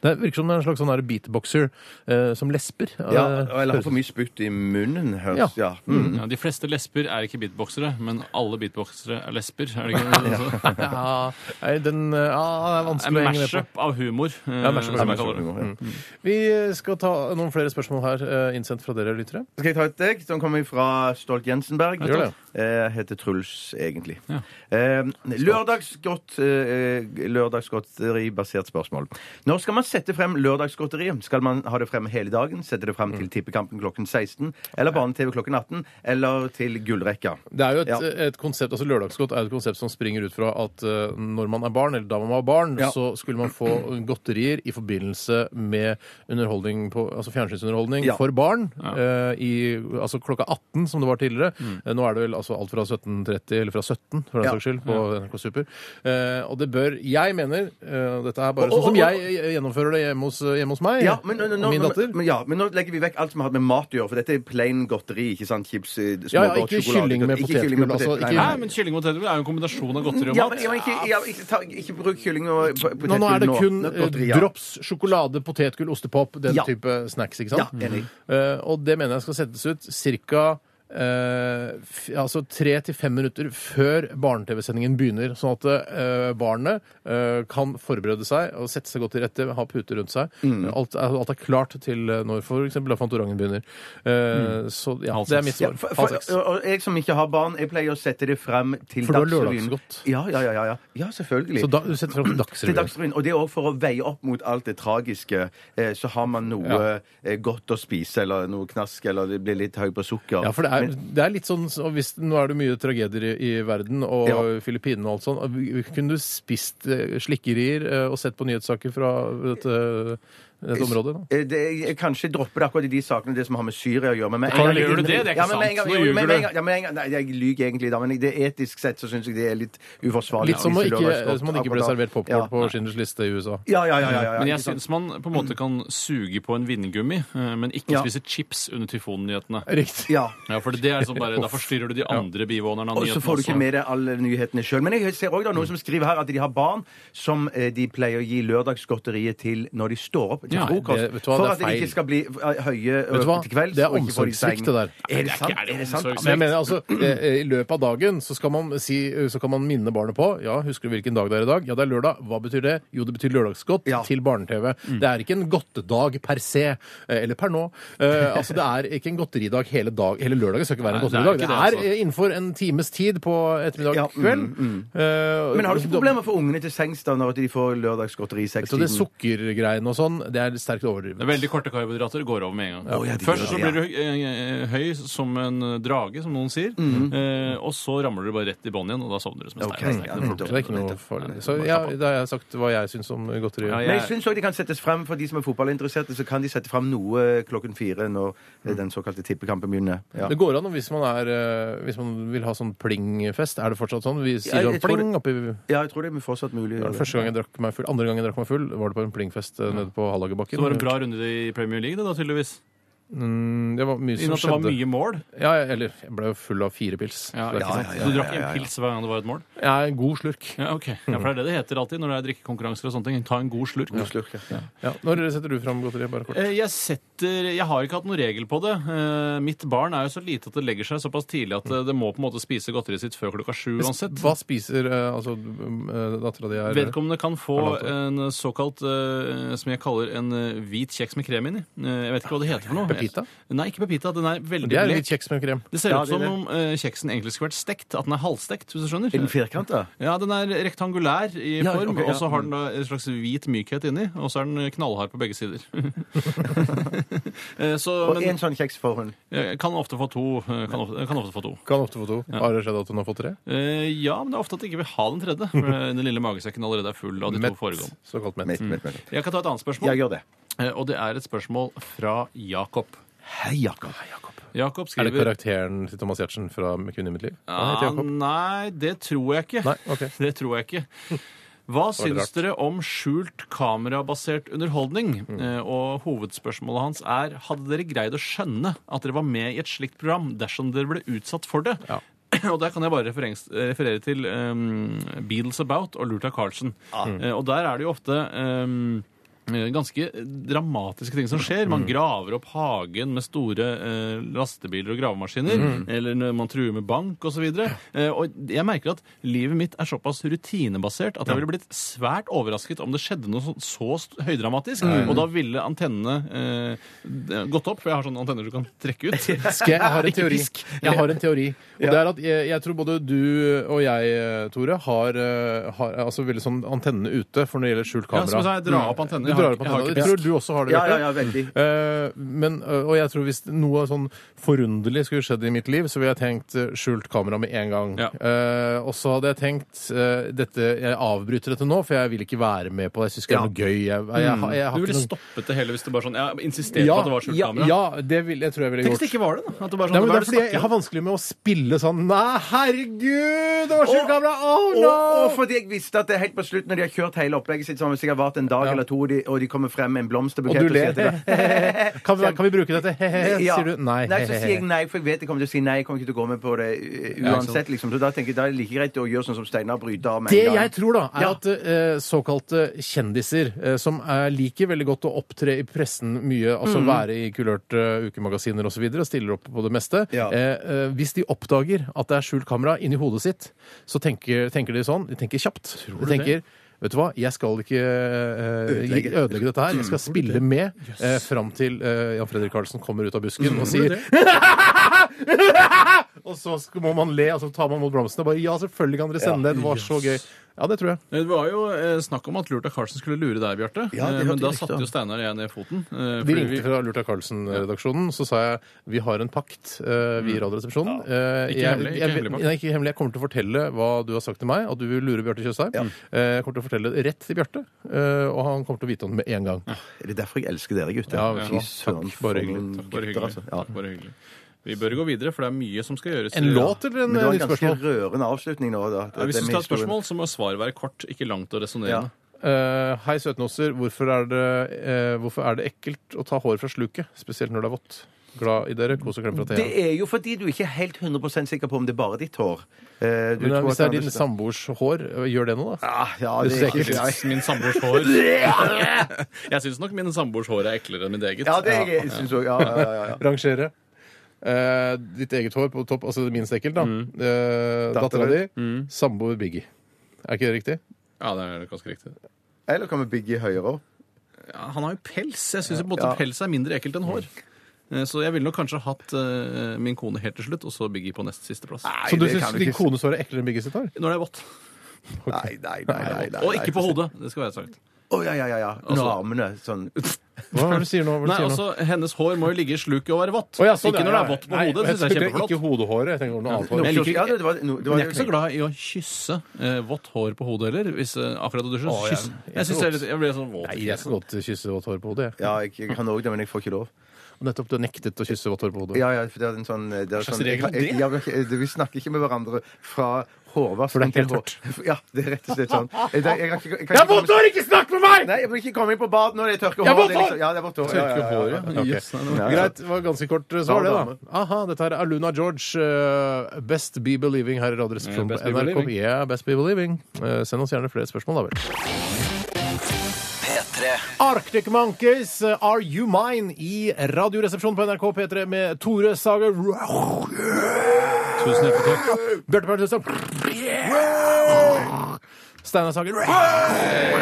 Speaker 3: Det virker som det er en slags sånn her beatboxer eh, som lesper.
Speaker 5: ja,
Speaker 3: Eh,
Speaker 5: Eller har
Speaker 3: høres-
Speaker 5: for mye spytt i munnen,
Speaker 3: Ja.
Speaker 5: høres ja. Mm.
Speaker 4: ja, De fleste lesber er ikke beatboxere, men alle beatboxere er lesber. Er det ikke det? Altså,
Speaker 3: Ja, nei, den, eh, ja, det er
Speaker 4: En
Speaker 3: vanskelig å henge det på.
Speaker 4: mashup av humor, eh,
Speaker 3: mashup av
Speaker 4: som jeg
Speaker 3: humor.
Speaker 4: kaller det.
Speaker 3: Vi skal ta noen flere spørsmål her, eh, innsendt fra dere lyttere.
Speaker 5: Skal jeg ta et deg som kommer fra Stolt-Jensenberg?
Speaker 3: Gjør det.
Speaker 5: Eh, heter Truls, egentlig.
Speaker 4: Ja.
Speaker 5: Eh, lørdagsgodt, eh, lørdagsgodteribasert spørsmål. Når skal man sette frem lørdagsgodteriet? Skal man ha det frem hele dagen? Sette det frem til Tippekampen klokken 16? Eller Barne-TV klokken 18? Eller til Gullrekka?
Speaker 3: Det er jo et,
Speaker 5: Ja.
Speaker 3: et konsept, altså Lørdagsgodt er jo et konsept som springer ut fra at eh, når man er barn, eller da man var barn,
Speaker 5: Ja.
Speaker 3: så skulle man få godterier i forbindelse med underholdning på, altså fjernsynsunderholdning
Speaker 5: Ja. Mm.
Speaker 3: for barn. eh, i, altså klokka 18, som det var tidligere. Eh, nå er det vel altså alt fra 17.30, eller fra 17, for den
Speaker 5: Ja.
Speaker 3: saks skyld, på NRK Super. Eh, og det bør Jeg mener, eh, dette er bare
Speaker 5: Og- og-
Speaker 3: sånn som
Speaker 5: og-
Speaker 3: jeg gjennomfører det hjemme hos, eh, hjemme hos meg,
Speaker 5: Ja, men, nå- nå-
Speaker 3: og min
Speaker 5: nå-
Speaker 3: datter.
Speaker 5: Men, ja, men nå legger vi vekk alt som har med mat å gjøre, for dette er plain godteri. ikke sant? Chips, eh, smågodt,
Speaker 3: Ja, ja, ikke
Speaker 5: sjokolade,
Speaker 3: kylling med
Speaker 5: ikke kylling med
Speaker 3: potetgull, altså,
Speaker 5: potet- nei,
Speaker 3: ikke-
Speaker 5: nei.
Speaker 4: Nei, men Kylling og potetgull er jo en kombinasjon av godteri og
Speaker 5: Ja,
Speaker 4: mat.
Speaker 5: men ja, men ikke, ja, ikke, ta, ikke bruk kylling og po- potetgull
Speaker 3: Nå, nå er det kun
Speaker 5: Nå-
Speaker 3: eh,
Speaker 5: godteri, ja.
Speaker 3: drops, sjokolade, potetgull, ostepop, den
Speaker 5: Ja.
Speaker 3: type snacks, ikke sant?
Speaker 5: Ja, enig.
Speaker 3: Eh, og det mener jeg skal settes ut cirka eh, f altså tre til fem minutter før barne-TV-sendingen begynner, sånn at eh, barnet eh, kan forberede seg og sette seg godt til rette, ha puter rundt seg.
Speaker 5: Mm.
Speaker 3: Alt, er, alt er klart til eh, når f.eks. Fantorangen begynner. Eh, Så ja,
Speaker 4: Halv
Speaker 3: det er
Speaker 4: seks.
Speaker 3: mitt
Speaker 5: Mm. Ja,
Speaker 3: svar.
Speaker 5: for,
Speaker 3: Halv
Speaker 5: for,
Speaker 3: seks.
Speaker 5: og- og jeg som ikke har barn, jeg pleier å sette det frem til
Speaker 3: For du har
Speaker 5: Dagsrevyen.
Speaker 3: lørdagsgodt.
Speaker 5: Ja, ja, ja, ja, ja. ja selvfølgelig.
Speaker 3: Så da, du setter fram
Speaker 5: til
Speaker 3: Dagsrevyen.
Speaker 5: Dagsrevyen. Og det er også for å veie opp mot alt det tragiske. Eh, så har man noe eh, godt å spise, eller noe knask, eller det blir litt høy på sukker.
Speaker 3: Ja, for det er, det er litt sånn og hvis, Nå er det mye tragedier i, i verden, og
Speaker 5: Ja.
Speaker 3: Filippinene og alt sånt. Kunne du spist eh, slikkerier eh, og sett på nyhetssaker fra dette, dette området? da?
Speaker 5: Eh, Det, jeg kanskje dropper det akkurat i de sakene det som har med Syria å gjøre. Men med en
Speaker 4: Hvordan
Speaker 5: gang-
Speaker 4: gjør du det? Det er ikke
Speaker 5: ja, men med en
Speaker 4: sant.
Speaker 5: gang-
Speaker 4: Nå
Speaker 5: jo, men
Speaker 4: ljuger
Speaker 5: med en
Speaker 4: du.
Speaker 5: gang- Ja, men en gang- Nei, jeg lyver egentlig, da, men det etisk sett så syns jeg det er litt uforsvarlig.
Speaker 3: Litt som å
Speaker 5: å spise
Speaker 3: ikke,
Speaker 5: lørdagsgodt
Speaker 3: som man ikke ble
Speaker 5: akkurat da.
Speaker 3: servert popkorn
Speaker 5: Ja.
Speaker 3: på Schindlers liste i USA.
Speaker 5: Ja, ja, ja. ja, ja,
Speaker 4: Men jeg
Speaker 5: ikke sant?
Speaker 4: syns man på en måte kan suge på en vindgummi, eh, men ikke
Speaker 5: Ja.
Speaker 4: spise chips under tyfonnyhetene.
Speaker 3: Riktig.
Speaker 5: ja.
Speaker 4: Ja, for det er sånn bare, Da forstyrrer du de andre bivånerne av
Speaker 5: Og så
Speaker 4: nyhetene
Speaker 5: får du ikke
Speaker 4: også.
Speaker 5: med deg alle nyhetene sjøl. Men jeg ser også da noen som skriver her at de har barn som eh, de pleier å gi lørdagsgodteriet til når de står opp til
Speaker 4: Ja,
Speaker 5: frokost.
Speaker 3: det- vet du hva,
Speaker 5: for
Speaker 3: det er
Speaker 5: at de
Speaker 3: feil.
Speaker 5: ikke skal bli eh, høye eh,
Speaker 3: Vet du hva?
Speaker 5: til kvelds.
Speaker 3: Det er
Speaker 5: og ikke få det
Speaker 3: omsorgssvikt,
Speaker 5: i seng.
Speaker 3: det der.
Speaker 5: Er det sant?
Speaker 4: ikke- er det
Speaker 5: Er det sant?
Speaker 4: omsorgssvikt?
Speaker 3: Men jeg mener altså, eh, I løpet av dagen så skal man, si, eh, så kan man minne barnet på Ja, husker du hvilken dag det er i dag? Ja, det er lørdag. Hva betyr det? Jo, det betyr lørdagsgodt
Speaker 5: Ja.
Speaker 3: til barne-TV.
Speaker 4: Mm.
Speaker 3: Det er ikke en godtedag per se, eh, eller per nå. Eh, altså, Det er ikke en godteridag hele dag. Hele lørdagen skal ikke være en
Speaker 4: Nei, det er
Speaker 3: godteridag.
Speaker 4: ikke
Speaker 3: Det
Speaker 4: det,
Speaker 3: er,
Speaker 4: altså.
Speaker 3: eh, innenfor en times tid på ettermiddag
Speaker 5: Ja, mm,
Speaker 3: kveld. Eh,
Speaker 5: Men har du ikke
Speaker 3: da-
Speaker 5: problemer for ungene til sengs da når de får lørdagsgodteri i
Speaker 3: Så det
Speaker 5: sekstiden?
Speaker 3: sukkergreiene og sånn, det er sterkt overdrevet.
Speaker 4: Veldig korte karbohydrater går over med en gang.
Speaker 5: Å, ja, de
Speaker 4: Først
Speaker 5: gjør
Speaker 4: så
Speaker 5: det, ja.
Speaker 4: blir du eh, høy som en eh, drage, som noen sier. eh, Og så ramler du bare rett i bånn igjen, og da sovner du som en
Speaker 5: Mm. Ok,
Speaker 4: stein. Det er
Speaker 5: ja,
Speaker 4: ikke noe problem.
Speaker 3: Så det er ikke noe farlig. Så ja, da har jeg sagt hva jeg syns om godteri.
Speaker 4: Ja, jeg-
Speaker 5: Men jeg syns òg de kan settes frem for de som er fotballinteresserte, så kan de sette frem noe klokken fire når eh, den såkalte tippekampen begynner. Ja.
Speaker 3: Det går an og hvis man, er, eh, hvis man vil ha sånn plingfest. Er det fortsatt sånn? Vi sier sånn
Speaker 5: jeg tror
Speaker 3: pling oppi
Speaker 5: ja, jeg tror det er fortsatt mulig. å gjøre det.
Speaker 3: Første gang jeg drakk meg full, andre gang jeg drakk meg full, var det på en plingfest eh, nede på Hallagerbakken.
Speaker 4: Så det var en bra runde i Premier League, det da, tydeligvis.
Speaker 3: Mm, Det var mye
Speaker 4: Innen
Speaker 3: som
Speaker 4: at det var
Speaker 3: skjedde.
Speaker 4: mye mål.
Speaker 3: Ja, ja, eller jeg ble jo full av fire pils.
Speaker 4: Ja,
Speaker 3: det er
Speaker 4: ikke sant?
Speaker 5: ja, ja,
Speaker 4: Så du drakk
Speaker 5: ja, ja,
Speaker 4: en
Speaker 5: ja.
Speaker 4: pils hver gang det var et mål?
Speaker 3: ikke- Jeg er en god slurk.
Speaker 4: Ja, ok. Ja, for det er det det heter alltid
Speaker 5: eh,
Speaker 4: når det er drikkekonkurranser og sånne ting. Ta en god slurk.
Speaker 5: Slurk, ja.
Speaker 3: Ja. Når setter du fram godteriet? Bare kort.
Speaker 4: Eh, Jeg setter sitter Jeg har ikke hatt noen regel på det. Eh, Mitt barn er jo så lite at det legger seg såpass tidlig at eh, det må på en måte spise godteriet sitt før klokka sju uansett.
Speaker 3: Hva spiser eh, altså, uh, dattera di? er-
Speaker 4: Vedkommende kan få
Speaker 3: Har du
Speaker 4: en såkalt eh, som jeg kaller en eh, hvit kjeks med krem inni. Eh, jeg vet ikke hva det heter for noe.
Speaker 3: Pepita?
Speaker 4: Nei, ikke pepita. Den er veldig
Speaker 3: Det er
Speaker 4: blek.
Speaker 3: litt kjeks med krem.
Speaker 4: Det ser
Speaker 5: Ja,
Speaker 4: ut
Speaker 5: det er
Speaker 4: som om eh, kjeksen egentlig skulle vært stekt. At den er halvstekt, hvis du skjønner.
Speaker 5: Er den firkanta?
Speaker 4: Ja, den er rektangulær i
Speaker 5: Ja,
Speaker 4: form,
Speaker 5: ok, ja.
Speaker 4: og så har den da en slags hvit mykhet inni, og så er den knallhard på begge sider. Eh, så,
Speaker 5: Og
Speaker 4: men
Speaker 5: én sånn kjeks får hun.
Speaker 4: jeg kan ofte få to. eh, Kan ofte, kan ofte få to.
Speaker 3: Kan ofte få to. Har det skjedd at hun har fått tre?
Speaker 4: Eh, ja, men det er ofte at jeg ikke vil ha den tredje. For den lille magesekken allerede er full av de to foregående.
Speaker 3: Såkalt mett.
Speaker 5: Mett, mett, mett.
Speaker 4: Jeg kan ta et annet
Speaker 5: Mm. Jeg
Speaker 4: spørsmål,
Speaker 5: gjør det.
Speaker 4: eh, og det er et spørsmål fra Jakob.
Speaker 5: Hei, Jakob.
Speaker 4: Jakob
Speaker 3: Er det
Speaker 4: skriver
Speaker 3: karakteren til Thomas Giertsen fra Kvinne i mitt liv? Han heter
Speaker 4: Ah,
Speaker 3: Jakob.
Speaker 4: nei, det tror jeg ikke.
Speaker 3: Nei, ok.
Speaker 4: Det tror jeg ikke. Hva syns
Speaker 3: rart.
Speaker 4: dere om skjult kamerabasert underholdning?
Speaker 3: Mm.
Speaker 4: Eh, Og hovedspørsmålet hans er hadde dere greid å skjønne at dere var med i et slikt program dersom dere ble utsatt for det?
Speaker 3: Ja.
Speaker 4: Og der kan jeg bare referens- referere til um, Beatles About og Lurta Carlsen. Eh, Og der er det jo ofte um, eh, Ganske dramatiske ting som skjer. Man graver opp hagen med store eh, lastebiler og gravemaskiner. Eller når man truer med bank osv. Eh, og jeg merker at livet mitt er såpass rutinebasert at jeg ville blitt svært overrasket om det skjedde noe så, så st- høydramatisk. Og da ville antennene eh, d- gått opp, for jeg har sånne antenner du kan trekke ut.
Speaker 3: Skal jeg, jeg har en
Speaker 4: Ikke
Speaker 3: teori.
Speaker 4: pisk.
Speaker 3: Jeg har en teori. Og det er at jeg, jeg tror både du og jeg, eh, Tore, har, eh, har altså veldig sånn antennene ute for når det gjelder skjult
Speaker 4: Ja,
Speaker 3: kamera.
Speaker 4: som jeg sa, jeg drar opp antennene.
Speaker 3: Du
Speaker 4: Jeg
Speaker 3: drar
Speaker 4: har
Speaker 3: opp
Speaker 4: ikke- jeg har
Speaker 3: antennene.
Speaker 4: ikke
Speaker 3: Jeg tror du også har det,
Speaker 5: Ja,
Speaker 3: Bjarte.
Speaker 5: ja, ja, veldig.
Speaker 3: Eh, men, eh, og jeg tror hvis noe sånn forunderlig skulle skjedd i mitt liv, så ville jeg tenkt eh, skjult kamera med en gang.
Speaker 4: Ja.
Speaker 3: Eh, og så hadde jeg tenkt eh, dette, Jeg avbryter dette nå, for jeg vil ikke være med på det. Jeg syns ikke det er noe gøy. Jeg, jeg, jeg, jeg, har- jeg har
Speaker 4: Mm. Du ville
Speaker 3: ikke noe-
Speaker 4: stoppet det hele hvis du bare sånn, ja, insisterte på at det var skjult
Speaker 3: ja,
Speaker 4: kamera?
Speaker 3: Ja, det vil, jeg tror jeg ville
Speaker 4: Tenk hvis
Speaker 3: gjort.
Speaker 4: det ikke var det, da. At det bare sånn,
Speaker 3: Nei, men det er fordi
Speaker 4: hva er det du
Speaker 3: jeg,
Speaker 4: snakker
Speaker 3: jeg har
Speaker 4: om?
Speaker 3: vanskelig med å spille sånn Nei, herregud, det var skjult
Speaker 5: Og-
Speaker 3: kamera! Oh
Speaker 5: Og,
Speaker 3: no!
Speaker 5: og fordi jeg visste at det helt på slutten, når de har kjørt hele opplegget sitt, så har vi sikkert vært en dag eller to, og de, og de kommer frem med en blomsterbukett
Speaker 3: Og du ler.
Speaker 5: sier til deg,
Speaker 3: kan, vi, kan vi bruke dette? He-he,
Speaker 5: Eh, Ja.
Speaker 3: Eh, sier du. Nei.
Speaker 5: så sier jeg nei, for jeg vet jeg kommer til å si nei. Jeg kommer ikke til å gå med på det uh, uansett, liksom. Så da tenker jeg da er det like greit å gjøre sånn som Steinar, bryte av med
Speaker 3: Det
Speaker 5: en gang.
Speaker 3: jeg tror, da, er
Speaker 5: Ja.
Speaker 3: at eh, såkalte kjendiser, eh, som er, liker veldig godt å opptre i pressen mye, altså være i kulørte eh, ukemagasiner osv., og, så videre, og stiller opp på det meste
Speaker 5: Ja.
Speaker 3: eh, eh, Hvis de oppdager at det er skjult kamera inni hodet sitt, så tenker, tenker de sånn. De tenker kjapt. de tenker Vet du hva, jeg skal ikke eh, ødelegge. dette her. Jeg skal spille med eh, fram til eh, Jan Fredrik Karlsen kommer ut av busken og sier Og så sk- må man le, og så tar man mot blomstene og bare Ja, selvfølgelig kan dere sende det. Det var så gøy. Ja, det tror jeg.
Speaker 4: Det var jo eh, snakk om at Lurta Carlsen skulle lure deg, Bjarte.
Speaker 5: Ja, det
Speaker 4: Eh, men
Speaker 5: hørte
Speaker 4: da
Speaker 5: jeg riktig
Speaker 4: satte
Speaker 5: om.
Speaker 4: jo Steinar og jeg ned foten. eh,
Speaker 3: De
Speaker 4: fordi
Speaker 3: ringte fra Lurta Carlsen-redaksjonen, så sa jeg vi har en pakt, eh,
Speaker 5: Mm.
Speaker 3: vi i Radioresepsjonen. Eh,
Speaker 4: Ikke
Speaker 3: jeg-
Speaker 4: hemmelig, ikke
Speaker 3: jeg-
Speaker 4: hemmelig pakt.
Speaker 3: Nei, ikke hemmelig. Jeg kommer til å fortelle hva du har sagt til meg, at du vil lure Bjarte Tjøstheim. Eh, jeg kommer til å fortelle det rett til Bjarte, eh, og han kommer til å vite om det med en gang.
Speaker 5: Er det derfor jeg elsker dere, gutter?
Speaker 3: Ja, vet du hva.
Speaker 5: søren,
Speaker 3: Takk, bare
Speaker 5: for
Speaker 3: hyggelig.
Speaker 5: noen
Speaker 4: Takk, bare
Speaker 5: gutter,
Speaker 4: hyggelig.
Speaker 5: altså. Ja.
Speaker 4: Takk, bare hyggelig. Vi bør gå videre, for det er mye som skal gjøres.
Speaker 3: En låt eller en eh,
Speaker 5: Men det var
Speaker 3: nytt
Speaker 5: en ganske
Speaker 3: spørsmål?
Speaker 5: rørende avslutning nå. Da.
Speaker 4: Ja, hvis du
Speaker 5: Det med
Speaker 4: skal ha et
Speaker 5: historien.
Speaker 4: spørsmål, så må svaret være kort, ikke langt og resonnerende.
Speaker 3: Eh, hei, søtnoser. Hvorfor er, det, eh, hvorfor er det ekkelt å ta hår fra sluket? Spesielt når det er vått. Glad i dere. Kos og klem fra Thea.
Speaker 5: Det er jo fordi du ikke er helt 100 sikker på om det er bare ditt hår. Eh, du
Speaker 3: Men, eh,
Speaker 5: tror
Speaker 3: hvis det er
Speaker 5: at
Speaker 3: din
Speaker 5: Anders-
Speaker 3: samboers hår, eh, gjør det noe, da?
Speaker 5: Ah, ja, det
Speaker 3: ser
Speaker 5: er
Speaker 3: ikke
Speaker 5: ikke
Speaker 4: Jeg
Speaker 5: Nei.
Speaker 4: synes Min samboers hår Jeg syns nok min samboers hår er eklere enn mitt eget.
Speaker 5: Ja, det er jeg syns òg. Ja, ja, ja, ja.
Speaker 3: Rangere. Eh, ditt eget hår på topp, altså minst ekkelt, da. Mm. Dattera di.
Speaker 4: Mm.
Speaker 3: Samboer Biggie. Er ikke det riktig?
Speaker 4: Ja, det er ganske riktig.
Speaker 5: Eller kan vi bygge høyere opp?
Speaker 4: Ja, han har jo pels. Jeg syns pels er mindre ekkelt enn hår. Eh, Så jeg ville nok kanskje hatt eh, min kone helt til slutt, og så Biggie på nest siste plass.
Speaker 5: Nei,
Speaker 3: Så du
Speaker 5: det kan
Speaker 3: syns
Speaker 5: du
Speaker 3: din
Speaker 5: ikke-
Speaker 3: kones hår er eklere enn Biggie sitt hår?
Speaker 4: Når det er vått.
Speaker 5: Nei, nei, nei. nei, nei
Speaker 4: Og ikke på hodet. Det skal være sagt.
Speaker 5: Å, ja, ja, ja. ja. Under
Speaker 4: Altså-
Speaker 5: armene. Sånn.
Speaker 3: Hva er det du sier nå? Hva er det
Speaker 4: Nei,
Speaker 3: du sier nå?
Speaker 4: altså, Hennes hår må jo ligge i sluket og være vått.
Speaker 3: Å, ja, sånn,
Speaker 4: ikke
Speaker 3: ja,
Speaker 4: når det
Speaker 3: ja.
Speaker 4: er vått på
Speaker 3: Nei,
Speaker 4: hodet.
Speaker 3: Jeg
Speaker 4: synes jeg er
Speaker 3: tenkte
Speaker 4: kjempeflott.
Speaker 3: ikke hodehåret. Jeg tenker noe annet hår.
Speaker 4: Men jeg liker ikke-
Speaker 5: ja, det var, no, det
Speaker 4: Men jeg
Speaker 5: var,
Speaker 4: er ikke så glad i å kysse eh, vått hår på hodet heller. Hvis, eh, akkurat når du
Speaker 3: Å, jeg-
Speaker 4: kysser. Kyss.
Speaker 3: jeg
Speaker 4: Jeg,
Speaker 3: tror
Speaker 4: synes jeg, er litt- jeg blir sånn våt.
Speaker 3: Nei, jeg skal godt kysse vått hår på hodet. jeg.
Speaker 5: Ja, jeg, jeg kan òg det, men jeg får ikke lov.
Speaker 3: Nettopp du har nektet å kysse vått hår på hodet.
Speaker 5: Ja, ja, for det er en sånn, det er
Speaker 4: slags
Speaker 5: sånn
Speaker 4: regel er det?
Speaker 5: Ja, men ikke- det- vi snakker ikke med hverandre fra hårvasken
Speaker 3: det er
Speaker 5: til
Speaker 3: ikke
Speaker 5: hår... Ja, det er rett og slett sånn. Jeg, jeg, jeg, kan ikke- jeg, kan
Speaker 3: Jeg har
Speaker 5: ikke
Speaker 3: vondt
Speaker 5: komme-
Speaker 3: hår! Ikke snakk med meg!
Speaker 5: Nei, jeg vil ikke komme inn på bad når det er
Speaker 3: Jeg
Speaker 5: tørke
Speaker 3: har
Speaker 5: hår.
Speaker 3: vondt
Speaker 5: det er liksom-
Speaker 3: hår!
Speaker 5: Ja, det er vårt hår. Ja, ja,
Speaker 3: Tørke
Speaker 5: ja, ja.
Speaker 3: håret? ja.
Speaker 4: Jøss, nei, det
Speaker 3: Ok.
Speaker 4: var-
Speaker 3: Greit. Det var ganske kort eh, svar, det,
Speaker 5: Dame.
Speaker 3: da. Aha, dette her er Luna George. eh, Best Be Believing her i
Speaker 4: Yeah,
Speaker 3: Radioresepsjonen
Speaker 4: Best
Speaker 3: på
Speaker 4: Be
Speaker 3: NRK.
Speaker 4: Believing.
Speaker 3: Yeah, Best Be Believing. Eh, Send oss gjerne flere spørsmål, da vel.
Speaker 7: P3
Speaker 3: Arctic Monkeys, eh, Are You Mine? i Radioresepsjonen på NRK P3 med Tore Sager
Speaker 4: Tusen hjertelig takk.
Speaker 3: Bjarte Paul Tøstam Steinar Sager Det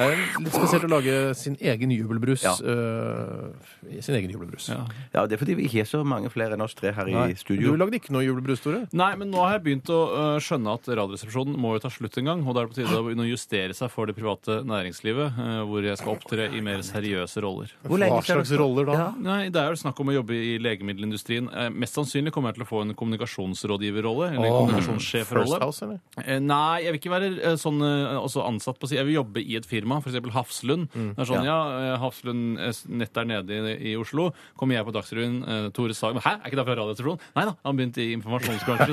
Speaker 3: er litt spesielt å lage sin egen jubelbrus.
Speaker 5: Ja.
Speaker 3: eh, sin egen jubelbrus.
Speaker 5: Ja, det er fordi vi ikke er så mange flere enn oss tre her
Speaker 3: Nei.
Speaker 5: i studio.
Speaker 3: Du lagde ikke noe julebrus, Tore?
Speaker 4: Nei, men nå har jeg begynt å øh, skjønne at Radioresepsjonen må jo ta slutt en gang. Og da er det på tide å begynne å justere seg for det private næringslivet, øh, hvor jeg skal opptre i mer seriøse roller.
Speaker 3: Hva slags roller da?
Speaker 4: Nei, Det er jo snakk om å jobbe i legemiddelindustrien. Eh, mest sannsynlig kommer jeg til å få en kommunikasjonsrådgiverrolle. Eller
Speaker 3: Åh.
Speaker 4: en
Speaker 3: First
Speaker 4: kommunikasjonssjefrolle.
Speaker 3: House, eller?
Speaker 4: Eh, Nei, jeg vil ikke være eh, sånn eh, også ansatt på å si. Jeg vil jobbe i et firma, f.eks. Hafslund.
Speaker 3: Mm,
Speaker 4: Det er sånn, ja, eh, Hafslund eh, nett der nede i, i Oslo. Kommer jeg på Dagsrevyen, eh, Tore Sagen Hæ, er ikke det fra Radioresepsjonen? Nei da, han begynte i informasjonsbransjen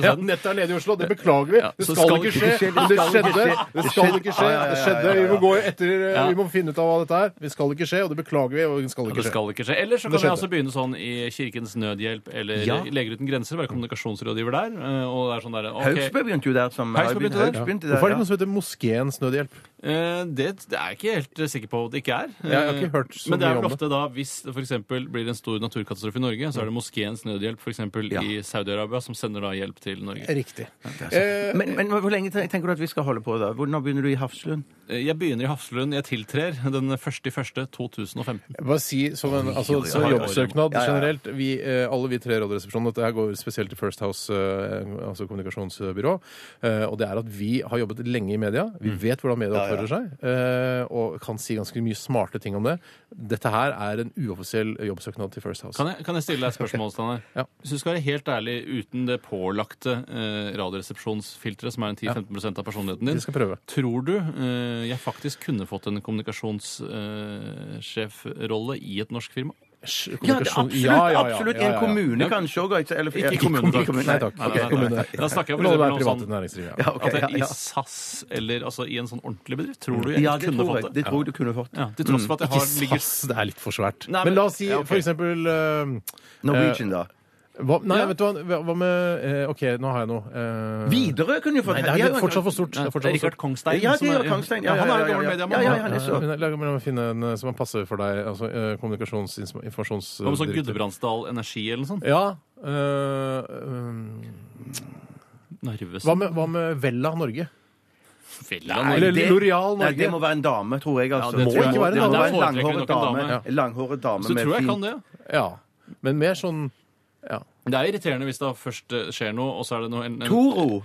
Speaker 3: Ja,
Speaker 4: isteden.
Speaker 3: nettet er ledig i Oslo. Det beklager vi.
Speaker 4: Ja,
Speaker 3: Det
Speaker 4: så
Speaker 3: skal
Speaker 4: skal
Speaker 3: ikke
Speaker 4: ikke
Speaker 3: skje.
Speaker 5: skje.
Speaker 3: Men det
Speaker 5: Det skal ikke
Speaker 3: skjedde.
Speaker 5: skje.
Speaker 3: Det
Speaker 5: Det
Speaker 3: skal
Speaker 5: skjedde.
Speaker 3: ikke skje.
Speaker 5: Ja, ja, ja,
Speaker 3: Det
Speaker 5: ja,
Speaker 3: skjedde. Vi
Speaker 5: ja,
Speaker 3: må
Speaker 5: ja.
Speaker 3: gå etter eh,
Speaker 4: Ja.
Speaker 3: Vi må finne ut av hva dette er. Det skal ikke skje, og det beklager vi. og det skal ikke
Speaker 4: Ja, Det
Speaker 3: skje.
Speaker 4: skal ikke skje. Eller
Speaker 3: Det
Speaker 4: så kan jeg
Speaker 3: skjedde.
Speaker 4: altså begynne sånn i Kirkens Nødhjelp eller
Speaker 5: Ja.
Speaker 4: Leger uten grenser, være kommunikasjonsrådgiver der. eh, Og det er sånn der, ok,
Speaker 5: Haugsbø begynte jo der som
Speaker 4: Haugsbø begynte der?
Speaker 5: Haugsbø begynte
Speaker 3: Hvorfor er det
Speaker 5: ja.
Speaker 3: noe som heter Moskeens nødhjelp?
Speaker 4: eh, det, det er jeg ikke helt sikker på at det ikke er. Eh,
Speaker 3: Jeg har ikke hørt så
Speaker 4: Men det
Speaker 3: mye
Speaker 4: er
Speaker 3: om
Speaker 4: vel ofte da, hvis det for eksempel blir en stor naturkatastrofe i Norge, så er det Moskeens Nødhjelp for eksempel
Speaker 5: Ja.
Speaker 4: i Saudi-Arabia som sender da hjelp til Norge.
Speaker 3: Riktig. Eh,
Speaker 5: Men, men hvor lenge ten- tenker du at vi skal holde på da? Hvor- Når begynner du i Hafslund?
Speaker 4: Eh, Jeg begynner i Hafslund. Jeg tiltrer den 1.1.2015.
Speaker 3: Jeg bare si som en altså, som
Speaker 4: oi, oi.
Speaker 3: jobbsøknad
Speaker 5: Ja, ja, ja.
Speaker 3: generelt vi, eh, Alle vi tre i Radioresepsjonen, dette her går spesielt til First House, eh, altså kommunikasjonsbyrå, eh, og det er at vi har jobbet lenge i media. Vi vet hvordan media oppfører seg, eh, og kan si ganske mye smarte ting om det. Dette her er en uoffisiell jobbsøknad til First House.
Speaker 4: Kan jeg, kan jeg stille deg et spørsmål, Steinar?
Speaker 3: Ja.
Speaker 4: Hvis du skal være helt ærlig uten det pålagte eh, radioresepsjonsfilteret, som er en 10-15 av personligheten din,
Speaker 3: Vi skal prøve.
Speaker 4: tror du eh, jeg faktisk kunne fått en kommunikasjonssjefrolle i et norsk firma?
Speaker 5: Ja, det er absolutt, absolutt i en kommune
Speaker 4: Ja.
Speaker 5: kanskje òg. Eller
Speaker 4: Ikke i kommune, takk.
Speaker 5: kommune,
Speaker 3: Nei takk.
Speaker 4: Nei, nei,
Speaker 3: Ok,
Speaker 4: nei, nei.
Speaker 3: kommune.
Speaker 4: Da snakker jeg for
Speaker 3: La det
Speaker 4: eksempel
Speaker 3: være
Speaker 4: om
Speaker 3: private
Speaker 4: sånn-
Speaker 3: næringsliv.
Speaker 5: Ja,
Speaker 3: Ja.
Speaker 5: ok,
Speaker 4: At
Speaker 5: ja,
Speaker 4: jeg,
Speaker 5: ja.
Speaker 4: I SAS eller altså, i en sånn ordentlig bedrift? Tror du jeg
Speaker 5: ja, det
Speaker 4: kunne
Speaker 5: tror
Speaker 4: fått
Speaker 5: jeg.
Speaker 4: det?
Speaker 5: Det tror jeg du Mm. kunne fått.
Speaker 4: Ja, til tross for at jeg
Speaker 3: Ikke
Speaker 4: har ligger
Speaker 3: SAS, det er litt for svært.
Speaker 4: Nei,
Speaker 3: men,
Speaker 4: men-
Speaker 3: la oss si
Speaker 4: ja, ok.
Speaker 3: for eksempel eh,
Speaker 5: Norwegian, da.
Speaker 3: hva, Nei,
Speaker 4: Ja.
Speaker 3: vet du hva, hva- hva med eh, OK, nå har jeg noe. eh,
Speaker 5: Widerøe kunne jo fått
Speaker 3: Nei, det er,
Speaker 5: De
Speaker 3: det
Speaker 5: har
Speaker 3: er
Speaker 5: jo en-
Speaker 3: fortsatt for stort. Det er fortsatt for
Speaker 4: Richard
Speaker 3: stort.
Speaker 4: Kongstein.
Speaker 5: Ja,
Speaker 4: som
Speaker 5: det er Kongstein.
Speaker 4: Ja,
Speaker 5: Ja, ja,
Speaker 4: han er
Speaker 5: ja,
Speaker 4: jo gammel
Speaker 5: ja, ja.
Speaker 4: mediemann.
Speaker 5: Ja,
Speaker 4: han.
Speaker 5: ja, ja.
Speaker 3: Eh, men La meg finne en eh, som er passe for deg. Altså, eh, kommunikasjons... Informasjons...
Speaker 4: Hva med sånn
Speaker 3: direktør.
Speaker 4: Gudbrandsdal Energi eller noe sånt?
Speaker 3: Ja. eh, um,
Speaker 4: Narvesen.
Speaker 3: hva, med, hva med Vella Norge?
Speaker 4: Villa
Speaker 5: Nei,
Speaker 4: Norge.
Speaker 3: Eller
Speaker 5: det-
Speaker 3: L'Oreal
Speaker 5: Nei,
Speaker 3: Norge?
Speaker 5: det må være en dame, tror jeg. Altså.
Speaker 4: det
Speaker 5: må
Speaker 4: tror jeg.
Speaker 5: ikke være en
Speaker 4: Det må
Speaker 5: dame.
Speaker 4: være
Speaker 5: En
Speaker 4: en
Speaker 5: langhåret dame,
Speaker 4: dame.
Speaker 5: En langhåret dame
Speaker 4: Så
Speaker 5: med
Speaker 4: tror jeg
Speaker 5: fin
Speaker 4: kan det.
Speaker 3: Ja. Men mer sånn
Speaker 4: Det er irriterende hvis det først eh, skjer noe, og så er det noe en, en,
Speaker 5: Toro!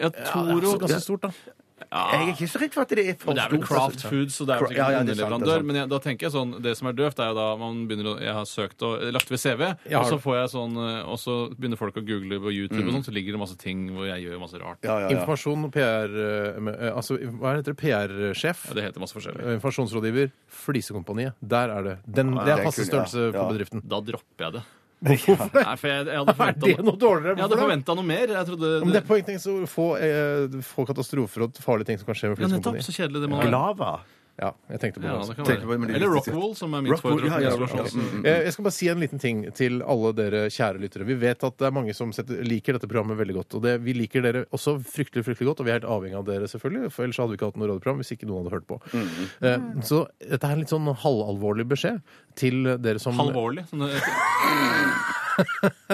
Speaker 4: Ja, Toro
Speaker 3: ganske stort, da.
Speaker 5: Jeg er ikke så redd for at det er for
Speaker 4: Men det er vel
Speaker 5: stort,
Speaker 4: Craft
Speaker 5: altså.
Speaker 4: Foods, og det er jo
Speaker 5: Cra-
Speaker 4: sikkert
Speaker 5: ja, ja,
Speaker 4: en
Speaker 5: det er sant, det er
Speaker 4: underleverandør.
Speaker 5: sant.
Speaker 4: Men jeg, da tenker jeg sånn, det som er døvt, er jo da man begynner å Jeg har søkt og eh, lagt ved CV,
Speaker 3: Ja,
Speaker 4: og
Speaker 3: har
Speaker 4: så
Speaker 3: du.
Speaker 4: får jeg sånn eh, Og så begynner folk å google på YouTube, og sånn, så ligger det masse ting hvor jeg gjør masse rart.
Speaker 5: Mm. Ja, ja, ja.
Speaker 3: Informasjon og PR... eh, med- eh, altså, hva heter det? PR-sjef?
Speaker 4: Ja, Det heter masse forskjellig.
Speaker 3: Informasjonsrådgiver. Flisekompaniet. Der er det. Den,
Speaker 5: Ja,
Speaker 3: det
Speaker 5: det
Speaker 3: er passe
Speaker 5: kunne-
Speaker 3: størrelse
Speaker 5: ja, ja.
Speaker 3: på bedriften.
Speaker 4: Da dropper jeg det.
Speaker 3: Hvorfor det?
Speaker 4: Nei, for jeg, jeg hadde
Speaker 3: Er det
Speaker 4: forventet
Speaker 3: noe dårligere?
Speaker 4: Jeg hadde
Speaker 3: Hvorfor det?
Speaker 4: forventa noe mer. Jeg trodde
Speaker 3: Men det er poenget å få, eh, få katastrofer og farlige ting som kan skje med
Speaker 4: ja, nettopp.
Speaker 3: flisekompaniet.
Speaker 4: Så kjedelig det må være.
Speaker 5: Glava.
Speaker 3: Ja, jeg tenkte på det.
Speaker 4: Ja,
Speaker 3: også.
Speaker 4: det kan
Speaker 5: Tenkte på det, men
Speaker 4: være.
Speaker 5: det
Speaker 4: Eller
Speaker 5: visste jeg
Speaker 4: Rockwool, som er mitt
Speaker 5: Rockwool,
Speaker 4: foretrukne
Speaker 5: ja, ja, Mm,
Speaker 4: isolasjons-
Speaker 5: Rockwool,
Speaker 3: Eh, Jeg skal bare si en liten ting til alle dere kjære lyttere. Vi vet at det er mange som setter, liker dette programmet veldig godt. Og det, vi liker dere også fryktelig fryktelig godt, og vi er helt avhengig av dere, selvfølgelig. For ellers hadde vi ikke hatt noe radioprogram hvis ikke noen hadde hørt på.
Speaker 4: Mm.
Speaker 3: Eh, Så dette er en litt sånn halvalvorlig beskjed til dere som
Speaker 5: mm.
Speaker 4: Halvorlig. Sånn, det-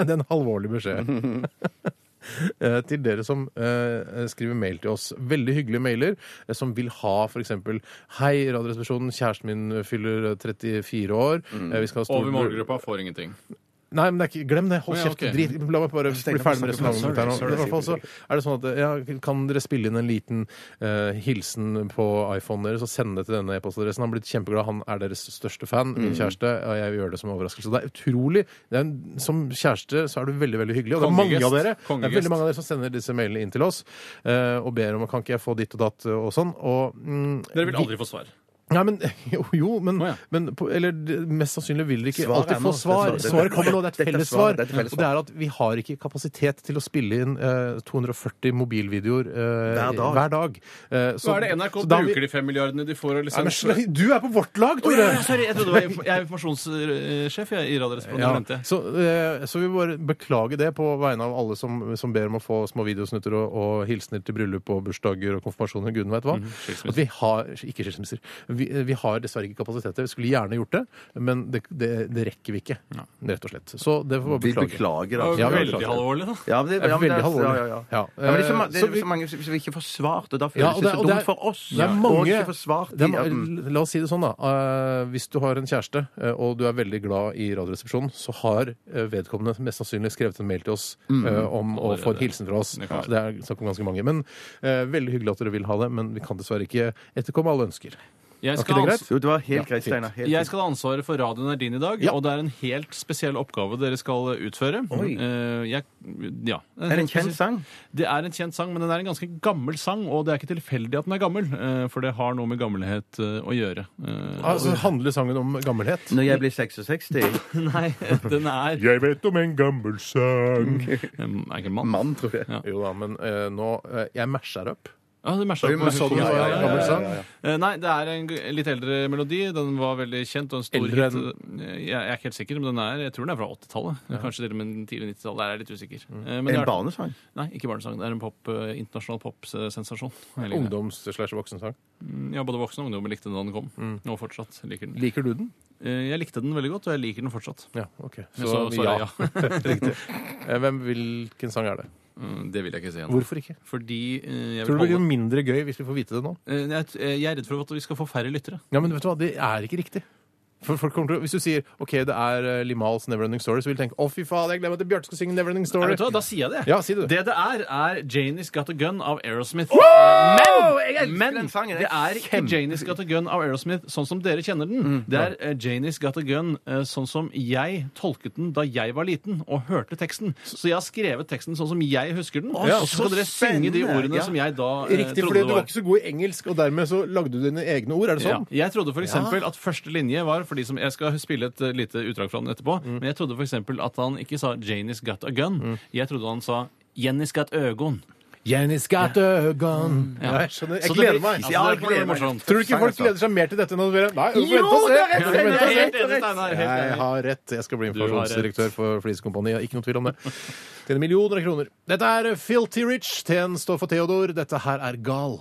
Speaker 3: Det er en alvorlig beskjed. Eh, til dere som eh, skriver mail til oss. Veldig hyggelige mailer eh, som vil ha f.eks.: Hei, Radioresepsjonen. Kjæresten min fyller 34 år. Eh, vi skal ha stor-
Speaker 4: Over målgruppa får ingenting.
Speaker 3: Nei, men det er ikke, glem det. Hold
Speaker 4: Å, ja,
Speaker 3: kjeft.
Speaker 4: ok.
Speaker 3: Drit. La meg bare bli
Speaker 5: tenker jeg
Speaker 3: ferdig med
Speaker 5: på snakke
Speaker 3: resonnementet mitt her nå. Men I hvert fall så er det sånn at ja, Kan dere spille inn en liten eh, hilsen på iPhonen deres og sende det til denne e-postadressen? Han er blitt kjempeglad. Han er deres største fan. Min kjæreste. Og jeg gjør det som en overraskelse. Det er utrolig. Det er en, som kjæreste så er du veldig, veldig hyggelig. Og det er mange
Speaker 4: Kongegest.
Speaker 3: av dere Det er
Speaker 4: Kongegest.
Speaker 3: veldig mange av dere som sender disse mailene inn til oss eh, og ber om Kan ikke jeg få ditt og datt og sånn. Og mm,
Speaker 4: Dere vil aldri få svar.
Speaker 3: Nei, men Jo, jo men,
Speaker 4: Å, ja.
Speaker 3: men på, Eller det- mest sannsynlig vil dere ikke
Speaker 5: Svaret
Speaker 3: alltid
Speaker 5: er
Speaker 3: få
Speaker 5: nå.
Speaker 3: svar.
Speaker 5: Dette-
Speaker 3: Svaret kommer nå. Det er et
Speaker 5: Dette er
Speaker 3: felles
Speaker 5: svar.
Speaker 3: svar.
Speaker 5: Dette er felles
Speaker 3: Og det er at vi har ikke kapasitet til å spille inn eh, 240 mobilvideoer eh,
Speaker 5: Hver dag.
Speaker 3: hver dag. Eh, så,
Speaker 4: Så er det NRK
Speaker 3: så da har vi-
Speaker 4: bruker de fem milliardene de får liksom
Speaker 3: Nei,
Speaker 4: av
Speaker 3: men
Speaker 4: lisens.
Speaker 3: sl- Du er på vårt lag, Tore!
Speaker 4: Ja, sorry, jeg trodde det var inf- jeg er informasjonssjef jeg, i Radioresepsjonen. jeg glemte det.
Speaker 3: Så, eh, så vi bare beklager det på vegne av alle som, som ber om å få små videosnutter og, og hilsener til bryllup og bursdager og konfirmasjoner og gudene veit hva. at vi har, ikke skilsmisser. Vi, eh, vi har dessverre ikke kapasitet til det. Vi skulle gjerne gjort det, men det, det, det rekker vi ikke, rett og slett. Så det får vi
Speaker 5: Vi
Speaker 3: bare beklage.
Speaker 5: beklager,
Speaker 4: Det var
Speaker 5: altså.
Speaker 3: Ja,
Speaker 4: jo
Speaker 3: vi
Speaker 4: veldig
Speaker 3: beklager.
Speaker 4: alvorlig, da.
Speaker 5: Ja, men det,
Speaker 3: Det er
Speaker 5: ja, men det
Speaker 3: veldig alvorlig.
Speaker 5: Ja, ja, ja.
Speaker 3: Ja.
Speaker 5: Ja, men det er så, ma- det
Speaker 3: Så
Speaker 5: er
Speaker 3: vi-
Speaker 5: så mange som som vi ikke får svart, og da føles
Speaker 3: Ja, og
Speaker 5: det,
Speaker 3: er-
Speaker 5: så
Speaker 3: og
Speaker 5: dumt
Speaker 3: er-
Speaker 5: for oss.
Speaker 3: Det er
Speaker 5: Og
Speaker 3: mange,
Speaker 5: ikke få svart mm.
Speaker 3: det er,
Speaker 5: i at den-
Speaker 3: ma- la oss si det sånn, da. Eh, hvis du har en kjæreste, eh, og du er veldig glad i Radioresepsjonen, så har eh, vedkommende mest sannsynlig skrevet en mail til oss
Speaker 5: Mm.
Speaker 3: eh, om å få en hilsen fra oss.
Speaker 4: Det kan være.
Speaker 3: Så det er snakk om ganske mange. Men eh, veldig hyggelig at dere vil ha det, men vi kan dessverre ikke etterkomme alle ønsker.
Speaker 4: Jeg
Speaker 3: Var
Speaker 4: skal,
Speaker 3: ikke det
Speaker 4: ha ans-
Speaker 3: greit?
Speaker 5: Jo, det var helt greit,
Speaker 3: fint.
Speaker 5: Steinar. helt
Speaker 4: jeg
Speaker 5: fint.
Speaker 4: skal ha ansvaret for radioen er din i dag,
Speaker 3: Ja.
Speaker 4: og det er en helt spesiell oppgave dere skal utføre. Eh, jeg, ja.
Speaker 5: Er det en kjent sang?
Speaker 4: Det er en kjent sang, men den er en ganske gammel sang, og det er ikke tilfeldig at den er gammel, eh, for det har noe med gammelhet eh, å gjøre. Eh,
Speaker 3: Altså, handler sangen om gammelhet?
Speaker 5: Når jeg blir 66
Speaker 4: Nei, den er
Speaker 3: Jeg vet om en gammel sang
Speaker 4: Um, Er ikke en mann?
Speaker 5: Mann, tror jeg.
Speaker 3: Mm. Jo da, men eh, nå eh, Jeg masher opp.
Speaker 4: Ja, det matcher
Speaker 5: Oi,
Speaker 4: opp
Speaker 5: men
Speaker 4: med
Speaker 3: sånn,
Speaker 5: så du
Speaker 4: hukommelsen.
Speaker 5: det
Speaker 4: Ja,
Speaker 5: var en
Speaker 4: ja, ja,
Speaker 5: gammel
Speaker 4: ja,
Speaker 5: sang?
Speaker 4: ja, ja. Eh, Nei, det er en g- litt eldre melodi. Den var veldig kjent og en stor
Speaker 3: Eldre
Speaker 4: hit. Eh, Jeg, jeg er ikke helt sikker, men den er, jeg tror den er fra 80-tallet. Kanskje til og med den tidlige 90-tallet. Der er jeg litt usikker. Eh, men det
Speaker 5: En
Speaker 4: er-
Speaker 5: barnesang.
Speaker 4: Nei, ikke barnesang. Det er en pop, eh, internasjonal popsensasjon. Jeg liker det.
Speaker 3: Ungdoms-slash-voksensang.
Speaker 4: Ja, både voksne og ungdommer likte den da den kom, og fortsatt liker den.
Speaker 3: Liker du den?
Speaker 4: Eh, Jeg likte den veldig godt, og jeg liker den fortsatt.
Speaker 3: Ja, OK.
Speaker 4: Så, så, svarer jeg sånn, ja.
Speaker 3: Riktig. Eh, Hvem, hvilken sang er det?
Speaker 4: Mm, Det vil jeg ikke si ennå.
Speaker 3: Hvorfor ikke?
Speaker 4: Fordi eh, jeg,
Speaker 3: Tror
Speaker 4: vil
Speaker 3: du det blir
Speaker 4: holde,
Speaker 3: mindre gøy hvis vi får vite det nå?
Speaker 4: Eh, jeg, jeg er redd for at vi skal få færre lyttere.
Speaker 3: Ja, men vet du hva, det er ikke riktig. For folk kommer til, å- hvis du sier ok, det er eh, Limals Neverending Story, så vil de tenke å fy faen, jeg glemmer at Bjarte skal synge Neverending
Speaker 4: Nei,
Speaker 3: Story.
Speaker 4: vet du hva? Da sier jeg det.
Speaker 3: Ja, si det.
Speaker 4: Det det er, er Janie's Got a Gun av Aerosmith.
Speaker 5: elsker
Speaker 4: men men
Speaker 5: den sangen.
Speaker 4: det
Speaker 5: Det er
Speaker 4: er ikke Janie's Got a Gun av Aerosmith sånn som dere kjenner den.
Speaker 3: Mm,
Speaker 4: Det er eh, Janie's Got a Gun eh, sånn som jeg tolket den da jeg var liten og hørte teksten. Så jeg har skrevet teksten sånn som jeg husker den. og så
Speaker 5: så
Speaker 4: skal dere synge de
Speaker 5: spennende.
Speaker 4: ordene
Speaker 5: Ja.
Speaker 4: som jeg da eh,
Speaker 3: Riktig, fordi
Speaker 4: trodde
Speaker 3: du
Speaker 4: det
Speaker 3: var
Speaker 4: var.
Speaker 3: ikke så god i engelsk, og dermed så lagde du dine egne ord. Er det
Speaker 4: Ja.
Speaker 3: sånn?
Speaker 4: Jeg trodde for eksempel at første linje var for de som Jeg skal spille et eh, lite utdrag fra den etterpå. Men jeg trodde for eksempel at han ikke sa 'Janie's got a gun'. Jeg trodde han sa 'Jenny's got øgon'.
Speaker 3: Jenny's got a gun. Ja, jeg skjønner. Jeg
Speaker 4: Så det
Speaker 3: gleder
Speaker 4: blir-
Speaker 3: meg.
Speaker 4: Altså,
Speaker 5: Ja,
Speaker 4: det kommer
Speaker 5: jeg
Speaker 4: til å bli
Speaker 5: gleder meg.
Speaker 4: morsomt.
Speaker 3: Tror du ikke folk
Speaker 5: sang, altså.
Speaker 3: gleder seg mer til dette enn å være Nei,
Speaker 5: Jo,
Speaker 3: vent og
Speaker 5: det
Speaker 3: se!
Speaker 5: er rett,
Speaker 3: Ja, vent og
Speaker 4: Jeg er
Speaker 3: se.
Speaker 4: helt enig, Steinar. Helt
Speaker 3: Jeg
Speaker 4: enig.
Speaker 3: har rett. Jeg skal bli
Speaker 4: har rett.
Speaker 3: informasjonsdirektør for Flisekompaniet. Ikke noen tvil om det. Tjener millioner av kroner. Dette er Filty Rich. T-en står for Theodor. Dette her er Gal.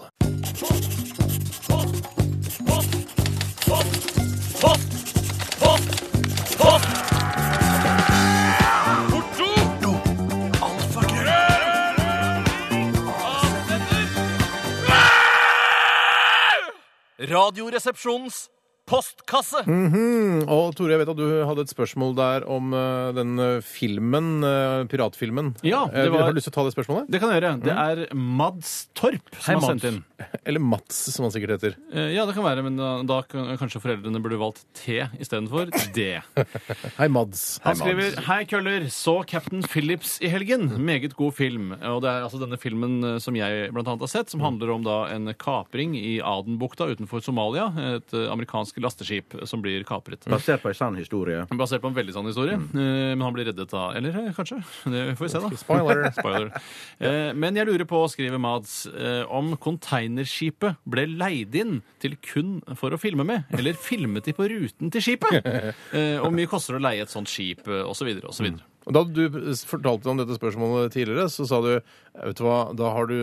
Speaker 6: Radioresepsjonens postkasse.
Speaker 4: Mm.
Speaker 3: Og Tore, jeg vet at du hadde et spørsmål der om eh, den eh, filmen, eh, piratfilmen.
Speaker 4: Ja,
Speaker 3: Eh,
Speaker 4: det var-
Speaker 3: Har du lyst til å ta det spørsmålet?
Speaker 4: Det kan jeg gjøre. Det er Mads Torp som har sendt inn.
Speaker 3: Eller Mats, som han sikkert heter.
Speaker 4: Eh, Ja, det kan være, men da, da kan- kanskje foreldrene burde valgt T istedenfor D.
Speaker 3: Hei, Mads.
Speaker 4: Han skriver Hei, køller. Så Captain Phillips i helgen. Meget god film. Og det er altså denne filmen eh, som jeg blant annet har sett, som handler om da en kapring i Adenbukta utenfor Somalia. Et eh, amerikansk lasteskip som blir kapret.
Speaker 5: Basert på en sann historie.
Speaker 4: Basert på en veldig sann historie. Eh, Men han blir reddet da. Eller eh, kanskje. Det får vi se, da.
Speaker 3: Spoiler.
Speaker 4: Spoiler. Eh, Men jeg lurer på, skriver Mads, eh, om containerskipet ble leid inn til kun for å filme med, eller filmet de på ruten til skipet? Eh, Hvor mye koster det å leie et sånt skip, eh, og så videre, og så videre.
Speaker 3: Og Da du fortalte om dette spørsmålet tidligere, så sa du vet du hva, da har du,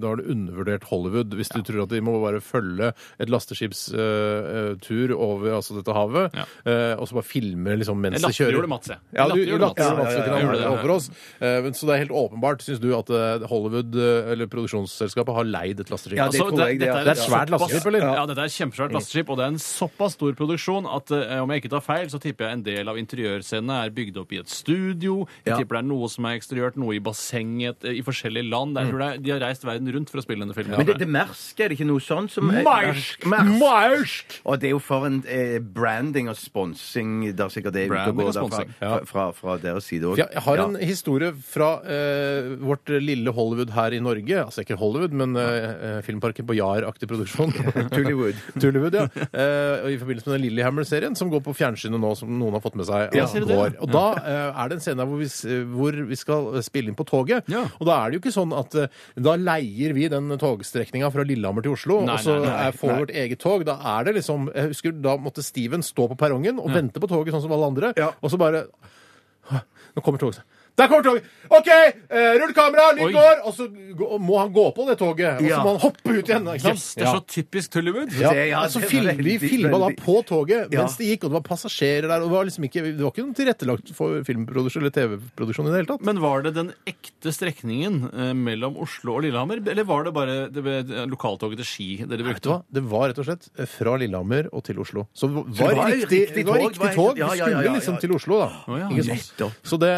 Speaker 3: da har du undervurdert Hollywood hvis du tror at de må bare følge et lasteskips eh, eh, tur over altså dette havet,
Speaker 4: Ja.
Speaker 3: eh, og så bare filme liksom, mens
Speaker 4: Jeg
Speaker 3: de kjører.
Speaker 4: lattergjorde Mats, jeg. Jeg
Speaker 3: Ja, du
Speaker 4: lattergjorde Mats.
Speaker 3: lattergjorde Mats
Speaker 4: Ja,
Speaker 3: litt
Speaker 4: ja, ja, ja,
Speaker 3: grann
Speaker 4: jeg gjorde det.
Speaker 3: overfor oss. Eh, men Så det er helt åpenbart, syns du, at eh, Hollywood eh, eller produksjonsselskapet har leid et lasteskip.
Speaker 5: Ja, det
Speaker 4: Altså,
Speaker 5: tror jeg det er.
Speaker 4: dette
Speaker 3: Det er et svært
Speaker 4: såpass-
Speaker 3: lasteskip, eller?
Speaker 4: Ja, dette er et kjempesvært lasteskip, og det er en såpass stor produksjon at eh, om jeg ikke tar feil, så tipper jeg en del av interiørscenene er bygd opp i et studio, studio. Jeg
Speaker 3: Ja.
Speaker 4: tipper det er noe som er eksteriørt, noe i bassenget, eh, i forskjellige land. Det er- Jeg tror det er, de har reist verden rundt for å spille denne filmen.
Speaker 5: Men det, det er Mersk, er det ikke noe sånn som
Speaker 3: Altså,
Speaker 4: Mersk!
Speaker 5: Mersk.
Speaker 3: Mausk!
Speaker 5: Og det er jo for en eh, branding og sponsing Det er sikkert det ute og
Speaker 4: Branding
Speaker 5: går
Speaker 4: og
Speaker 5: der fra,
Speaker 4: sponsing,
Speaker 5: fra, fra, fra deres side òg.
Speaker 3: Ja, jeg har en historie fra eh, vårt lille Hollywood her i Norge. Altså ikke Hollywood, men eh, eh, Filmparken på Jar-aktig produksjon.
Speaker 5: Tullywood.
Speaker 3: Tullywood, ja. Eh, og I forbindelse med den Lillehammer-serien som går på fjernsynet nå, som noen har fått med seg.
Speaker 4: Ja,
Speaker 3: at
Speaker 4: ser du det?
Speaker 3: går. Og da eh, er det en scene hvor vi, s- hvor vi skal eh, spille inn på toget.
Speaker 4: Ja.
Speaker 3: Og da er det jo ikke sånn at eh, da leier vi den togstrekninga fra Lillehammer til Oslo,
Speaker 4: Nei,
Speaker 3: og så
Speaker 4: nei, nei,
Speaker 3: er- får vi vårt eget tog. Da er det liksom Jeg husker da måtte Steven stå på perrongen og vente på toget sånn som alle andre, og så bare nå kommer toget. Der kommer toget! OK, eh, rull kamera,
Speaker 4: Oi.
Speaker 3: lyd går! Og så gå- må han gå på det toget. Og så
Speaker 5: Ja.
Speaker 3: må han hoppe ut igjen. Ikke sant?
Speaker 4: Yes, det er så typisk Tullywood.
Speaker 3: Ja.
Speaker 5: Det- ja,
Speaker 3: og så
Speaker 5: det er
Speaker 3: film, vi
Speaker 5: veldig,
Speaker 3: filma da
Speaker 5: veldig.
Speaker 3: på toget
Speaker 5: Ja.
Speaker 3: mens det gikk, og det var passasjerer der. Og det var liksom ikke, det var ikke noe tilrettelagt for filmproduksjon eller TV-produksjon i det hele tatt.
Speaker 4: Men var det den ekte strekningen eh, mellom Oslo og Lillehammer, eller var det bare det, det, lokaltoget til Ski dere
Speaker 3: Vet du hva?
Speaker 4: brukte?
Speaker 3: Det var rett og slett eh, fra Lillehammer og til Oslo. Så det var,
Speaker 5: det var
Speaker 3: riktig,
Speaker 5: riktig
Speaker 3: det var
Speaker 5: tog,
Speaker 3: riktig
Speaker 5: var helt-
Speaker 3: tog. Vi
Speaker 5: ja, ja, ja,
Speaker 3: skulle
Speaker 5: ja,
Speaker 3: liksom
Speaker 5: ja.
Speaker 3: til Oslo, da.
Speaker 4: Å ja,
Speaker 3: Ikke sant?
Speaker 5: nettopp.
Speaker 3: Så, det,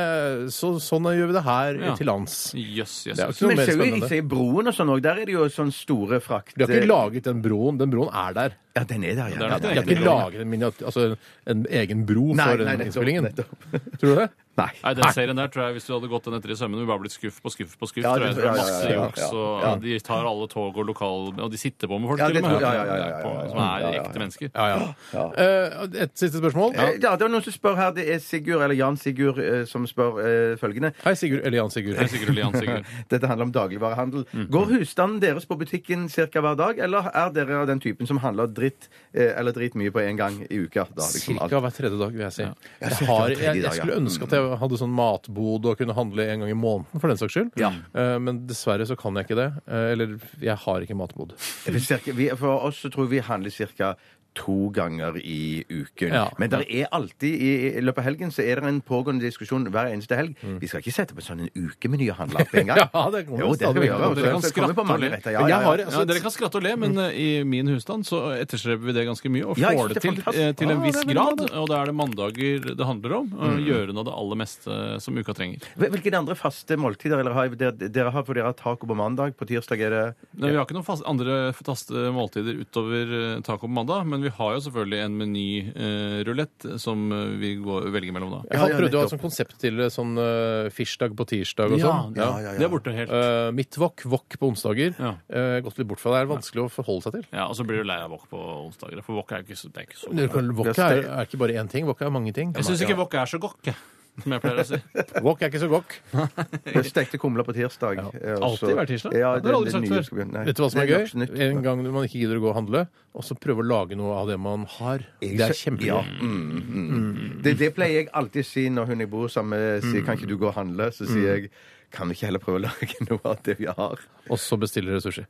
Speaker 3: så sånn gjør vi det her eh,
Speaker 4: Ja.
Speaker 3: til lands.
Speaker 4: Jøss, jøss,
Speaker 3: Det er jo
Speaker 4: jøss.
Speaker 3: ikke noe
Speaker 5: Men
Speaker 3: mer
Speaker 5: ser jo i
Speaker 3: spennende.
Speaker 5: ser i broen og sånn òg. Der er det jo sånn store frakt...
Speaker 3: De har ikke laget den broen. Den broen er der.
Speaker 5: Ja, den er der, ja.
Speaker 4: er
Speaker 5: Ja,
Speaker 4: nok
Speaker 5: den
Speaker 3: De
Speaker 5: er
Speaker 3: har ikke
Speaker 5: der.
Speaker 3: laget en, miniat- altså en, en egen bro
Speaker 5: Nei,
Speaker 3: for
Speaker 5: nei,
Speaker 3: den
Speaker 5: nettopp,
Speaker 3: innspillingen.
Speaker 5: nettopp.
Speaker 3: Tror du det?
Speaker 5: Nei.
Speaker 4: Nei, den serien der tror jeg Hvis du hadde gått den etter i sømmene, ville du bare blitt skuff på skuff på skuff.
Speaker 5: Ja,
Speaker 4: tror jeg.
Speaker 5: det-
Speaker 4: Det er
Speaker 5: ja, ja,
Speaker 4: masse
Speaker 5: ja, ja,
Speaker 4: juks,
Speaker 5: ja,
Speaker 4: og
Speaker 5: ja.
Speaker 4: de tar alle tog og lokal... Og de sitter på med folk,
Speaker 5: Ja,
Speaker 4: til
Speaker 5: det
Speaker 4: og med.
Speaker 5: tror jeg, ja, ja, ja, ja, ja, ja.
Speaker 4: Som er
Speaker 5: Ja, ja, ja.
Speaker 4: ekte mennesker.
Speaker 3: Ja, ja. Eh, et siste spørsmål.
Speaker 5: Eh, Ja, det er noen som spør her. Det er Sigurd, eller Jan Sigurd, eh, som spør eh, følgende.
Speaker 3: Hei, Sigurd. Eller Jan Sigurd.
Speaker 4: Det er sikkert Lian, sikkert.
Speaker 5: Dette handler om dagligvarehandel.
Speaker 3: Mhm.
Speaker 5: Går husstanden deres på butikken ca. hver dag, eller er dere av den typen som handler dritt eh, eller dritt mye på en gang i uka? Da, liksom, alt-
Speaker 3: Cirka hver tredje dag, vil jeg si. Jeg,
Speaker 5: cirka
Speaker 3: har,
Speaker 5: hver tredje
Speaker 3: jeg, jeg
Speaker 5: dag, ja. Mm.
Speaker 3: skulle ønske at jeg hadde sånn matbod og kunne handle en gang i måneden, for den saks skyld.
Speaker 5: Ja.
Speaker 3: Eh, Men dessverre så kan jeg ikke det. Eh, Eller jeg har ikke matbod.
Speaker 5: For cirka- vi, for oss så tror vi handler ca. to ganger i uken.
Speaker 3: Ja.
Speaker 5: Men det er alltid i, i løpet av helgen så er det en pågående diskusjon hver eneste helg. Vi skal ikke sette på en sånn en ukemeny og handle opp en gang.
Speaker 3: Mm. Ja, det kommer
Speaker 5: jo, det skal
Speaker 3: stadig
Speaker 5: vi
Speaker 3: vekk.
Speaker 5: gjøre.
Speaker 4: Dere kan
Speaker 5: Så det kommer
Speaker 4: skratte
Speaker 5: på mange
Speaker 4: og le.
Speaker 5: retter. Ja,
Speaker 3: Men
Speaker 5: ja,
Speaker 3: jeg har- altså-
Speaker 5: ja.
Speaker 4: Ja, dere kan skratte og le, men eh, i min husstand så etterstreber vi det ganske mye. Og
Speaker 5: Ja,
Speaker 4: får
Speaker 5: jeg synes
Speaker 4: det
Speaker 5: det er
Speaker 4: til
Speaker 5: fantastisk.
Speaker 4: eh, til en
Speaker 5: Ja,
Speaker 4: viss
Speaker 5: det er veldig
Speaker 4: grad.
Speaker 5: bra, Mm.
Speaker 4: Og da er det mandager det handler om. Å gjøre noe av det aller meste eh, som uka trenger.
Speaker 5: Hvil- Hvilke andre faste måltider eller har dere, dere har? For dere har taco på mandag. På tirsdag er det
Speaker 4: Nei, vi har ikke noen fast, andre faste måltider utover eh, taco på mandag, men vi har jo selvfølgelig en menyrulett som eh, vi går, velger mellom da.
Speaker 3: Jeg har
Speaker 5: Ja, ja,
Speaker 3: prøvd å ha
Speaker 5: nettopp.
Speaker 3: sånn konsept til eh, sånn uh, firsdag på tirsdag og sånn. Ja.
Speaker 4: Det er borte helt.
Speaker 3: Eh, mitt wok, wok på onsdager.
Speaker 4: Ja.
Speaker 3: Eh, gått litt bort fra det. Det er vanskelig å forholde seg til.
Speaker 4: Ja, Og så blir du lei av wok på onsdager. For wok er jo ikke så, det er ikke så
Speaker 3: Men Wok er, er ikke bare én ting. Wok er mange ting.
Speaker 4: Jeg syns ikke wok er så gokk, jeg, som jeg pleier å si.
Speaker 3: Wok er ikke så wok.
Speaker 5: Jeg stekte kumler på tirsdag. eh, og så-
Speaker 4: Alltid hver tirsdag?
Speaker 5: Ja,
Speaker 4: Det har
Speaker 5: det, det,
Speaker 4: du aldri sagt
Speaker 5: nye
Speaker 4: før.
Speaker 5: skal begynne. Nei,
Speaker 3: Vet du hva som er
Speaker 5: det
Speaker 3: gøy?
Speaker 5: nokså nytt.
Speaker 3: En gang man ikke gidder å gå og handle, og så prøve å lage noe av det man har. Det er kjempegøy.
Speaker 5: Ja, mm, mm. Mm. Det, det pleier jeg alltid å si når hun jeg bor sammen med, sier kan ikke du gå og handle? Så sier jeg kan vi ikke heller prøve å lage noe av det vi har?
Speaker 3: Og så bestiller dere sushi.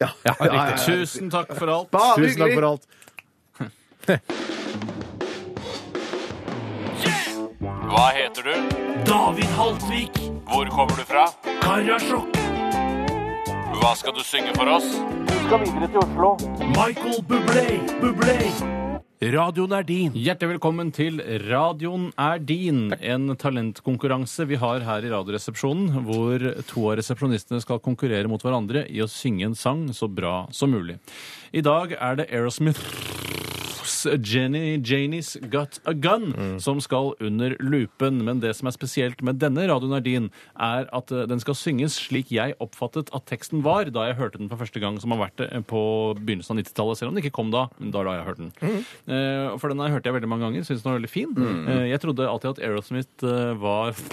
Speaker 5: Ja,
Speaker 4: Tusen takk for alt.
Speaker 5: Bare
Speaker 3: Tusen takk
Speaker 5: Ah, hyggelig.
Speaker 3: for alt.
Speaker 7: Hva heter du? David Haltvik. Hvor kommer du fra? Karasjok. Hva skal du synge for oss?
Speaker 6: Michael Bublé, Bublé. Radioen er din.
Speaker 4: Hjertelig velkommen til Radioen er din, en talentkonkurranse vi har her i Radioresepsjonen, hvor to av resepsjonistene skal konkurrere mot hverandre i å synge en sang så bra som mulig. I dag er det Aerosmiths Jenny Janie's Got a Gun som skal under lupen. Men det som er spesielt med denne Radioen er din, er at eh, den skal synges slik jeg oppfattet at teksten var da jeg hørte den for første gang, som har vært det eh, på begynnelsen av 90-tallet, selv om den ikke kom da. Men da da jeg hørte den. Eh, for den har jeg hørt jeg veldig mange ganger, syns den var veldig fin. Eh, jeg trodde alltid at Aerosmith eh, var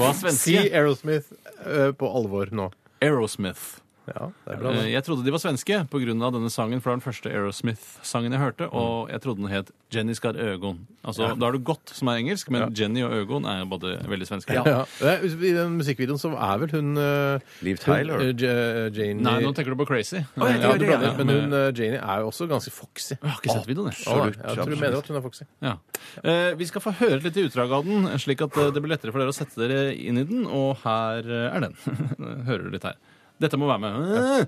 Speaker 4: var
Speaker 3: Si
Speaker 4: svenske.
Speaker 3: Aerosmith eh, på alvor nå.
Speaker 4: Aerosmith.
Speaker 3: Ja, det er bra.
Speaker 4: Eh, Jeg trodde de var svenske pga. denne sangen, for det var den første Aerosmith-sangen jeg hørte. Og jeg trodde den het 'Jenny skal Øgon'. Altså, Da har du godt, som er engelsk, men Jenny og Øgon er jo både veldig svenske.
Speaker 3: Ja. Eh, I den musikkvideoen så er vel hun eh,
Speaker 5: Liv
Speaker 3: hun, eh,
Speaker 5: Tyler.
Speaker 3: Ja- Janie
Speaker 4: Nei, nå tenker du på Crazy.
Speaker 5: jeg
Speaker 3: ja,
Speaker 5: tror
Speaker 3: du
Speaker 5: det, ja.
Speaker 3: blander, Men hun, eh, Janie er jo også ganske foxy.
Speaker 4: Jeg har ikke sett videoen, jeg.
Speaker 3: Ja, jeg tror du mener at hun er foxy.
Speaker 4: Ja. Eh, vi skal få høre et lite utdrag av den, slik at eh, det blir lettere for dere å sette dere inn i den. Og her eh, er den. Hører du litt her. Dette må være med.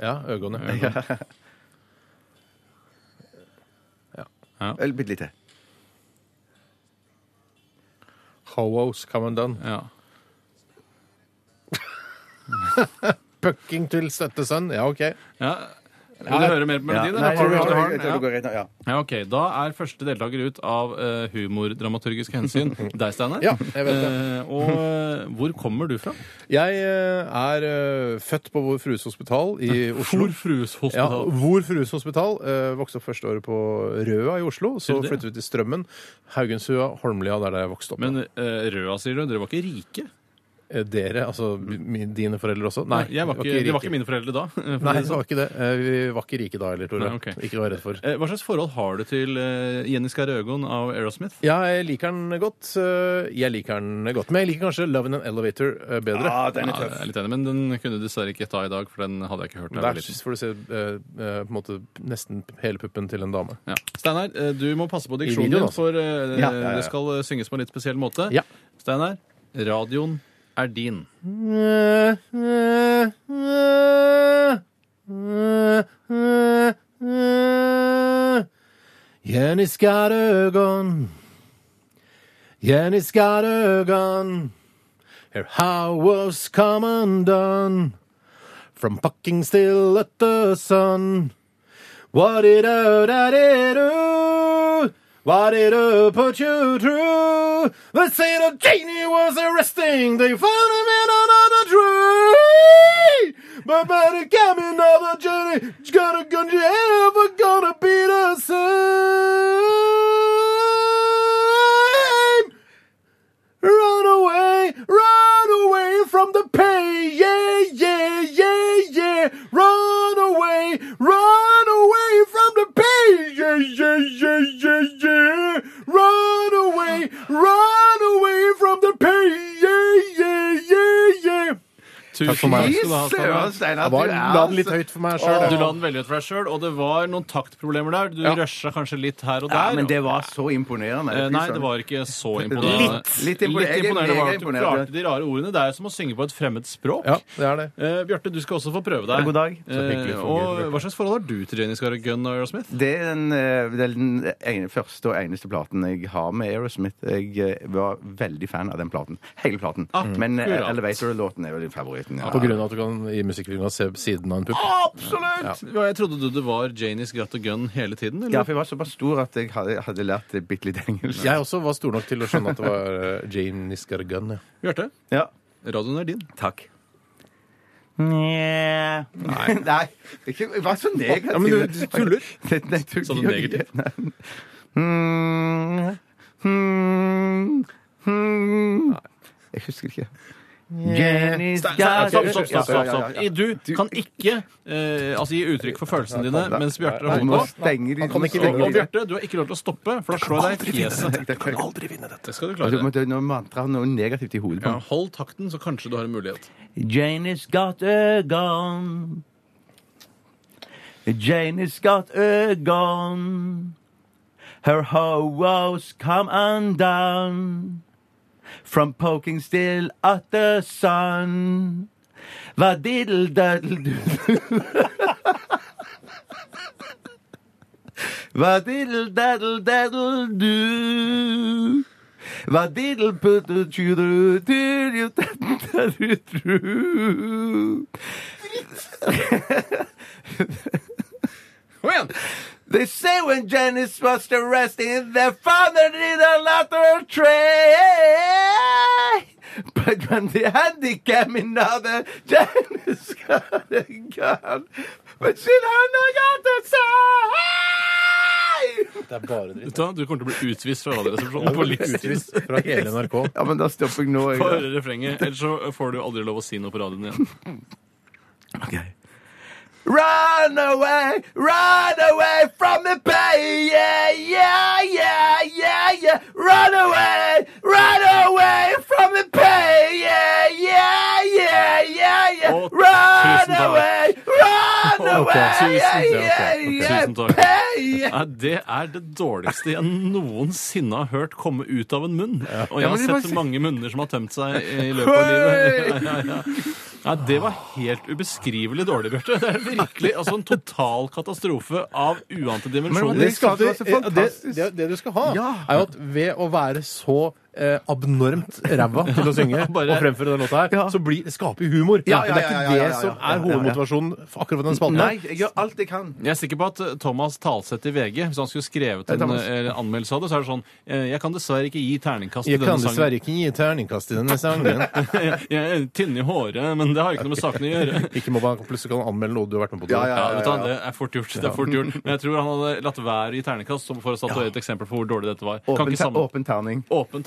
Speaker 3: Ja, Øgon, ja.
Speaker 5: Eller bitte lite.
Speaker 3: Howos Commandant.
Speaker 4: Ja.
Speaker 3: Pucking til støttesønn. Ja, OK.
Speaker 4: ja. Vil du høre mer på melodien? eller?
Speaker 5: Nei,
Speaker 4: Har du-
Speaker 5: jeg
Speaker 4: har du-
Speaker 5: tror- jeg
Speaker 4: ja.
Speaker 5: tror det går greit nå. Ja.
Speaker 4: Ja, ok. Da er første deltaker ut av eh, humordramaturgiske hensyn deg, Steinar.
Speaker 3: Ja, jeg vet det.
Speaker 4: Eh, og eh, hvor kommer du fra?
Speaker 3: Jeg eh, er eh, født på Vår Frues Hospital i Oslo.
Speaker 4: Hvor Frues
Speaker 3: Ja,
Speaker 4: hospital.
Speaker 3: Vår Frues Hospital. eh, vokste opp første året på Røa i Oslo. Så
Speaker 4: du det?
Speaker 3: flyttet vi til Strømmen, Haugenstua, Holmlia. Det er der jeg vokste opp.
Speaker 4: Men eh, Røa, sier du? Dere var ikke rike?
Speaker 3: Eh, Dere, altså mi- dine foreldre også? Nei,
Speaker 4: Mm. jeg var ikke,
Speaker 3: rike.
Speaker 4: det var ikke mine foreldre da. for å
Speaker 3: Nei,
Speaker 4: si det
Speaker 3: det
Speaker 4: sånn.
Speaker 3: var ikke det. Eh, Vi var ikke rike da heller, Tore.
Speaker 4: Nei, ok.
Speaker 3: Ikke vær redd for.
Speaker 4: Eh, Hva slags forhold har du til eh, Jenny Skarøgon av Aerosmith?
Speaker 3: Ja, jeg liker den godt. Eh, Jeg liker den godt. Men jeg liker kanskje Love in an Elevator eh, bedre.
Speaker 5: Ah, den er
Speaker 4: Ja,
Speaker 5: tøff.
Speaker 4: jeg er litt enig, men den kunne du dessverre ikke ta i dag, for den hadde jeg ikke hørt. da jeg var
Speaker 3: Der
Speaker 4: liten.
Speaker 3: får du se eh, eh, på en måte nesten hele puppen til en dame.
Speaker 4: Ja. Steinar, eh, du må passe på diksjonen
Speaker 3: videoen,
Speaker 4: din,
Speaker 3: altså.
Speaker 4: for eh,
Speaker 5: Ja, ja, ja.
Speaker 4: det skal eh, synges på en litt spesiell måte.
Speaker 3: Ja.
Speaker 4: Steinar, radioen er din.
Speaker 3: Jenny Skarøgon, Jenny Skarøgon, her how was commandant, from fucking still at the sun. What it oh da did oh What it oh put you through The saint of Janie was arresting They found him in another tree But by the cabin of the journey It's gonna gun you ever gonna be the same Run away, run away from the pain. Yeah, yeah, yeah, yeah. Run away, run away from the pain. Yeah, yeah, yeah, yeah, yeah. Run away, run away from the pain. Yeah, yeah, yeah, yeah.
Speaker 4: Tusen
Speaker 3: for meg.
Speaker 4: skal du ha, Steinar.
Speaker 5: Steinar,
Speaker 3: Jeg var, la den litt høyt for meg sjøl.
Speaker 4: Du la den veldig ut for deg sjøl, og det var noen taktproblemer der. Du rusha kanskje litt her og der.
Speaker 5: Ja, men det var så imponerende.
Speaker 4: Eh, Nei, det var ikke så imponerende.
Speaker 5: Litt. Litt imponerende. Jeg er
Speaker 4: var
Speaker 5: mega
Speaker 4: at du
Speaker 5: imponert.
Speaker 4: klarte de rare ordene. Det er jo som å synge på et fremmed språk.
Speaker 3: Ja, det er det.
Speaker 4: Eh, Bjarte, du skal også få prøve deg.
Speaker 5: Ja, god dag.
Speaker 4: Eh, og hva slags forhold har du til Jenny Scarre Gunn og Aerosmith?
Speaker 5: Det er den, eh, det er den ene, første og eneste platen jeg har med Aerosmith. Jeg eh, var veldig fan av den platen. Hele platen. Men eh,
Speaker 4: Akkurat.
Speaker 5: Elevator-låten er vel favoritten. Ja.
Speaker 3: På grunn av at du kan i musikkvideoen se siden av en pupp.
Speaker 5: Absolutt!
Speaker 4: Ja, Jeg trodde du det var Janies Gratt og Gunn hele tiden?
Speaker 5: Ja,
Speaker 4: Eller?
Speaker 5: for jeg var såpass stor at jeg hadde, hadde lært eh, bitte litt engelsk.
Speaker 3: Jeg også var stor nok til å skjønne at det var eh, Jane Niskargun. Ja.
Speaker 4: Bjarte,
Speaker 5: Ja.
Speaker 4: radioen er din.
Speaker 5: Takk. Nei. Nei. Ikke, vær så negativ.
Speaker 3: Ja, men du- du tuller.
Speaker 5: Nei, nei, du-
Speaker 4: Sa du negativ?
Speaker 5: Nei. Mm. Mm. Mm. Jeg husker ikke. Jenny
Speaker 4: Stopp, stopp, stopp. stopp, stopp,
Speaker 5: Ja, ja, ja, ja.
Speaker 4: I- Du kan ikke eh, altså, gi uttrykk for følelsene dine mens Bjarte
Speaker 5: Du
Speaker 4: holder
Speaker 5: må
Speaker 4: på.
Speaker 5: stenge de
Speaker 3: Han kan ikke
Speaker 5: du må-
Speaker 4: Og, og Bjarte, du har ikke lov til å stoppe, for da slår jeg deg i fjeset.
Speaker 5: Du kan aldri-
Speaker 4: Det skal du
Speaker 5: Du
Speaker 4: klare.
Speaker 5: må du må mantra noe negativt i hodet på
Speaker 4: Ja,
Speaker 5: ham.
Speaker 4: hold takten, så kanskje du har en mulighet.
Speaker 5: Janie's got a gun. Janie's got a gun. Her hoes come undone from poking still at the sun. Va diddle daddle doodle. Va diddle daddle daddle do. Va diddle put the children to you that you true.
Speaker 4: Kom igjen!
Speaker 5: They say when Janice was arrested, their father did a lot of tray. But when they had the cam another, Janice got a gun. But she don't know got the side.
Speaker 3: Det er bare dritt.
Speaker 4: Vet Du hva, du kommer til å bli utvist fra Radioresepsjonen på livstid.
Speaker 3: Utvist fra hele NRK.
Speaker 5: Ja, men da stopper jeg nå.
Speaker 4: Få høre refrenget, ellers så får du aldri lov å si noe på radioen igjen.
Speaker 5: Run away, run away from the pain. Yeah, yeah, yeah, yeah, yeah. Run away, run away from the pain. Yeah, yeah, yeah, yeah, yeah.
Speaker 4: Og
Speaker 5: Run
Speaker 4: tusen takk.
Speaker 5: away, run
Speaker 4: Ok,
Speaker 5: away. Yeah,
Speaker 4: tusen
Speaker 5: yeah,
Speaker 4: takk.
Speaker 5: yeah.
Speaker 4: Tusen takk.
Speaker 5: Pain.
Speaker 4: Nei, det er det dårligste jeg noensinne har hørt komme ut av en munn. Og jeg
Speaker 5: Ja,
Speaker 4: har
Speaker 5: men det var-
Speaker 4: sett mange munner som har tømt seg i løpet av livet. Ja, ja, ja. Nei, det var helt ubeskrivelig dårlig, Bjarte. Det er virkelig altså, en total katastrofe av uante dimensjoner.
Speaker 5: det skal du-
Speaker 3: det, det, det, det du skal ha, er jo at ved å være så eh, abnormt ræva til å synge
Speaker 4: Bare-
Speaker 3: og fremføre den låta her, så blir, skaper humor.
Speaker 5: Ja, ja, ja, ja,
Speaker 3: Det er
Speaker 5: ja,
Speaker 3: ikke det
Speaker 5: ja,
Speaker 3: som
Speaker 5: ja, ja,
Speaker 3: er hovedmotivasjonen for akkurat for den spalten.
Speaker 5: Nei, jeg gjør alt jeg kan.
Speaker 4: Jeg er sikker på at eh, Thomas Talseth i VG, hvis han skulle skrevet en eh, anmeldelse av det, så er det sånn eh, Jeg kan dessverre ikke gi terningkast til
Speaker 3: Jeg kan
Speaker 4: denne sangen.
Speaker 3: dessverre ikke gi terningkast i denne sangen.
Speaker 4: Jeg er tynn i håret, men det har jo ikke noe med saken å gjøre.
Speaker 3: Ikke må man plutselig kan anmelde noe du har vært med på.
Speaker 5: Ja, ja,
Speaker 4: Ja, vet du, hva, Det er fort gjort. det er fort gjort. Men jeg tror han hadde latt være i terningkast som for å statuere et eksempel på hvor dårlig dette var. Kan
Speaker 5: Åpen,
Speaker 4: ikke
Speaker 5: ter
Speaker 4: sammen...
Speaker 5: åpen terning.
Speaker 4: Åpen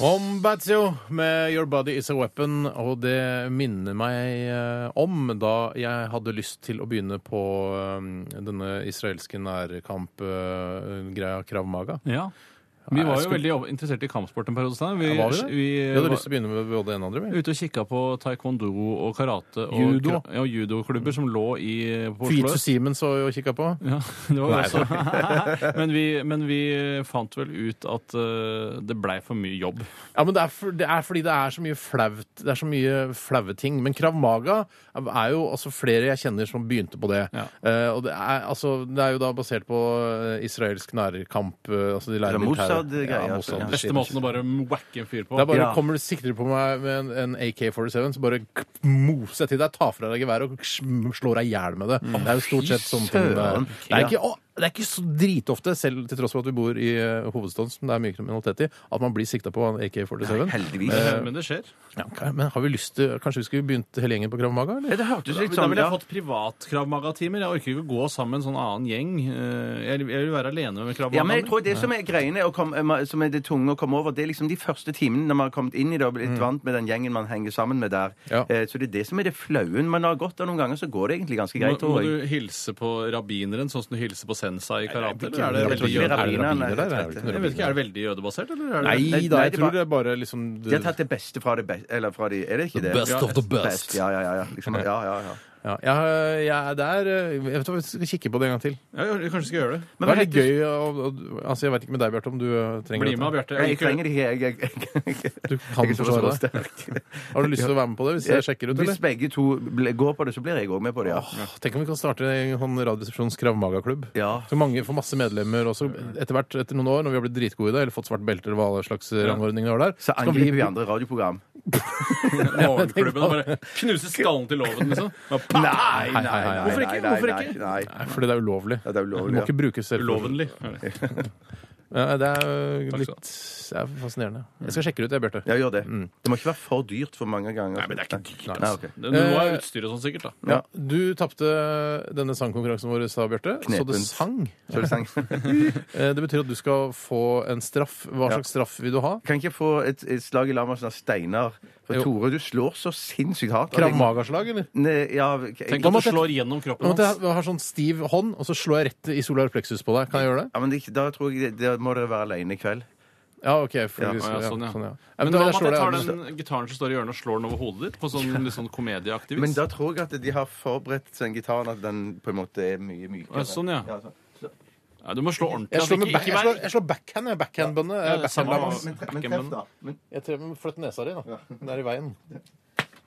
Speaker 3: Wombats, jo, med Your Body Is A Weapon. Og det minner meg eh, om da jeg hadde lyst til å begynne på eh, denne israelske nærkamp-greia Krav Maga.
Speaker 4: ja. Vi var jo
Speaker 3: skulle-
Speaker 4: veldig ob- interessert i kampsport en periode. Steinar. Vi,
Speaker 3: Ja, var vi det?
Speaker 4: vi,
Speaker 3: Vi eh, hadde lyst til å begynne med både en og andre.
Speaker 4: var
Speaker 3: vi.
Speaker 4: ute og kikka på taekwondo og karate og
Speaker 3: Judo.
Speaker 4: kra- ja, og judoklubber som lå i på Oslo
Speaker 3: Fritz
Speaker 4: øst.
Speaker 3: og Siemens var jo og kikka på.
Speaker 4: Ja, det var
Speaker 3: Nei,
Speaker 4: det også. men, vi, men vi fant vel ut at eh, det blei for mye jobb.
Speaker 3: Ja, men det er, for, det er fordi det er så mye flaut. Det er så mye flaue ting. Men Krav Maga er jo altså flere jeg kjenner som begynte på det.
Speaker 4: Ja.
Speaker 3: Eh, og det er, altså, det er jo da basert på eh, israelsk nærkamp eh, altså de lærer
Speaker 5: Det er
Speaker 3: militære-
Speaker 5: Mossad-greier,
Speaker 3: Ja,
Speaker 5: altså.
Speaker 3: Mossad,
Speaker 5: Ja.
Speaker 3: shit.
Speaker 4: Beste måten å bare wacke en fyr på.
Speaker 3: det er bare,
Speaker 5: Ja.
Speaker 3: Kommer du siktere på meg med en, en AK-47, så bare k- moser jeg til deg, tar fra deg geværet og sm- slår deg i hjel med det. Det er jo stort sett sånne ting. Det er,
Speaker 5: Mm. søren.
Speaker 3: det er, ikke, å, det er ikke så dritofte, selv til tross for at vi bor i eh, hovedstaden, som det er mye kriminalitet i, at man blir sikta på av en AK-47.
Speaker 5: Heldigvis.
Speaker 4: Eh, Men det skjer.
Speaker 3: Ja, ok, men har vi lyst til, Kanskje vi skulle begynt hele gjengen på Krav Maga? eller?
Speaker 5: Ja, Det hørtes litt
Speaker 4: da
Speaker 5: sånn
Speaker 4: ville
Speaker 5: ja.
Speaker 4: jeg fått privatkravmagatimer. Jeg orker ikke å gå sammen med en sånn annen gjeng. Eh, Jeg jeg vil være alene med
Speaker 5: Ja, men jeg
Speaker 4: kravmaga.
Speaker 5: tror det som er greiene å komme- eh, som er det tunge å komme over, det er liksom de første timene når man har kommet inn i det og blitt vant med den gjengen man henger sammen med der.
Speaker 3: Mm. Ja.
Speaker 5: Eh, Så det er det som er det flauen man har gått av noen ganger, så går det egentlig
Speaker 4: Må,
Speaker 5: ganske greit,
Speaker 4: må
Speaker 5: tror jeg.
Speaker 4: du hilse på rabbineren sånn som du hilser på sensa i karate?
Speaker 5: ikke-
Speaker 4: Eller er det
Speaker 5: jeg tror
Speaker 4: veldig
Speaker 5: ikke det
Speaker 4: jøde?
Speaker 5: er rabbiner,
Speaker 3: rabbiner
Speaker 5: nei,
Speaker 3: der?
Speaker 5: jeg
Speaker 3: Er det ikke noen
Speaker 4: Jeg vet
Speaker 5: vet
Speaker 4: ikke,
Speaker 3: rabbiner?
Speaker 4: Er det veldig jødebasert, eller? Er det...
Speaker 3: Nei da,
Speaker 5: Nei,
Speaker 3: jeg
Speaker 5: det
Speaker 3: tror
Speaker 5: var-
Speaker 3: det er bare liksom du,
Speaker 5: De har tatt det beste fra det beste Eller fra de Er det ikke det?
Speaker 3: best
Speaker 5: Ja,
Speaker 3: of the best.
Speaker 5: Ja, ja, ja. ja. Liksom, ja, ja, ja.
Speaker 3: ja, jeg, jeg er der eh, Jeg vet hva, vi skal kikke på det en gang til.
Speaker 4: Ja, jeg- jeg kanskje skal gjøre det.
Speaker 5: Men
Speaker 3: Det
Speaker 5: hva
Speaker 3: er litt
Speaker 5: heter-
Speaker 3: gøy å- å- Altså, Jeg vet ikke med deg, Bjarte, om du eh, trenger
Speaker 4: Bli
Speaker 3: dette.
Speaker 4: med, Bjarte.
Speaker 5: Jeg
Speaker 4: det.
Speaker 5: trenger det ikke, jeg. jeg, jeg, jeg,
Speaker 3: Du kan
Speaker 5: jeg er
Speaker 3: forsvare
Speaker 5: såpass
Speaker 3: deg.
Speaker 5: sterk.
Speaker 3: Har du lyst til å være med på det hvis jeg sjekker ut,
Speaker 5: Hvis
Speaker 3: eller?
Speaker 5: begge to ble- går på det, så blir jeg òg med på det, ja.
Speaker 3: Åh, Tenk om vi kan starte en sånn Radioresepsjons Krav Maga-klubb.
Speaker 5: Ja.
Speaker 3: Så mange får masse medlemmer også etter hvert, etter noen år, når vi har blitt dritgode i det, eller fått svart belte eller hva slags eh, rangordning det var der.
Speaker 5: Så
Speaker 3: kan vi-
Speaker 5: angriper vi andre radioprogram.
Speaker 4: Morgenklubben og bare knuse skallen til låven, liksom. Bare pa!
Speaker 5: Nei, nei,
Speaker 3: nei,
Speaker 5: Hvorfor
Speaker 4: nei,
Speaker 5: ikke?
Speaker 4: nei,
Speaker 5: Hvorfor
Speaker 4: nei,
Speaker 5: ikke? Nei,
Speaker 3: Nei, Fordi det er ulovlig.
Speaker 5: Ja, det er ulovlig,
Speaker 3: Du må
Speaker 5: ja.
Speaker 3: ikke bruke selv.
Speaker 4: Ulovenlig.
Speaker 3: Ja, det er
Speaker 4: Takk skal du
Speaker 3: litt det
Speaker 4: ha.
Speaker 3: er fascinerende. Jeg skal sjekke det ut, jeg, Bjarte.
Speaker 5: Ja, gjør det. Det må ikke være for dyrt for mange ganger.
Speaker 4: Mm. Nei, men det er ikke dyrt,
Speaker 5: Nei,
Speaker 4: altså.
Speaker 5: ok.
Speaker 4: Det- Nå er utstyret sånn sikkert, da.
Speaker 3: Ja, du tapte denne sangkonkurransen vår, sa Bjarte. Så
Speaker 5: Knepent.
Speaker 3: det sang.
Speaker 5: Så er det sang.
Speaker 3: Eh, Det betyr at du skal få en straff. Hva slags straff vil du ha?
Speaker 5: Kan ikke jeg få et, et slag i Lamas av Steinar? For
Speaker 3: Jo.
Speaker 5: Tore, du slår så sinnssykt hardt.
Speaker 3: Krav Maga-slag, eller?
Speaker 5: Nei, ja, jeg-
Speaker 4: Tenk
Speaker 3: Da
Speaker 4: at
Speaker 3: måtte jeg-
Speaker 4: du slår gjennom
Speaker 3: Nå
Speaker 4: kroppen
Speaker 3: måtte
Speaker 4: hans.
Speaker 3: jeg ha sånn stiv hånd, og så slår jeg rett i solar plexus på deg. Kan jeg gjøre det?
Speaker 5: ja, men det, da tror jeg det, da må dere være alene i kveld.
Speaker 3: Ja, OK. For,
Speaker 5: Ja,
Speaker 3: ja,
Speaker 4: ja, sånn,
Speaker 3: sånn,
Speaker 4: ja.
Speaker 3: ja. ja. da-
Speaker 4: Men hva
Speaker 3: jeg
Speaker 4: med at
Speaker 3: slår
Speaker 4: jeg tar
Speaker 3: deg-
Speaker 4: den gitaren som står i hjørnet og slår den over hodet ditt? På sånn, litt sånn komedieaktig
Speaker 5: Men
Speaker 4: vis?
Speaker 5: da tror jeg at de har forberedt seg gitaren, at den på en måte er mye mykere.
Speaker 4: Ja, sånn, ja.
Speaker 5: Ja, sånn.
Speaker 4: Ja, du må slå ordentlig.
Speaker 3: Jeg
Speaker 4: altså,
Speaker 3: slår, med
Speaker 4: ikke-
Speaker 3: back,
Speaker 4: ikke
Speaker 3: jeg,
Speaker 4: vær-
Speaker 3: slår, jeg slår backhand. jeg. Backhand-bønne.
Speaker 4: Ja, det er
Speaker 3: Backhand
Speaker 4: samme-
Speaker 3: Lamas.
Speaker 5: Men, tre- men treff, da. Men,
Speaker 3: jeg treff med flytt nesa di, da. Den er i veien.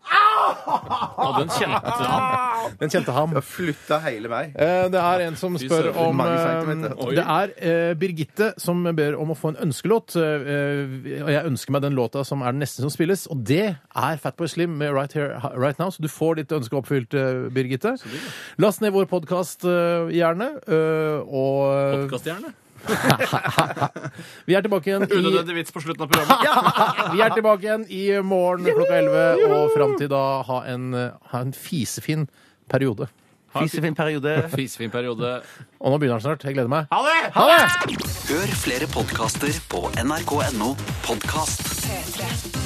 Speaker 4: Ja, den kjente han.
Speaker 3: Den kjente ham.
Speaker 5: jeg flytta hele meg.
Speaker 3: Eh, Det er en som spør
Speaker 4: søren,
Speaker 3: om
Speaker 5: mange
Speaker 3: eh,
Speaker 5: centimeter.
Speaker 4: Oi.
Speaker 3: Det er eh, Birgitte som ber om å få en ønskelåt. eh, Og jeg ønsker meg den låta som er den neste som spilles, og det er Fatboy Slim med Right Here Right Now. Så du får ditt ønske oppfylt, eh, Birgitte. Last ned vår podkast, gjerne. eh, Og
Speaker 4: Podkaststjerne.
Speaker 3: vi er tilbake igjen i
Speaker 4: Unødvendig vits på slutten av programmet.
Speaker 3: Vi er tilbake igjen i morgen klokka 11, og fram til da ha en, eh, ha en fisefin periode.
Speaker 5: Fisefin periode.
Speaker 4: Fisefin periode.
Speaker 3: Og nå begynner den snart. Jeg gleder meg.
Speaker 4: Ha det!
Speaker 8: Hør flere podkaster på nrk.no podkast.
Speaker 1: P3.